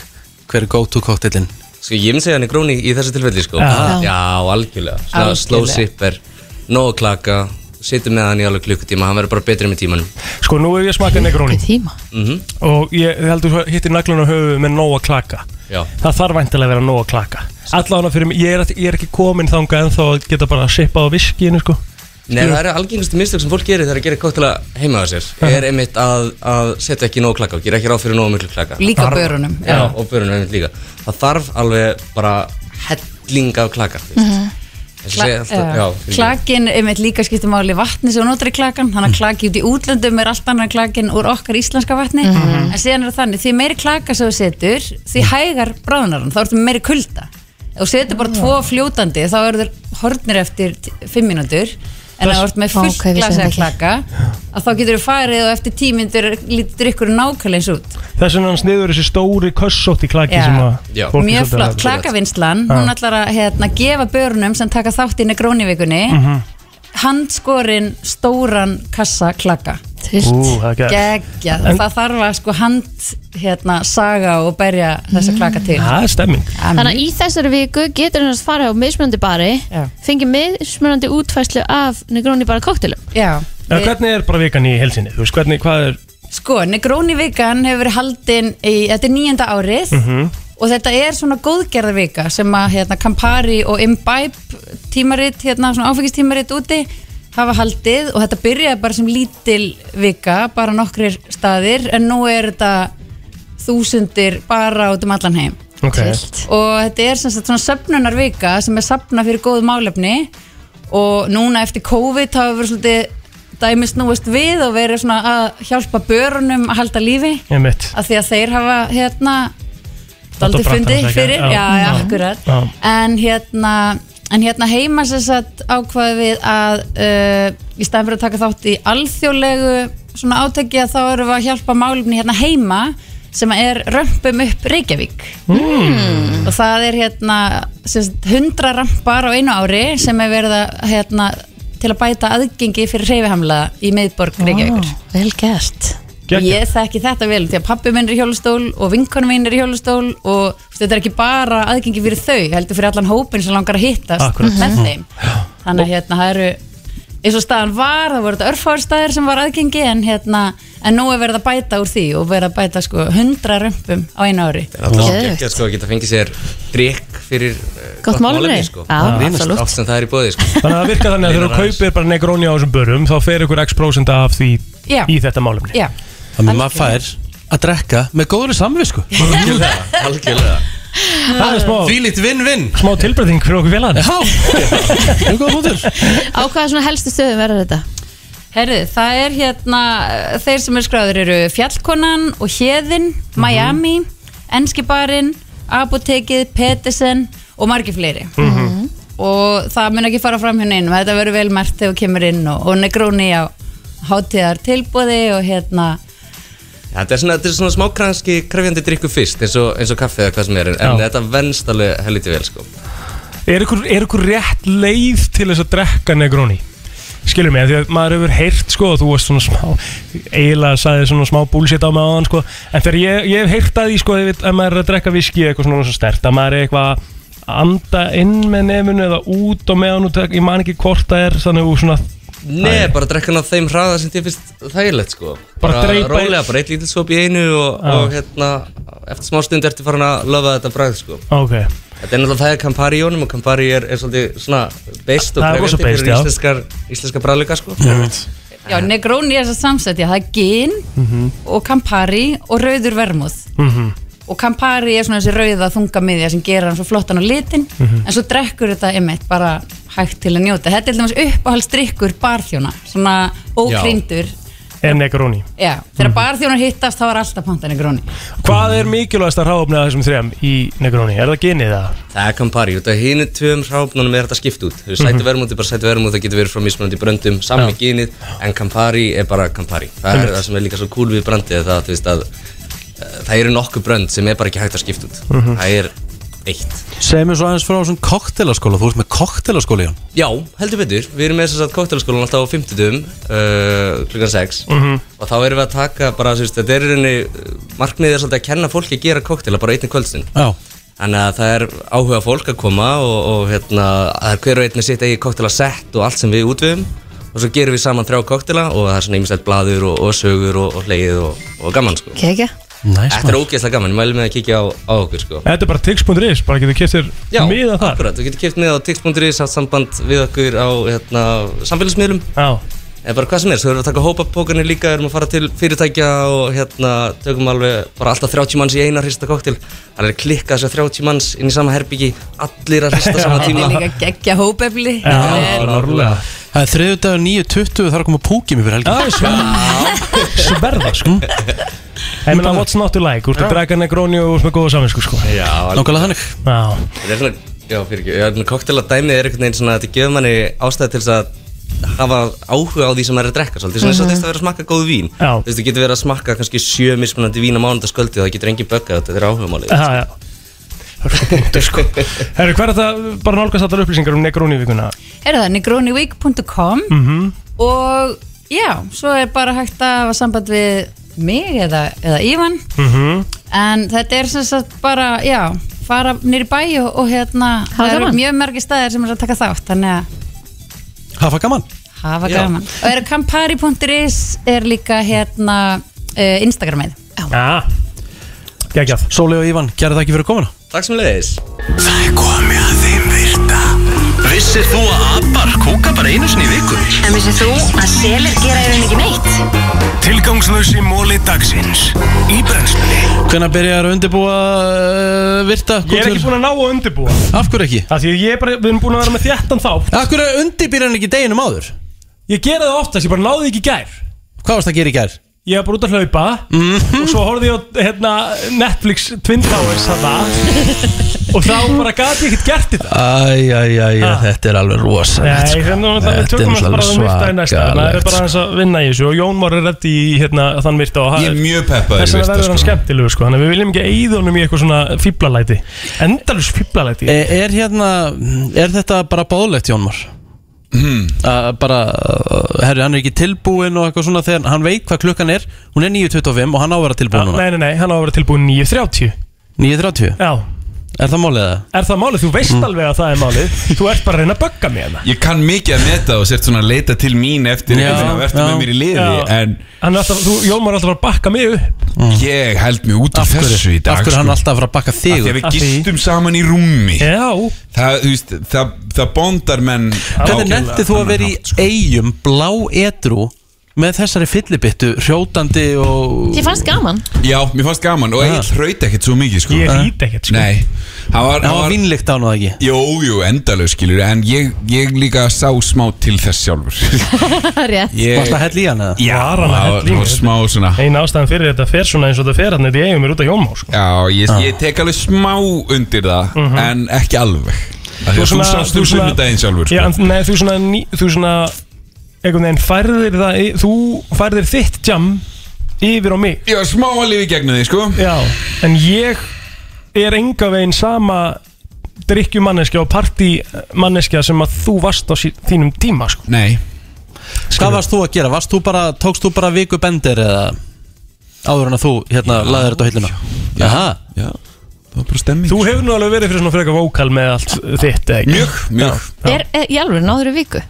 S1: Hver er go-to koktelin?
S17: Sko, ég myndi segja hann er gróni í þessu tilfelli, sko.
S1: Já.
S17: Já, algjörlega. Svona
S1: Algjörlega.
S17: slow sip er nóg að klaka, Sittum með hann í alveg klukkutíma, hann verður bara betri með tímanum
S4: Sko, nú hef ég smakað negróni
S5: Tíma
S17: mm
S4: Og ég heldur hittir naglun á höfu með nóa klaka
S17: Já.
S4: Það þarf væntilega að vera nóa klaka Allána fyrir mig, ég er, ég er ekki komin þangað ennþá að geta bara að sippa á viskinu sko
S17: Nei, það eru algengustu mistök sem fólk gerir þegar að gera koktela heima á sér Er einmitt að, að setja ekki nóg klaka og gera ekki ráð fyrir nóg miklu klaka
S16: Líka Þarf- börunum,
S17: Já,
S16: já.
S17: og börunum einmitt líka Það þarf alveg bara helling af klaka þú veist.
S16: Mhm.
S17: Eins og
S16: Kla-
S17: segja alltaf-
S16: já.
S17: já, fyrir-
S16: Klakin, einmitt líka skiptir máli vatni sem þú notar í klakan, þannig að
S17: Mm.
S16: klaki út í útlöndum er allt annar klakin úr okkar íslenska vatni en
S5: Mhm.
S16: síðan er það þannig, því meiri klaka sem þú setur, því hægar bráðunarann þá ertu með meiri kulda Ef þú setur bara
S5: Mm.
S16: tvo fljótandi, þá eru þeir hornir eftir t- fimm mínútur en ef
S5: Þess-
S16: þú ert með
S5: Vá,
S16: fullt
S5: hvað ég vissi
S16: glasa
S5: þetta
S16: að
S5: ekki.
S16: klaka að þá getur þú farið og eftir tímyndur lítur ykkur nákvæmlega eins út
S4: Þess vegna hann sniður þessi stóri kössótt í klaki sem að fólk er
S16: mjög
S4: svolítið
S16: flott,
S4: að-
S16: klakavinslan
S4: Já.
S16: hún ætlar að hérna, gefa börnum sem taka þátt í negrónivikunni mm
S4: Mhm.
S16: handskorinn stóran kassa klaka
S4: Ú, það er gegn.
S16: geggja,
S4: En-
S16: það þarf að sko hand hérna, saga og berja þessa klaka til
S4: Mm, Það er stemming
S5: Þannig að í þessari viku getur hann að fara á mismunandi bari fengið mismunandi útfæslu af negróni bara koktelum
S16: Já,
S4: En hvernig er bara vikan í helsinni? Þú veist, hvernig, hvað er
S16: sko, negrónivikan hefur verið haldin í, þetta er nýjenda árið
S4: Mhm.
S16: og þetta er svona góðgerðarvika sem að hérna, Campari og Imbibe tímarit, hérna, svona áfengistímarit úti hafa haldið og þetta byrjaði bara sem lítil vika, bara nokkrir staðir en nú er þetta þúsundir bara út um allan heim
S4: Ok.
S16: og þetta er sem sagt svona söfnunarvika sem er sapna fyrir góð málefni og núna eftir COVID hafa verið svolítið dæmis núist við og verið svona að hjálpa börunum að halda lífi
S4: Ég mitt
S16: af því að þeir hafa hérna
S4: Dálítið
S16: daldi
S4: brattan
S16: fundið
S4: sækja,
S16: fyrir,
S4: já.
S16: já, já,
S4: Já.
S16: akkurat
S4: Já.
S16: en hérna en hérna heima sem sagt ákvaði við að uh, í staðan fyrir að taka þátt í alþjóðlegu svona átæki að þá erum við að hjálpa málumni hérna heima sem er römpum upp Reykjavík
S4: Mm.
S16: og það er hérna sem sagt, 100 rampar á einu ári sem er verið að hérna til að bæta aðgengi fyrir reyfihamla í miðborg Reykjavíkur
S5: Vel gert
S16: Ég þekki þetta vel því að pappi minn er í hjólustól og vinkonum minn er í hjólustól og þú veist, þetta er ekki bara aðgengi fyrir þau heldur fyrir allan hópin sem langar að hittast
S4: Akkurat.
S16: með
S4: Mhm.
S16: þeim þannig að hérna það eru eins og staðan var, það voru þetta örfárstæðir sem var aðgengi en hérna, en nú er verið að bæta úr því og verið að bæta sko 100 römpum á einu ári
S17: Það er ekki að sko að geta fengið sér drikk fyrir uh,
S16: Gott málefni.
S17: sko.
S16: Já,
S17: Það er
S16: absolutt.
S17: Allt sem það er í bóði sko.
S4: Þannig að það virkar þannig að þegar þú
S17: Einar
S4: kaupir bara negróni á þessum börum þá fer ykkur x prósenda af því
S16: Já.
S4: í þetta málumni
S16: Já,
S1: Þannig að maður fær að drekka með góðri samvisku Algjörlega,
S17: algjörlega
S4: Það er smá
S1: Fýlitt vinn-vinn
S4: Smá tilbreyting fyrir okkur félagarnir
S1: Já, það er góð hóttur
S5: Á hvaða svona helstu stöðum verður þetta?
S16: Herðu, það er hérna, uh, þeir sem eru skráður eru Fjallkonan og Hjeðin,
S5: Mhm.
S16: Miami, Enskibarinn, Apotekið, Petisen og margir fleiri.
S13: Mhm.
S16: Og það mun ekki fara fram hjá neinum, þetta verður vel mert þegar þú kemur inn og, og negróni á hátíðar tilbúði og hérna,
S17: Já, þetta er svona, þetta er svona smá kranski krefjandi drikku fyrst eins og, eins og kaffi eða hvað sem er en, en þetta venst alveg helviti vel sko.
S4: Er ykkur, er ykkur rétt leið til þess að drekka negróni? Skilur mig, af því að maður hefur heyrt sko og þú varst svona smá eiginlega sagði svona smá búlsitt á mig á sko en þegar ég, ég hef heyrt að því sko ef ef maður er að drekka viski eitthvað svona, svona stert að maður er eitthvað að anda inn með nefnu eða út og meðan út ég man ekki hvort það er þannig að þú svona
S17: Nei, bara drekka hann á þeim hraða sem þér finnst þægilegt sko.
S4: Bara dreypa-
S17: Rólega, bara eitt lítil svop í einu og,
S4: Já.
S17: og hérna, eftir smá stund ertu farin að lofa þetta bræð sko.
S4: Ok.
S17: Þetta er náttúrulega það er Campari í honum og Campari er, er svolítið svona beist og
S4: Það er rosa
S17: krefjandi
S4: based,
S17: fyrir
S4: já.
S17: íslenskar, íslenska bræðleika sko.
S4: Ég veit.
S16: já, negróni er þess að samsetja, það er gin
S4: Mhm.
S16: og Campari og rauður vermúð.
S4: Mhm.
S16: og Campari er svona þessi rauða þungamiðja sem gerir hann svo flottan á litin
S4: Mhm.
S16: en svo drekkur þetta einmitt bara hægt til að njóta þetta er til dæmis uppáhaldsdrykkur barþjóna svona ókrindur
S4: er negróni
S16: já. þegar barþjónar hittast þá er alltaf pantan negróni
S4: Hvað er mikilvægast að ráfna þessum þrejum í negróni? Er það genið það?
S17: Það er Campari, út af hínu tveim hráfnunum er þetta skipt út. Þau sæti
S4: Mhm.
S17: verðmúti, bara sæti verðmúti, það getur verið frá mismunandi bröndum, saman með gínið, en Campari er bara Campari. Það er
S4: Einmitt.
S17: það sem er líka svo cool við brandið, það, þú veist að eh, það eru nokkuð brönd sem er bara ekki hægt að skipta út.
S1: Mhm.
S17: Það er eitt.
S1: Segð mér svo aðeins frá þessum koktelaskóla Þú ert með koktelaskóla í hann
S17: Já, heldur betur. Við erum með þess að kóktelskólan alltaf á 50 dum, uh, klukkan 6
S1: Mhm.
S17: og þá erum við að taka bara, þú veist, þetta er í rauninni, uh, markmiðið er svolítið að kenna fólki að gera kóktela bara einni kvöldstund.
S1: Já.
S17: Þannig að það er áhuga fólk að koma og, og hérna, að hver og einn er sitt eigi koktela sett og allt sem við útvöfum og og svo gerum við saman þrjá koktela og það er svona ýmislegt blaður og, og sögur og, og hleið og, og gaman sko
S5: Kekja
S4: Næs,
S17: Þetta er ógeðslega gaman, ég mælu mig að kíkja á, á okkur sko
S4: Þetta er bara tix.is, bara getur kiptir
S17: Já,
S4: miða þar
S17: akkurat, þú getur kæft með á tix.is haft samband við okkur á hérna, samfélagsmiðlum
S4: Já
S17: En bara hvað sem er, svo erum við að taka hópapókarnir líka, erum að fara til fyrirtækja og hérna tökum alveg bara alltaf 30 manns í eina hrista koktil. Það er klikkað þessar 30 manns inn í sama herbyggi, allir að hrista sama
S16: Þetta er
S17: tíma.
S16: líka geggja hópefli
S4: norrlega
S1: Það er þriðudagur 9.20 þar að koma púkið mér fyrir helgi
S4: Sverða sko Ég meina, what's not to like, úrstu
S17: Já.
S4: dragan negróni og úrstu með góða saminsku sko
S17: Já, alveg. Nákvæmlega
S1: þannig
S4: Já,
S17: Þetta er svona, já fyrir ekki, já, koktil að dæmið er einhvern veginn svona, þetta gefur manni ástæði til þess að hafa áhuga á því sem maður er að drekka svolítið, svona eins og
S4: Mhm.
S17: þess að vera að smakka góð vín.
S4: Já.
S17: Þú veist, þú getur verið að smakka kannski sjö mismunandi vín á mánundasköldi og það getur engin böggað þetta, þetta er áhugamálið.
S4: já, já Herru, hvað er þetta, bara nálgast allar upplýsingar um negróni vikuna?
S16: Herðu það, negroniweek.com
S4: Mhm.
S16: og já, svo er bara hægt að hafa samband við mig eða, eða Ívan
S4: Mhm.
S16: en þetta er sem sagt bara, já fara nýri bæ og, og hérna það eru
S5: gaman.
S16: mjög margir staðir sem er að taka þátt þannig að
S1: Hafa gaman
S16: hafa
S1: Já.
S16: gaman og er kampari.is er líka hérna uh, Instagramið
S4: Já Gægjaf
S1: Sóli og Ívan, gerðu það ekki fyrir komuna
S17: Takk sem leiðis
S2: Það er komið að þeim virta Vissir þú að abar kúka bara einu sinni í viku?
S11: En vissið þú að selir gera yfir mikið neitt?
S2: Tilgangslösi móli dagsins Í brennslunni
S1: Hvenær byrjar að undirbúa uh, virta?
S4: Ég er ekki búin að ná að undirbúa
S1: Af hverju ekki?
S4: Af því að ég er bara, við erum búin að vera með þjættan þátt
S1: Af hverju undirbýra hann ekki deginum áður?
S4: Ég gera það oftast, ég bara náði ekki í gær
S1: Hvað varst að gera í gær? Mhm.
S4: Ég var bara út að hlaupa Og svo horfði ég á hérna, Netflix Twin Towers þarna Og þá bara gati ég ekkert gert þetta
S1: Æj, æj, æj, þetta er alveg rosalegt
S4: Ah.
S1: sko.
S4: Nei, hérna, þannig að við
S1: Þetta er
S4: tökum alltaf bara þann
S1: alveg
S4: virta í næsta Það er
S1: svakalegt
S4: bara hans að vinna í þessu og Jón var reddi í hérna, þann virta og
S12: Ég er mjög peppaður í
S4: Þess vegna
S12: virta,
S4: verður hann
S12: sko.
S4: skemmtilegu sko Þannig að við viljum ekki eyða honum í eitthvað svona fíblalæti Endalus fíblalæti
S1: Er, er hérna, er þetta bara báðlegt Jónmar? Hmm. bara, uh, herri, hann er ekki tilbúin og eitthvað svona þegar hann veit hvað klukkan er hún er 9.25 og hann á að vera tilbúin
S12: Ah.
S1: núna
S4: Nei, nei, nei, hann á að vera tilbúin 9.30
S1: 9.30?
S4: Já
S1: Er það málið það?
S4: Er það málið? Þú veist
S12: Mm.
S4: alveg að það er málið Þú ert bara að reyna að bögga mig hérna. hana
S12: Ég kann mikið að meta og sért svona að leita til mín eftir
S4: Já,
S12: einhvern veginn og ertu
S4: já.
S12: með mér í liði
S4: Já.
S12: en
S4: Hann er alltaf, þú, Jómar er alltaf að fara að bakka mig upp
S12: ég held mig út
S1: Af
S12: af
S1: hverju-
S12: þessu í dag
S1: af hverju hann
S12: sko.
S1: alltaf að fara að bakka þig
S12: Af því að
S1: upp?
S12: við
S1: Af því-
S12: gistum saman í rúmi
S4: Já
S12: Það, þú veist, það, það bondar menn
S1: Hvernig nefndi þú að vera í
S12: sko.
S1: eigum blá etru með þessari fyllibittu hrjótandi og
S5: Þið fannst gaman
S12: Já, mér fannst gaman og ég hraut ekkert svo mikið sko.
S1: Ég hrýt
S4: ekkert
S12: sko. Nei, hann var,
S1: Það var vínlegt án og ekki
S12: Jú, jú, endalög skilur En ég, ég líka sá smá til þess sjálfur
S5: Rétt
S12: Ég- Varstu að hella
S1: í hann eða?
S12: Já,
S4: Var hann að
S12: það
S4: hella í
S12: var-
S4: mig?
S12: var smá svona
S4: Einn ástæðan fyrir þetta fer svona eins og þetta fer hann Þetta eigum er út af Jómar sko.
S12: Já, ég, ég tek alveg smá undir það En ekki alveg Af því að Þú sást um sunnudaginn sjálfur
S4: já,
S12: sko.
S4: en- Nei, þú svona, ný, þú svona einhvern veginn færðir það í- þú færðir þitt jam yfir á mig
S12: Ég var smá að lifi gegnum því, sko
S4: Já, en ég er enga veginn sama drikkjumanneskja og partímanneskja sem að þú varst á sí, þínum tíma sko.
S12: Nei
S1: Hvað varst þú að gera? Varst þú bara, tókst þú bara viku bendir eða áður en að þú hérna laðir þetta á hilluna? Já,
S12: já, það var bara stemming sko.
S4: Þú hefur nú alveg verið fyrir svona frekar vókal með allt þitt eða ekki?
S12: Mjög, mjög
S5: Er, er, Í alveg náður í viku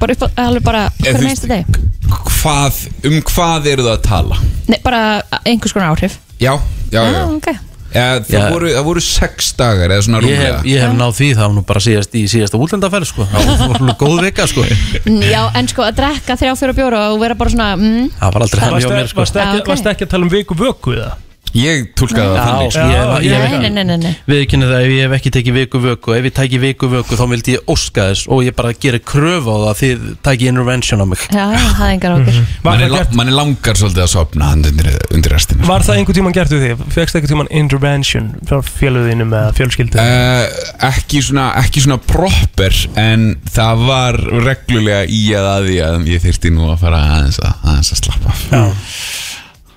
S5: Bara upp á, alveg bara
S12: Eh,
S5: Hver
S12: þú
S5: meðstu deg
S12: sko, Hvað, um hvað eru það að tala?
S5: Nei, bara einhvers konar áhrif
S12: Já, já, já,
S5: ah, okay.
S12: Eh,
S1: Já.
S12: Það, voru, það voru sex dagar eða svona
S1: Ég hef,
S12: rúmlega
S1: ég hef náð því það var nú bara síðast í síðasta útlendaferð sko. það var nú góð vika sko. það
S5: Mm, Já, en sko að drekka þrjá fjóra bjóra og vera bara svona mm,
S1: var aldrei henni hjá mér sko.
S4: Varst ekki,
S5: Já, ok.
S4: varstu ekki að tala um viku vöku eða?
S12: Ég tólkaði
S1: Já, ég- ég- ég-
S5: Nei, nei, nei, nei
S1: Við ekki það ef ég hef ekki tekið viku vöku ef ég tæki viku vöku þá vildi ég óska þess og ég bara gera kröfu á það að þið tæki intervention á mig
S5: Já, já, það engar okkur
S12: Manni la- manni langar svolítið að sopna hann undir, undir restina
S4: Var það einhvern tíman gert við þig? Fegst einhvern tíman intervention frá fjöluðinum eða fjölskyldu?
S12: Uh, ekki, svona, ekki svona proper en það var reglulega í að að því að ég þyrfti nú að fara aðeins að, aðeins að slappa af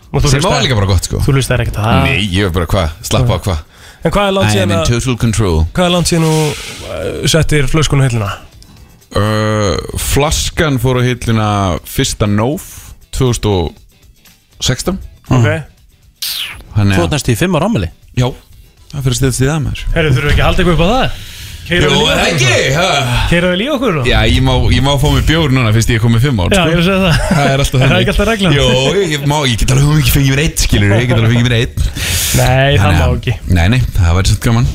S4: Og þú
S12: sem
S4: hlustar-
S12: var líka bara gott sko
S4: Þú hlustar ekkert að-
S12: Nei, ég var bara hvað, slappa af hvað
S4: En hvað er
S12: I
S4: langt
S12: am
S4: síðan
S12: in
S4: að-
S12: total control
S4: Hvað er langt síðan þú uh, settir flöskun á hilluna?
S12: uh, Flaskan fór á hillina fyrsta nóf 2016
S4: Ok
S12: Þannig
S1: Þú
S12: að
S1: ert næstu í fimm ára ámali
S12: Já, það fyrir að stiðast í það maður
S4: Herru, þurfum við ekki að halda eitthvað upp á það?
S12: Jú, er það ekki?
S4: Keiraðu vel í okkur og?
S12: Já, ég má, ég má fá mér bjór núna fyrst ég er komið fimm ár
S4: Já,
S12: sko.
S4: ég er að segja það.
S12: Það er alltaf
S4: Er það
S12: þannig
S4: ekki alltaf reglan?
S12: Jó, ég, ég má, ég get alveg hún ekki fengið mér eitt, skilur Ég get alveg fengið mér eitt
S4: Nei, það má
S12: ekki Nei, nei, það væri svolítið gaman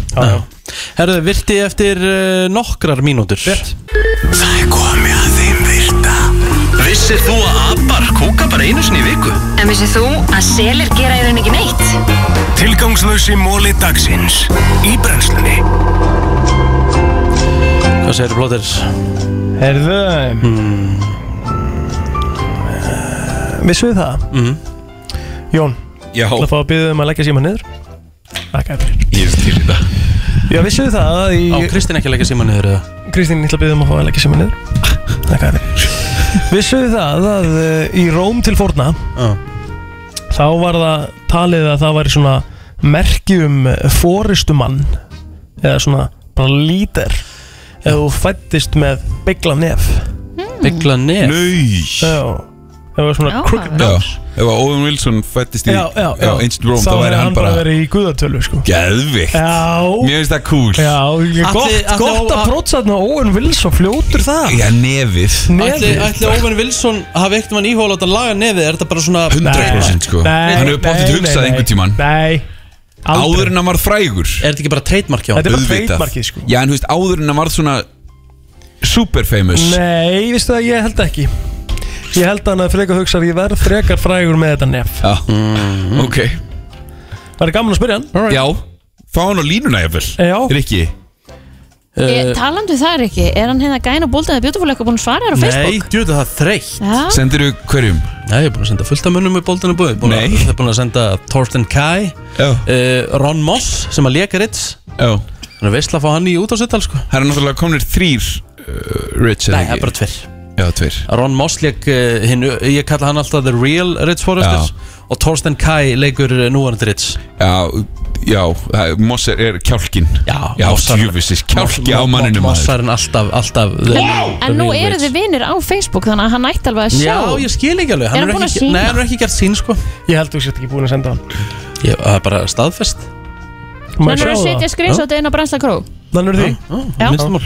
S1: Herðu, virti eftir uh, nokkrar mínútur Rétt
S2: Það er komið að þeim virta Vissir þú að abar kúka bara einu sinni í viku?
S11: En vissið þú að selir gera í raun ekki neitt?
S2: Tilgangslösi móli dagsins Í brennslunni
S1: Hvað segir þú blóðir?
S4: Herðu hmm. Vissu við það?
S1: Mhm.
S4: Jón
S12: Já.
S4: Það fá að byggja um að leggja síma niður Þakka þér fyrir
S12: Ég er til í það
S4: Já, vissu við það að í
S1: Á Kristinn ekki að leggja síma niður eða?
S4: Kristín, ég ætla að byggja um að fá að leggja síma niður Þakka þér fyrir Vissu við það að uh, í Róm til forna
S1: Já.
S4: Þá var það talið að það væri svona merki um fóristumann Eða svona bara lítir Ef þú fættist með byggla nef
S1: Byggla nef?
S12: Nei
S4: Já Það var svona crooked
S12: Já, ef að Owen Wilson fættist í
S4: Já, já, já.
S12: Ancient Rome,
S4: Þá
S12: þá
S4: hefði
S12: væri hann bara
S4: verið í guðatölu sko.
S12: Geðvikt
S4: Já
S12: Mér finnst það cool
S4: Já, ég-
S1: Ætli-
S4: gott,
S1: ætli-
S4: gott að prótsaðna Óun Wilson fljótur það
S12: Já, nefið
S1: Ætli, ætli Óven Wilson hafi eitt mann íhóla að laga nefið, er þetta bara svona
S12: 100% sko
S4: Nei,
S12: Hann hefur
S4: nei,
S12: bóttið
S4: nei,
S12: hugsað
S4: nei.
S12: einhvern tímann
S4: Nei aldrei.
S12: Áður en hann varð frægur Er
S1: þetta ekki bara trademark hjá
S4: Þetta er bara trademarkið, sko.
S12: Já, en þú veist, áður en hann varð svona Super famous
S4: Nei, vistu það, ég held ekki Ég held að hann að frekar hugsa að ég verð frekar frægur með þetta nef
S12: Já,
S1: Mhm.
S12: ok
S4: Var það gaman að spyrja hann?
S12: Já, fá hann á línuna jafnvel
S4: Já
S12: Rikki Mhm.
S5: Uh, Talandu það er ekki, er hann hérna gæn og bóldaði bjótafól eitthvað búin að svara þér á
S1: Nei,
S5: Facebook?
S1: djúðu það er þreytt
S5: Já.
S12: Sendirðu hverjum?
S1: Nei, ég er búin að senda fullt af munnum í bóltinu búið búin að, Það er búin að senda Thorsten Kai eh,
S12: uh,
S1: Ron Moss sem að leka Ritz
S12: Já
S1: Hann er veistla að fá hann í út á settal sko
S12: Það er náttúrulega komnir þrýr uh, Rich
S1: Nei, það er bara tveir
S12: Já, tveir
S1: Ron Moss leik, uh, hinn, ég kalla hann alltaf The Real Ritz Forrester Og Thorsten Kai leikur eh, núverandi Ritz
S12: Já, já, það er- Moss er, er kjálkin Já, já
S1: Mossar-
S12: djúfisins, kjálki
S1: Moss-
S12: á manninu
S1: Moss er alltaf, alltaf the-
S5: En nú
S1: the real
S5: eru
S1: Ritz.
S5: þið vinir á Facebook þannig að hann ætti alveg að sjá
S1: Já, ég skil ekki alveg
S5: Er hann búinn að
S1: ekki-
S5: sýna?
S1: Nei, hann er ekki gert sín sko
S4: Ég held þú sért ekki búin að senda hann
S1: Ég- Það er bara staðfest
S5: Hann er að setja skrifsótið inn á brennsla kró
S4: Þannig eru því
S5: Já. minnsta
S1: mál.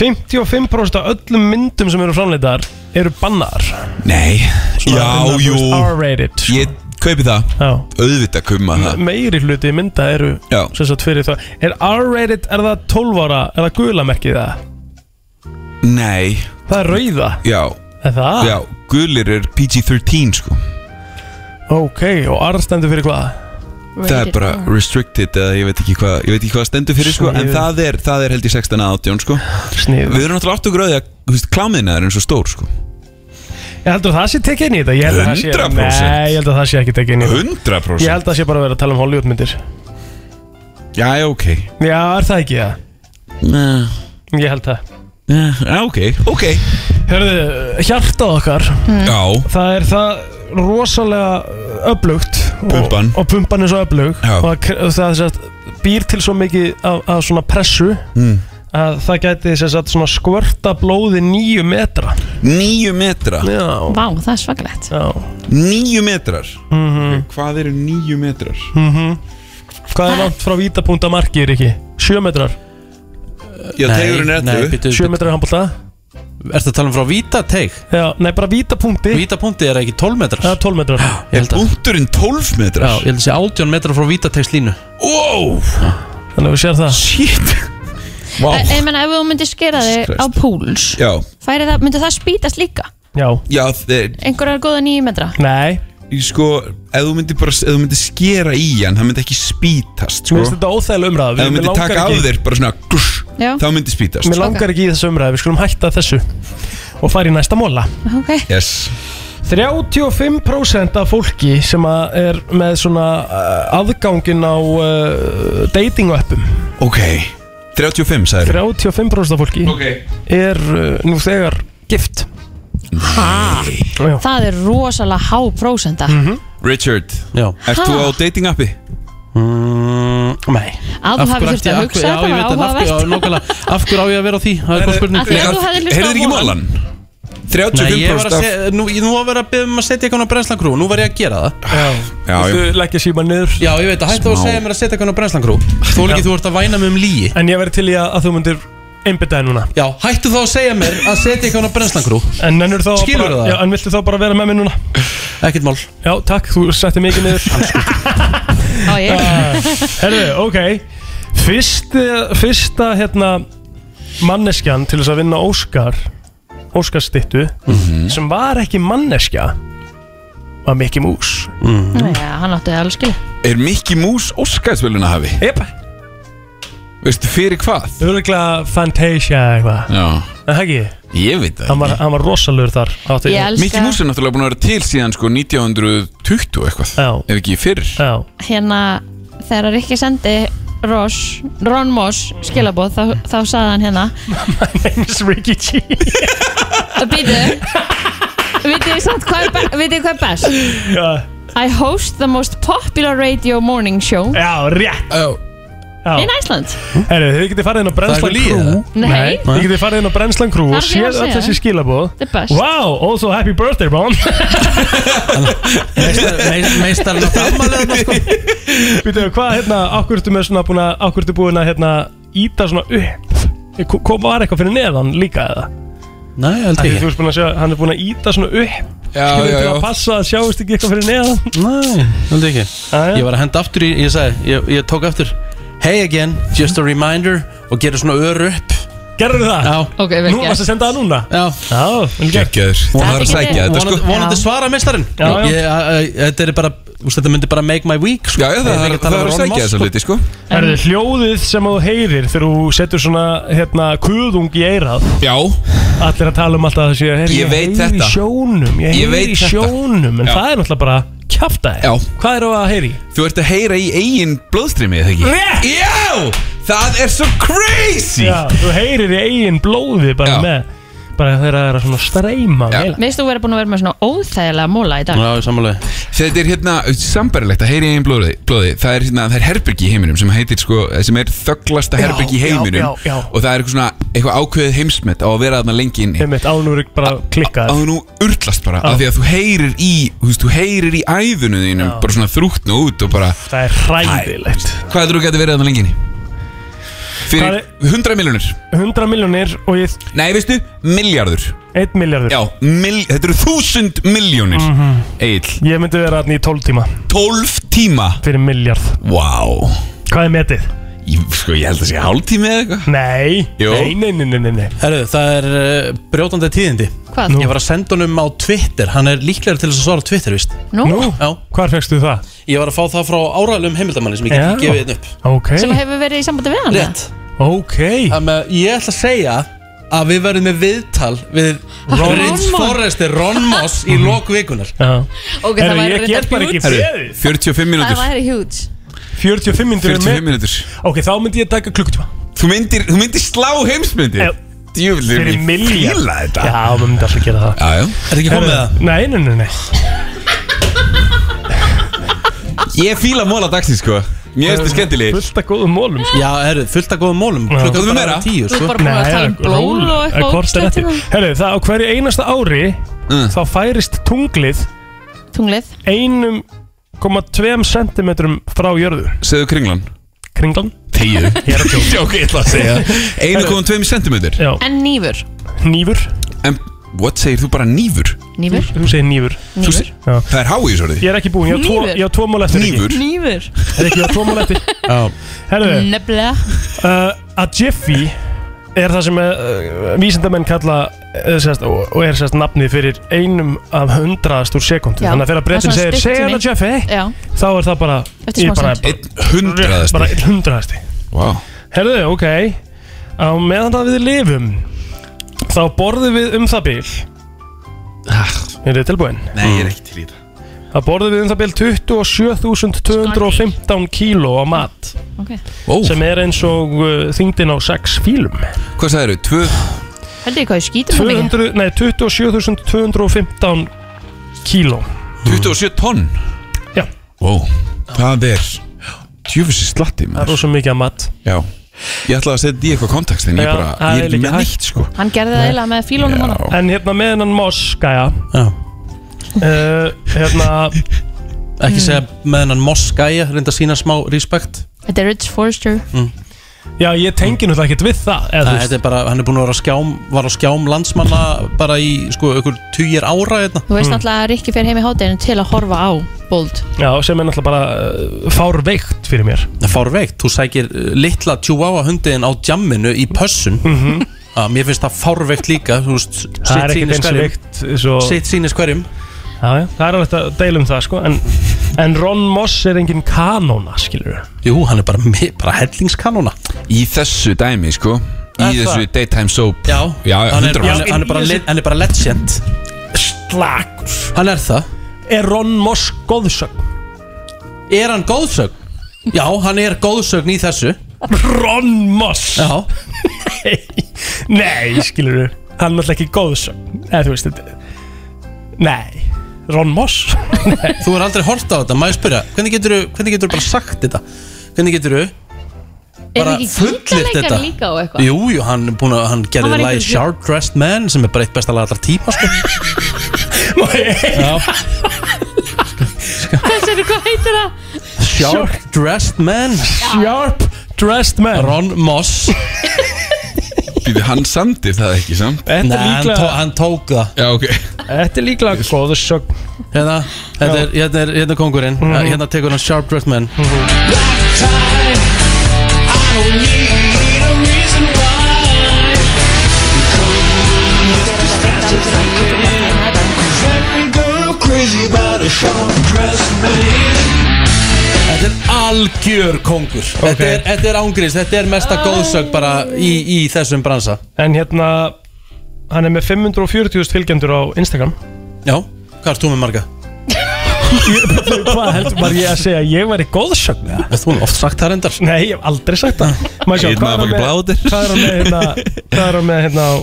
S4: 55% af öllum myndum sem eru framleitar eru bannar
S12: Nei, já,
S4: hérna, þú
S12: jú
S4: veist, R-rated,
S12: Ég kaupi það
S4: Já.
S12: Auðvitað kaupi maður það
S4: Meiri hluti mynda eru
S12: Já.
S4: sem sagt fyrir það Er R-rated, er það 12 ára, er það gulamerkið það?
S12: Nei
S4: Það er rauða
S12: Já
S4: Er það?
S12: Já, gulir er PG-13 sko
S4: Ok, og R stendur fyrir hvað?
S12: Það er bara restricted eða ég veit ekki hvað Ég veit ekki hvað stendur fyrir sko En
S4: Sniðugt.
S12: það er, það er held í 16 að 18 sko
S4: Sniðugt.
S12: Við erum náttúrulega átt og gráði að þú veist, klámiðna er eins og stór sko
S4: Ég heldur að það sé tekið inn í þetta Ég held að það sé-
S12: 100%.
S4: Nei, ég held að það sé ekki tekið inn í þetta
S12: 100%
S4: Ég held að það sé bara að vera að tala um Hollywoodmyndir
S12: Já, já, ok
S4: Já, er það ekki það?
S12: Nei
S4: Ég held það
S12: Já, ok, ok Mm.
S4: Hörðu, hjartað okkar
S12: Já
S4: Það er það rosalega öflugt og-
S12: Pumpan.
S4: Og pumpan er svo öflug
S12: Já.
S4: Og það kre- og það sem sagt býr til svo mikið af, af svona pressu
S12: Mm.
S4: Að það gæti sem sagt svona skvörta blóði nýju metra
S12: Níu metra
S4: Já
S5: Vá, það er svakalegt
S4: Já
S12: Níu metrar
S4: Mhm.
S12: Hvað eru níu metrar?
S4: mm Hvað er langt frá vítapuntamarki, Riki? 7 metrar
S12: Já,
S1: Nei,
S12: tegurinn er
S1: nei,
S12: 11
S1: bíddu,
S4: 7 metrar í handbólta
S1: Ertu að tala um frá víta teig?
S4: Já, nei bara vítapunkti
S1: Vítapunkti er ekki 12 metrar
S4: Það er 12 metrar
S1: Er
S12: punkturinn 12 metrar?
S1: Já, ég held að sé 18 metrar frá vítategslínu
S12: Wow
S4: Þannig að við sér það
S12: Shit
S5: Vá Ég menna, ef þú myndir skera þig á púls
S12: Já
S5: Færi það, myndi það spýtast líka?
S4: Já
S12: Já, þeir
S5: Einhverjar góða nýju metra?
S4: Nei
S12: Sko, ef þú myndir bara, ef þú myndir skera í hann, það myndi ekki spítast, sko
S4: Mér finnst þetta óþægileg umræða,
S12: Ef
S4: við-
S12: þú
S4: mér
S12: myndir
S4: langar
S12: taka
S4: ekki-
S12: af þér, bara svona, gush,
S5: Já.
S12: þá myndi spítast
S4: Mér langar ekki í þessu umræðu, við skulum hætta þessu Og fara í næsta móla
S5: Ok
S12: Yes
S4: 35% af fólki sem að er með svona uh, aðgangin á uh, dating appum
S12: Ok, 35, sagður
S4: 35% af fólki
S12: Ok.
S4: er uh, nú þegar gift
S5: Ha?
S4: Já. Mhm.
S5: Það er rosalega há prósenda
S12: Richard,
S1: Já.
S12: ert þú á
S5: Ha?
S12: dating appi?
S1: Mm, nei
S5: Að þú
S1: Af hverju
S5: hafir þurft
S1: ætti-
S5: að
S1: af
S5: hugsa
S1: hverju- já,
S5: þetta
S1: ég
S5: var
S1: veit það, af
S5: áhugavert.
S1: hverju- já, nákvæmlega. Af hverju á ég að vera á því? Það er góð spurning
S5: Af því að þú hefðir hlustað á
S12: Heyrðir ekki
S5: Mólan.
S12: mólan?
S1: Nei, ég
S12: 35%
S1: var að
S12: af
S1: segja, nú, ég- nú var að vera að beða um að setja eitthvað á brennslangrú Nú var ég að gera það
S4: Já,
S12: Já,
S4: Viltu leggja síma niður
S1: Já, ég veit að hættu að
S4: Smá.
S1: segja mér að setja eitthvað á brennslangrú Þú líki þú ert að væna mig um líi
S4: En ég verði til í að, að þú myndir einbyttaði núna
S1: Já, hættu þá að segja mér að setja eitthvað á brennslangrú
S4: En nennur þá
S1: Skilurðu
S4: bara,
S1: það?
S4: Já, en viltu þá bara vera með mér núna?
S1: Ekkert mál
S4: Já, takk, þú setti mikið niður
S5: Á ég
S4: Eh. Herðu, ok Fyrsti, Fyrsta hérna manneskjan til þess að vinna Óskar Óskarstittu
S1: Mhm.
S4: sem var ekki manneskja var Mickey Mouse
S1: Mhm.
S5: Já, hann átti það alveg skil
S12: Er Mickey Mouse Óskarsveluna hafi?
S4: Jep
S12: Veistu fyrir hvað?
S4: Öruglega Fantasia eitthvað
S12: Já
S4: En það ekki?
S12: Ég veit það
S4: Hann var, hann var rosalur þar átti-
S5: Ég elska-
S12: Mickey Mouse er náttúrulega búin að vera til síðan sko 1920 eitthvað
S4: Já
S12: Ef ekki fyrir
S4: Já
S5: Hérna, þegar Rikki sendi Ross, Ron Moss skilabóð, þá, þá sagði hann hérna
S4: My name is Ricky G
S5: Býtu Vitið þið samt hvað er, be vitið þið hvað er best?
S4: Já,
S5: I host the most popular radio morning show
S4: já rétt
S12: oh.
S5: In Iceland
S4: Herru, þið getið farið inn á Brennslan
S5: ekki lygi,
S4: Crew
S5: eða? Nei.
S4: Þið getið farið inn á Brennslan Crew
S5: Það
S4: og
S5: er því ég var að
S4: séð öll
S5: segja.
S4: þessi skilabóð
S5: The best.
S4: Wow, also happy birthday, Ron
S1: Meistarinn átt afmælega sko.
S4: Býtu, hvað, hérna, akkur ertu með svona búin að Akkur ertu búin að, hérna, íta svona upp Ko- Kom var eitthvað fyrir neðan líka eða?
S1: Nei, held
S4: Því
S1: ekki.
S4: Þú veist búin að sjá, hann er búin að íta svona upp
S12: Já,
S4: Skilur
S12: já,
S4: til að
S12: já.
S4: passa að sjáist ekki eitthvað fyrir neðan
S1: Nei, held ekki
S4: já.
S1: Ég var að henda aftur í, ég sagði, ég, ég tók aftur Hey again, just a reminder Og gera svona öru upp
S4: Gerðu það?
S1: Já
S5: Ok, vel
S4: Nú
S5: gert.
S4: varst að senda það núna?
S1: Já
S4: Já, vel gert
S12: Gekkjaður Það var að sækja þetta sko
S1: Vonandi- Vonandi svara mestarinn
S4: Já, já.
S1: Ég- ég- ég- Þetta er bara, úst, þetta myndi bara make my week sko.
S12: Já, já, það er- það er að sækja þessa hluti sko
S4: Herðu, hljóðið sem þú heyrir þegar þú setur svona, hérna, kuðung í eirað
S12: Já
S4: Allir að tala um alltaf þessu Ég,
S12: Ég veit
S4: heyri í
S12: þetta.
S4: sjónum Ég,
S12: Ég
S4: heyri
S12: veit
S4: í
S12: þetta.
S4: sjónum En
S12: Já.
S4: það er náttúrulega bara kjafta
S12: Já
S4: Hvað er það að heyri?
S12: Þú ert að heyra í eigin blóðstrimi, eða ekki?
S4: Rétt!
S12: Já! Það er svo crazy!
S4: Já, þú heyrir í eigin blóði bara með Bara þegar það er að svona streyma Já,
S5: Veist þú verið búin að vera með svona óþægilega móla í dag?
S1: sammálega
S12: Þetta er hérna sambarilegt að heyri einn blóði, blóði. Það er hérna, það er herbergi í heiminum sem heitir sko, sem er þögglasta
S4: Já,
S12: herbergi í
S4: já,
S12: heiminum
S4: já, já.
S12: og það er eitthvað svona, eitthvað ákveðið heimsmet á að vera þarna lengi inni
S4: Einmitt, ánúr bara klikkað
S12: að þú nú urtlast bara, af því að þú heyrir í þú veist, þú heyrir í æðunum þínum bara svona þrútnu út og bara
S4: Það er hræðilegt
S12: Hvað heldur þú gæti verið þarna lengi inni? Fyrir 100 miljónir
S4: 100 miljónir og ég
S12: Nei, veistu, miljardur
S4: 1 miljardur
S12: Já, mil, þetta eru 1000 miljónir mm
S4: Mhm.
S12: Egil,
S4: Ég myndi vera þarna í 12 tíma
S12: 12 tíma
S4: Fyrir miljard
S12: Vá wow.
S4: Hvað er metið?
S12: Ég, sko, ég held að sé hálftími eða eitthvað
S4: Nei,
S12: Jú.
S4: nei, nei, nei, nei, nei, nei.
S1: Herru, það er uh, brjótandi tíðindi
S5: Hvað? Nú.
S1: Ég var að senda honum á Twitter Hann er líklega til þess að svara á Twitter, víst
S5: Nú? Nú?
S1: Já
S4: Hvar fegstu það?
S1: Ég var að fá það frá árælum heimildamanni sem ég
S4: Já.
S1: get gefið þetta upp
S4: Ok,
S5: Sem hefur verið í sambandi við hann?
S1: Rétt
S4: ok
S1: Þannig að ég ætla að segja að við verðum með viðtal við
S4: Ron
S5: Moss.
S1: Ritz Forrester Ron Moss í lok vikunar
S4: Mhm. Já
S5: Ok, það væri
S4: ég
S5: reyndar
S4: get bara ekki
S5: huge.
S4: beðið
S12: 45
S5: Það
S12: mínútur
S5: væri huge
S4: 45 mínútur
S12: 45 mínútur
S4: Ok, þá myndi ég taka klukkutíma
S12: Þú myndir, þú myndir slá heimsmyndir
S4: Já.
S12: Djúvill,
S4: Eh, Fyrir
S12: ég
S4: milljarð.
S12: fíla þetta
S4: Já, maður myndi alltaf gera það
S12: Já, já
S1: Er ekki komið það?
S4: Nei, nei, nei, nei
S12: Ég fíla móla dagsins, sko Mér finnst þið skemmtilegir
S4: Fullt af góðum mólum sko.
S1: Já, herru, fullt af góðum mólum
S4: Já.
S12: Þú
S1: Klukkan bara
S12: meira?
S1: tíu, sko
S5: bara búin að tala um blóð og
S4: Eh,
S5: eitthvað ógeðslegt hérna.
S4: Herru, það á hverju einasta ári
S12: Mm.
S4: Þá færist tunglið
S5: Tunglið
S4: 1,2 cm frá jörðu
S12: Segðu kringlan
S4: Kringlan
S12: Tíu
S4: Ég er að tjóka.
S12: Sjók, ég ætla að segja 1,2 centimeter
S4: Já,
S5: En nýfur
S4: nýfur
S12: En, what segir þú bara nýfur?
S5: Nýfur
S4: Þú segir nýfur
S12: Þú segir-
S4: Já.
S12: Það er hái í svo
S4: Ég er ekki búinn, ég á tvo-
S5: Hnífur?
S4: ég á tvo mál eftir
S12: Hnífur?
S5: Nýfur
S4: Er ekki ég á tvo mál eftir Herru,
S5: Nefnilega
S4: uh, að Jiffy er það sem uh, vísindamenn kalla uh, sérst, og, og er sérst nafnið fyrir einum af hundraðast úr sekundu
S5: Já.
S4: þannig að þegar brettin
S5: Það er
S4: segir
S5: svona stutt
S4: segja
S5: í
S4: það
S5: mig.
S4: Jiffy
S5: Já
S4: þá er það bara
S5: Eftir
S4: ég bara,
S5: smásund.
S4: bara,
S12: Hundraðasti
S4: bara einn hundraðasti
S12: Vá
S4: herðu, ok á meðan að við lifum þá borðum við um það bil er þið tilbúin?
S12: Ah. Nei, ég er ekki til í þetta
S4: þá borðum við um það bil 27.215 kíló á mat
S5: Ok
S12: Ó,
S4: sem er eins og uh, þingdin á 6 fílum
S12: hvað sagðir þú? Tvö
S5: Heldur ég hvað ég skýtum það mikið
S4: 200, nei, 27.215 kíló
S12: 27 tonn
S4: Já.
S12: Vá, það er Djúfis í slatti
S4: Það er
S12: maður
S4: rosa mikið að mat
S12: Já Ég ætlaði að setja í eitthvað kontekst En ég
S4: Já,
S12: bara, ég
S4: það er
S12: er ekki
S4: líka
S12: með
S4: hægt.
S12: neitt sko
S5: Hann gerði það eiginlega með fílónum hann
S4: En hérna með hennan Moska, já uh, Hérna
S5: Mm.
S1: Ekki segja með hennan Moskæja Reynda að sína smá respekt
S5: Þetta er Rich Forrester
S1: mm.
S4: Já, ég tengi náttúrulega ekkert við það eða,
S1: Nei,
S4: þú veist.
S1: þetta er bara, hann er búin að vera á skjám Var á skjám landsmanna bara í sko, ykkur tugir ára hérna.
S5: Þú
S4: Mm.
S5: veist náttúrulega að Rikki fer heim í hátæðinu til að horfa á Bold
S4: Já, sem er náttúrulega bara uh, fárveikt fyrir mér
S1: Fárveikt, þú sækir uh, litla tjúáa hundiðin á djamminu í pössun
S4: Mhm.
S1: að, Mér finnst það fárveikt líka þú veist,
S4: Það er
S1: sitt
S4: ekkert
S1: sýnist
S4: eins og
S1: hverjum.
S4: veikt svo...
S1: Sitt sýnist hverjum
S4: Já, já, það er alveg að deila um það, sko En, en Ron Moss er engin kanóna, skilur
S1: Jú, hann er bara, mi- bara hellingskanóna
S12: Í þessu dæmi sko Í
S1: Er það?
S12: þessu daytime soap
S1: Já,
S12: já,
S1: hann, er,
S12: 100%.
S1: hann, er- hann, er bara, le- hann er bara legend
S4: Slagur
S1: Hann er það
S4: Er Ron Moss góðsögn?
S1: Er hann góðsögn? Já, hann er góðsögn í þessu
S4: Ron Moss
S1: Já
S4: Nei, skilur Hann er náttúrulega ekki góðsögn Eða þú veist þetta Nei, Ron Moss
S1: Þú er aldrei hort á þetta, maður spyrja Hvernig geturðu, hvernig geturðu bara sagt þetta? Hvernig geturðu bara
S5: ekki
S1: fullirt
S5: gítarleikari
S1: þetta?
S5: líka og eitthvað?
S1: Jú, jú, hann, er búinn að, hann
S5: Hann
S1: gerði
S5: var
S1: lagi
S5: einhver-
S1: Sharp Dressed Man sem er bara eitt besta lag allra tíma sko. Já,
S5: Þessi, hvað heitir það?
S1: Sharp Dressed Man
S4: Sharp Dressed Man
S1: Ron Moss
S12: Býtu, hann samdi það ekki samt
S4: Þetta er
S12: Nei,
S1: hann, tó, hann tók það
S12: Já, ok
S4: Þetta er líklega góðsögn
S1: Hérna, hérna er, hérna er, hérna er kongurinn
S4: Mhm.
S1: Hérna tekur hann Sharp Dressed Man Þetta er algjör kongur þetta, er, þetta er ángriðs, þetta er mesta góðsögn bara í, í þessum bransa
S4: En hérna, hann er með 540.000 fylgjendur á Instagram
S1: Já, hvað ert þú með marga?
S4: Hvað heldur bara ég að segja Ég væri góðsögn eða?
S1: Þú hefur oft sagt það reyndar
S4: Nei, ég hef aldrei sagt það Maður sjá,
S12: Ég veit
S4: hvað er
S12: maður
S4: hann
S12: bara
S4: með-
S12: ekki bláðir.
S4: Hvað er hann með hérna Hvað er hann með hérna á,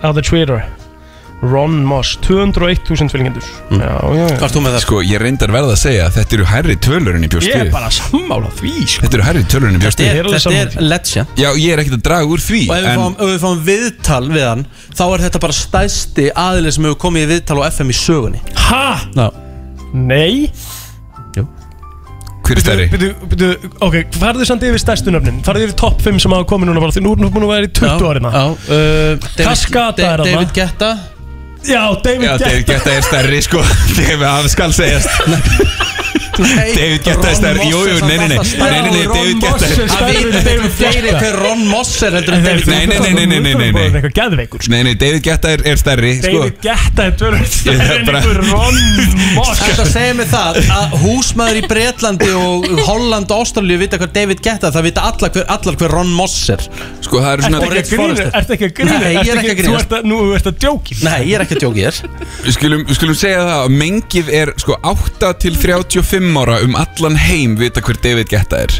S4: á The Twitter Ron Moss 201.000 fylgjendur
S1: Mm.
S4: Já, já, já
S1: Hvað er þú með það?
S12: Sko, ég reyndar verða að segja að Þetta eru hærri tölur en ég bjóst
S4: Ég er
S12: við
S4: bara sammála því sko.
S12: Þetta eru hærri tölur en ég bjóst
S1: Þetta
S12: við
S1: er, þetta er legend
S12: Já, ég er ekkert að draga úr því
S1: Og ef við,
S12: en-
S1: fáum, ef við fáum viðtal við hann Þá er þetta bara stæsti aðlið sem hefur komið í viðtal á FM í sögunni
S4: Ha?
S1: Ná,
S4: Nei
S12: Hver er stærri?
S4: Byrju, byrju, ok, farðu samt yfir stærstu nöfnin Farðu yfir topp 5 sem hafa komið núna bara Því nú erum við að vera í 20 árina
S1: Já, uh,
S4: Kaskata er hann
S1: David Getta
S4: Já, David
S12: Já,
S4: Guetta.
S12: David Getta er stærri sko David, það skal segjast David Getta er stærri Jú, jú, nei, nei, nei Nei, nei, nei, David Getta er
S1: Það
S12: stærri
S1: vita ekki fleiri hver Ron Moss er heldur en David
S12: Nei, nei, nei, nei, nei, nei, nei, nei
S4: Eitthvað geðveikur
S12: Nei, nei, David Getta er, er stærri sko.
S4: David Getta er tölur
S12: Ég
S4: stærri
S12: er
S4: en
S12: bara-
S4: einhver Ron Moss
S1: Þetta segir mig það að húsmaður í Bretlandi og Holland og Ástralju vita hver David Getta það vita allar hver, allar hver Ron Moss er
S12: Sko, það eru
S4: Ertu
S12: svona
S4: ekki að grína? Ertu ekki að grína?
S1: Nei, ég er
S4: Ertu
S1: ekki að
S4: Þú
S1: grínast.
S4: ert að, nú ert að djóki
S1: Nei, ég er ekki að djóki þér
S12: Við skulum, við skulum segja það að mengið er sko 8 til 35 ára um allan heim vita hver David Getta er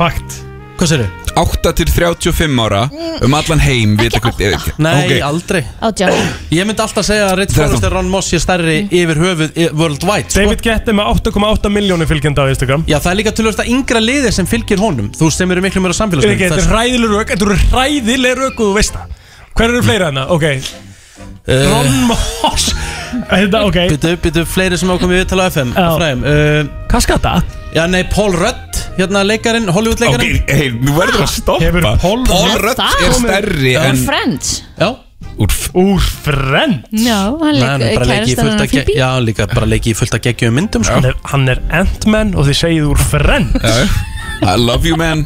S4: Fakt
S1: Hvað sér
S12: 8 til 35 ára um allan heim vita hver David Getta
S1: Nei,
S12: Ok.
S1: aldrei
S5: Átjá
S1: Ég myndi alltaf segja að Ritz
S12: Þrettán.
S1: Forrest er Ron Moss sé stærri yfir höfuð i- worldwide sko.
S4: Mm. David Getta er með 8,8 miljónu fylgjenda á Instagram
S1: Já, það er líka tölvöld að yngra liði sem fylgir honum Þú sem eru miklu meira
S4: Þetta er
S1: samfélagsmynd
S4: ekki- þetta er hræðileg rök Þetta eru hræðileg rök og þú veist það Hver eru fleira hana? Ok
S1: Eh.
S4: Ron Moss Þetta, ok
S1: Byttu, byttu, fleiri sem ákom í viðtala á FM
S4: Já.
S1: Fræm uh,
S4: Kaskata
S1: Já, nei, Paul Rudd Hérna leikarin, Hollywood
S12: Ok,
S1: leikarin
S12: hei, nú verður að
S4: Hefur
S12: stoppa
S4: Paul
S12: Paul
S4: Rudd
S12: Rudd
S5: það?
S12: er stærri
S1: Já.
S12: en
S5: Friends
S1: Já
S12: Úr
S4: Úr Friend
S5: Já, hann
S1: Nei, hann
S5: leik
S1: bara leiki í
S5: kærastan
S1: fullt
S5: hann
S1: að ge-
S5: Phoebe
S1: Já, hann líka bara leiki í fullt að geggjum myndum sko.
S4: Hann er, hann er Ant-Man og þið segið úr Friend
S12: Já, I love you man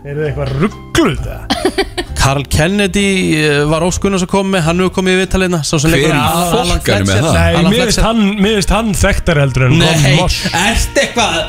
S4: Er þið eitthvað ruggluð það?
S1: Karl Kennedy eh, var óskunnars að koma með Hann hefur komið í viðtalina Sá sem
S12: Hver
S1: leikur
S12: í fokkanum
S1: Alan
S12: er
S1: Fletcher
S12: það?
S4: Nei,
S1: Alan hérna.
S4: mér finnst
S1: Fletcher.
S4: hann, mér finnst hann þekktar heldur en Ron
S1: Nei,
S4: Moss
S1: ert eitthvað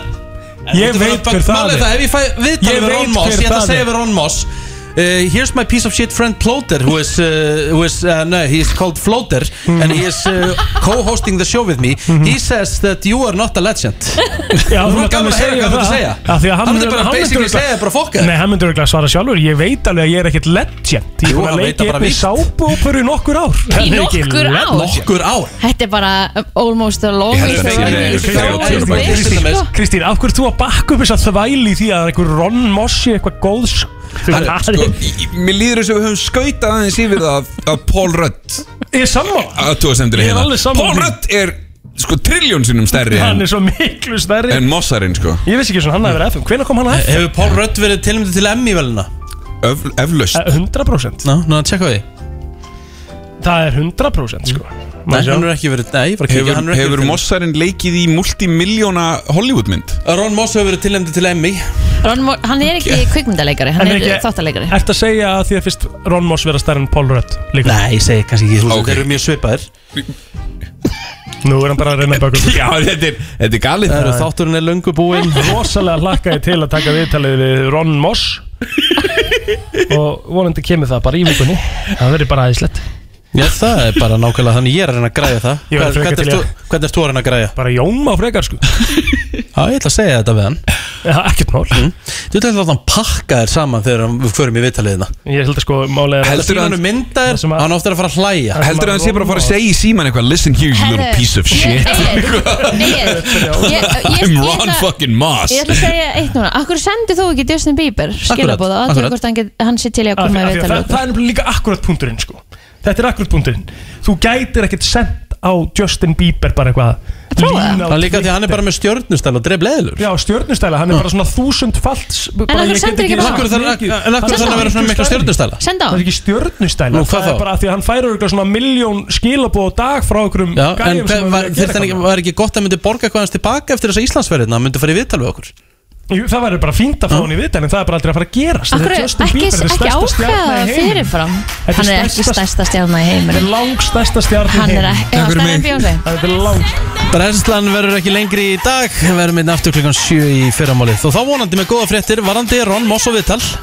S4: Ég
S1: Þú ert að
S4: veit
S1: fara
S4: hver
S1: að
S4: það
S1: mála
S4: er.
S1: það, Ef ég fæ
S4: Ég
S1: viðtal við
S4: veit
S1: Ron
S4: hver
S1: Moss Ég ætla
S4: það
S1: að segja
S4: er.
S1: við Ron Moss Uh, here's my piece of shit friend Plotter who is, uh, who is uh, no, he is called Floater and he is uh, co-hosting the show with me
S4: Mhm.
S1: he says that you are not a legend
S4: Já, þú
S1: Þú ert
S4: mátt alveg
S1: gaman að heyra
S4: segja
S1: hvað þú ert að
S4: það.
S1: segja.
S4: Af því að hann
S1: Hann er bara
S4: hann
S1: basically
S4: örugglega-
S1: segja bara fuck it.
S4: Nei, hann myndur örugglega að svara sjálfur Ég veit alveg að ég er ekkert legend Ég
S1: Jú,
S4: er búin
S1: hann
S4: að
S1: veit
S4: leika
S1: það bara
S4: upp í
S1: víst.
S4: sábúpur í nokkur ár Hann er ekki
S5: nokkur
S4: legend.
S5: ár?
S1: nokkur ár
S5: Þetta er bara um, almost the longest
S12: Ég held að það sé
S5: running show
S12: með þrjátíu ára
S5: in
S12: baki.
S5: business,
S1: Kristín,
S5: sko.
S4: Kristín, af hverju ert þú að bakka upp þess að þvæli í því að einhver Ron Mossi eitthvað góðs
S12: Hann, sko, í- í- Mér líður þess að við höfum skautað aðeins yfir það af- af Paul Rudd
S4: Ég er sammála
S12: Að þú
S4: Ég er
S12: hérna
S4: alveg sammála
S12: Paul
S4: því.
S12: Rudd er sko triljón sinnum stærri
S4: Hann
S12: en,
S4: er svo miklu stærri
S12: en Mossarinn sko
S4: Ég vissi ekki svona hann hafi verið FM Hvenær kom hann að FM?
S1: Hefur Paul Rudd verið tilnæmdi til Emmy velina?
S12: Öf, eflaust
S4: Eh, 100%
S1: Ná, ná, tjekka því
S4: Það er 100% sko Má
S1: Nei,
S4: sjá.
S1: hann er ekki verið, nei, ég var að kíkja,
S12: Hefur,
S1: hann er ekki
S12: hefur
S1: verið
S12: Mossarinn leikið í multimiljóna Hollywoodmynd?
S1: Ron Moss hefur verið tilnæmdi til Emmy
S5: Ron, Mo- hann er ekki kvikmyndaleikari, hann
S4: Hann er
S5: er
S4: ekki-
S5: þáttaleikari
S4: Ertu að segja að því að fyrst Ron Moss vera stærri en Paul Rudd líka?
S1: Nei, ég segi kannski ekki þú veist, Þeir eru mjög svipaðir
S4: Nú er hann bara að reyna að baka
S12: Já, þetta er, þetta er galið
S1: Það eru þátturinn er löngu búinn
S4: Rosalega hlakka ég til að taka viðtalið við Ron Moss Og vonandi kemur það bara í vikunni Það verður bara aðeinslegt
S1: Já, það er bara nákvæmlega þannig ég er að reyna að græja það
S4: Ég verð frekar
S1: Hvern- Hvernig
S4: til
S1: ert
S4: í
S1: þú- hvernig ert þú að reyna að græja?
S4: Bara jóma frekar sko
S1: Já, ég ætla að segja þetta við hann
S4: Já, ekkert mál
S1: mm. Þú ætla að láta hann pakka þér saman þegar hann- við förum í viðtaliðina
S4: Ég held að sko málega
S1: Heldur hann myndaðir, hann ofta er að fara að hlæja
S12: Heldur að hann sé bara að fara að segja í síman eitthvað Listen here you little piece of shit I'm Ron fucking Moss
S5: Ég ætla að segja eitt núna Akkur sendi þú ekki Justin Bieber skilabóða og
S4: akkurat.
S5: aðtökur hvort hann, get- hann sé til í að
S4: Af því-
S5: koma í
S4: af því að
S5: viðtalið
S4: það, það er nefnilega líka akkurat punkturinn sko. Þetta er akkurat punkturinn Þú gætir ekkert sendt á Justin Bieber bara eitthvað lína á
S1: Það er líka því að hann er
S4: Twitter.
S1: bara með stjörnustæl og dref leðilur
S4: Já, stjörnustæla, hann er bara svona þúsundfalds bara
S5: hann
S4: ég get
S5: sendir ekki
S1: bara. Akkur þarf-
S4: mikið.
S1: en akkur þarf hann að vera svona mikla stjörnustæla?
S5: Senda á.
S4: Það er ekki stjörnustæla,
S1: Nú, hvað
S4: það
S1: þá?
S4: er bara því að hann færir örugglega svona miljón skilabóð á dag frá okkurum
S1: Já, en hver- var- þyrfti hann ekki- var ekki gott að myndi borga eitthvað hans tilbaka eftir þessa Íslandsverðina hann myndi fara í viðtal við okkur
S4: Jú, það væri bara fínt að fá hann í viðtal en það er bara aldrei að fara að gerast
S5: Akkur
S4: Þetta er Justin
S5: ekki,
S4: Bieber, þetta er
S5: ekki
S4: stærsta stjarna í
S5: ákveða
S4: heiminum.
S5: fyrirfram
S4: Þetta
S5: Hann er ekki stærsta stjarnar í heiminum
S4: Langstærsta stjarnar
S5: Hann er ekki, já, stærri en Bjónsi
S4: Þetta er langt
S1: Brennslan verður ekki lengri í dag verðum við aftur klukkan 7 í fyrramálið og þá vonandi með góða fréttir varandi Ron Moss og viðtal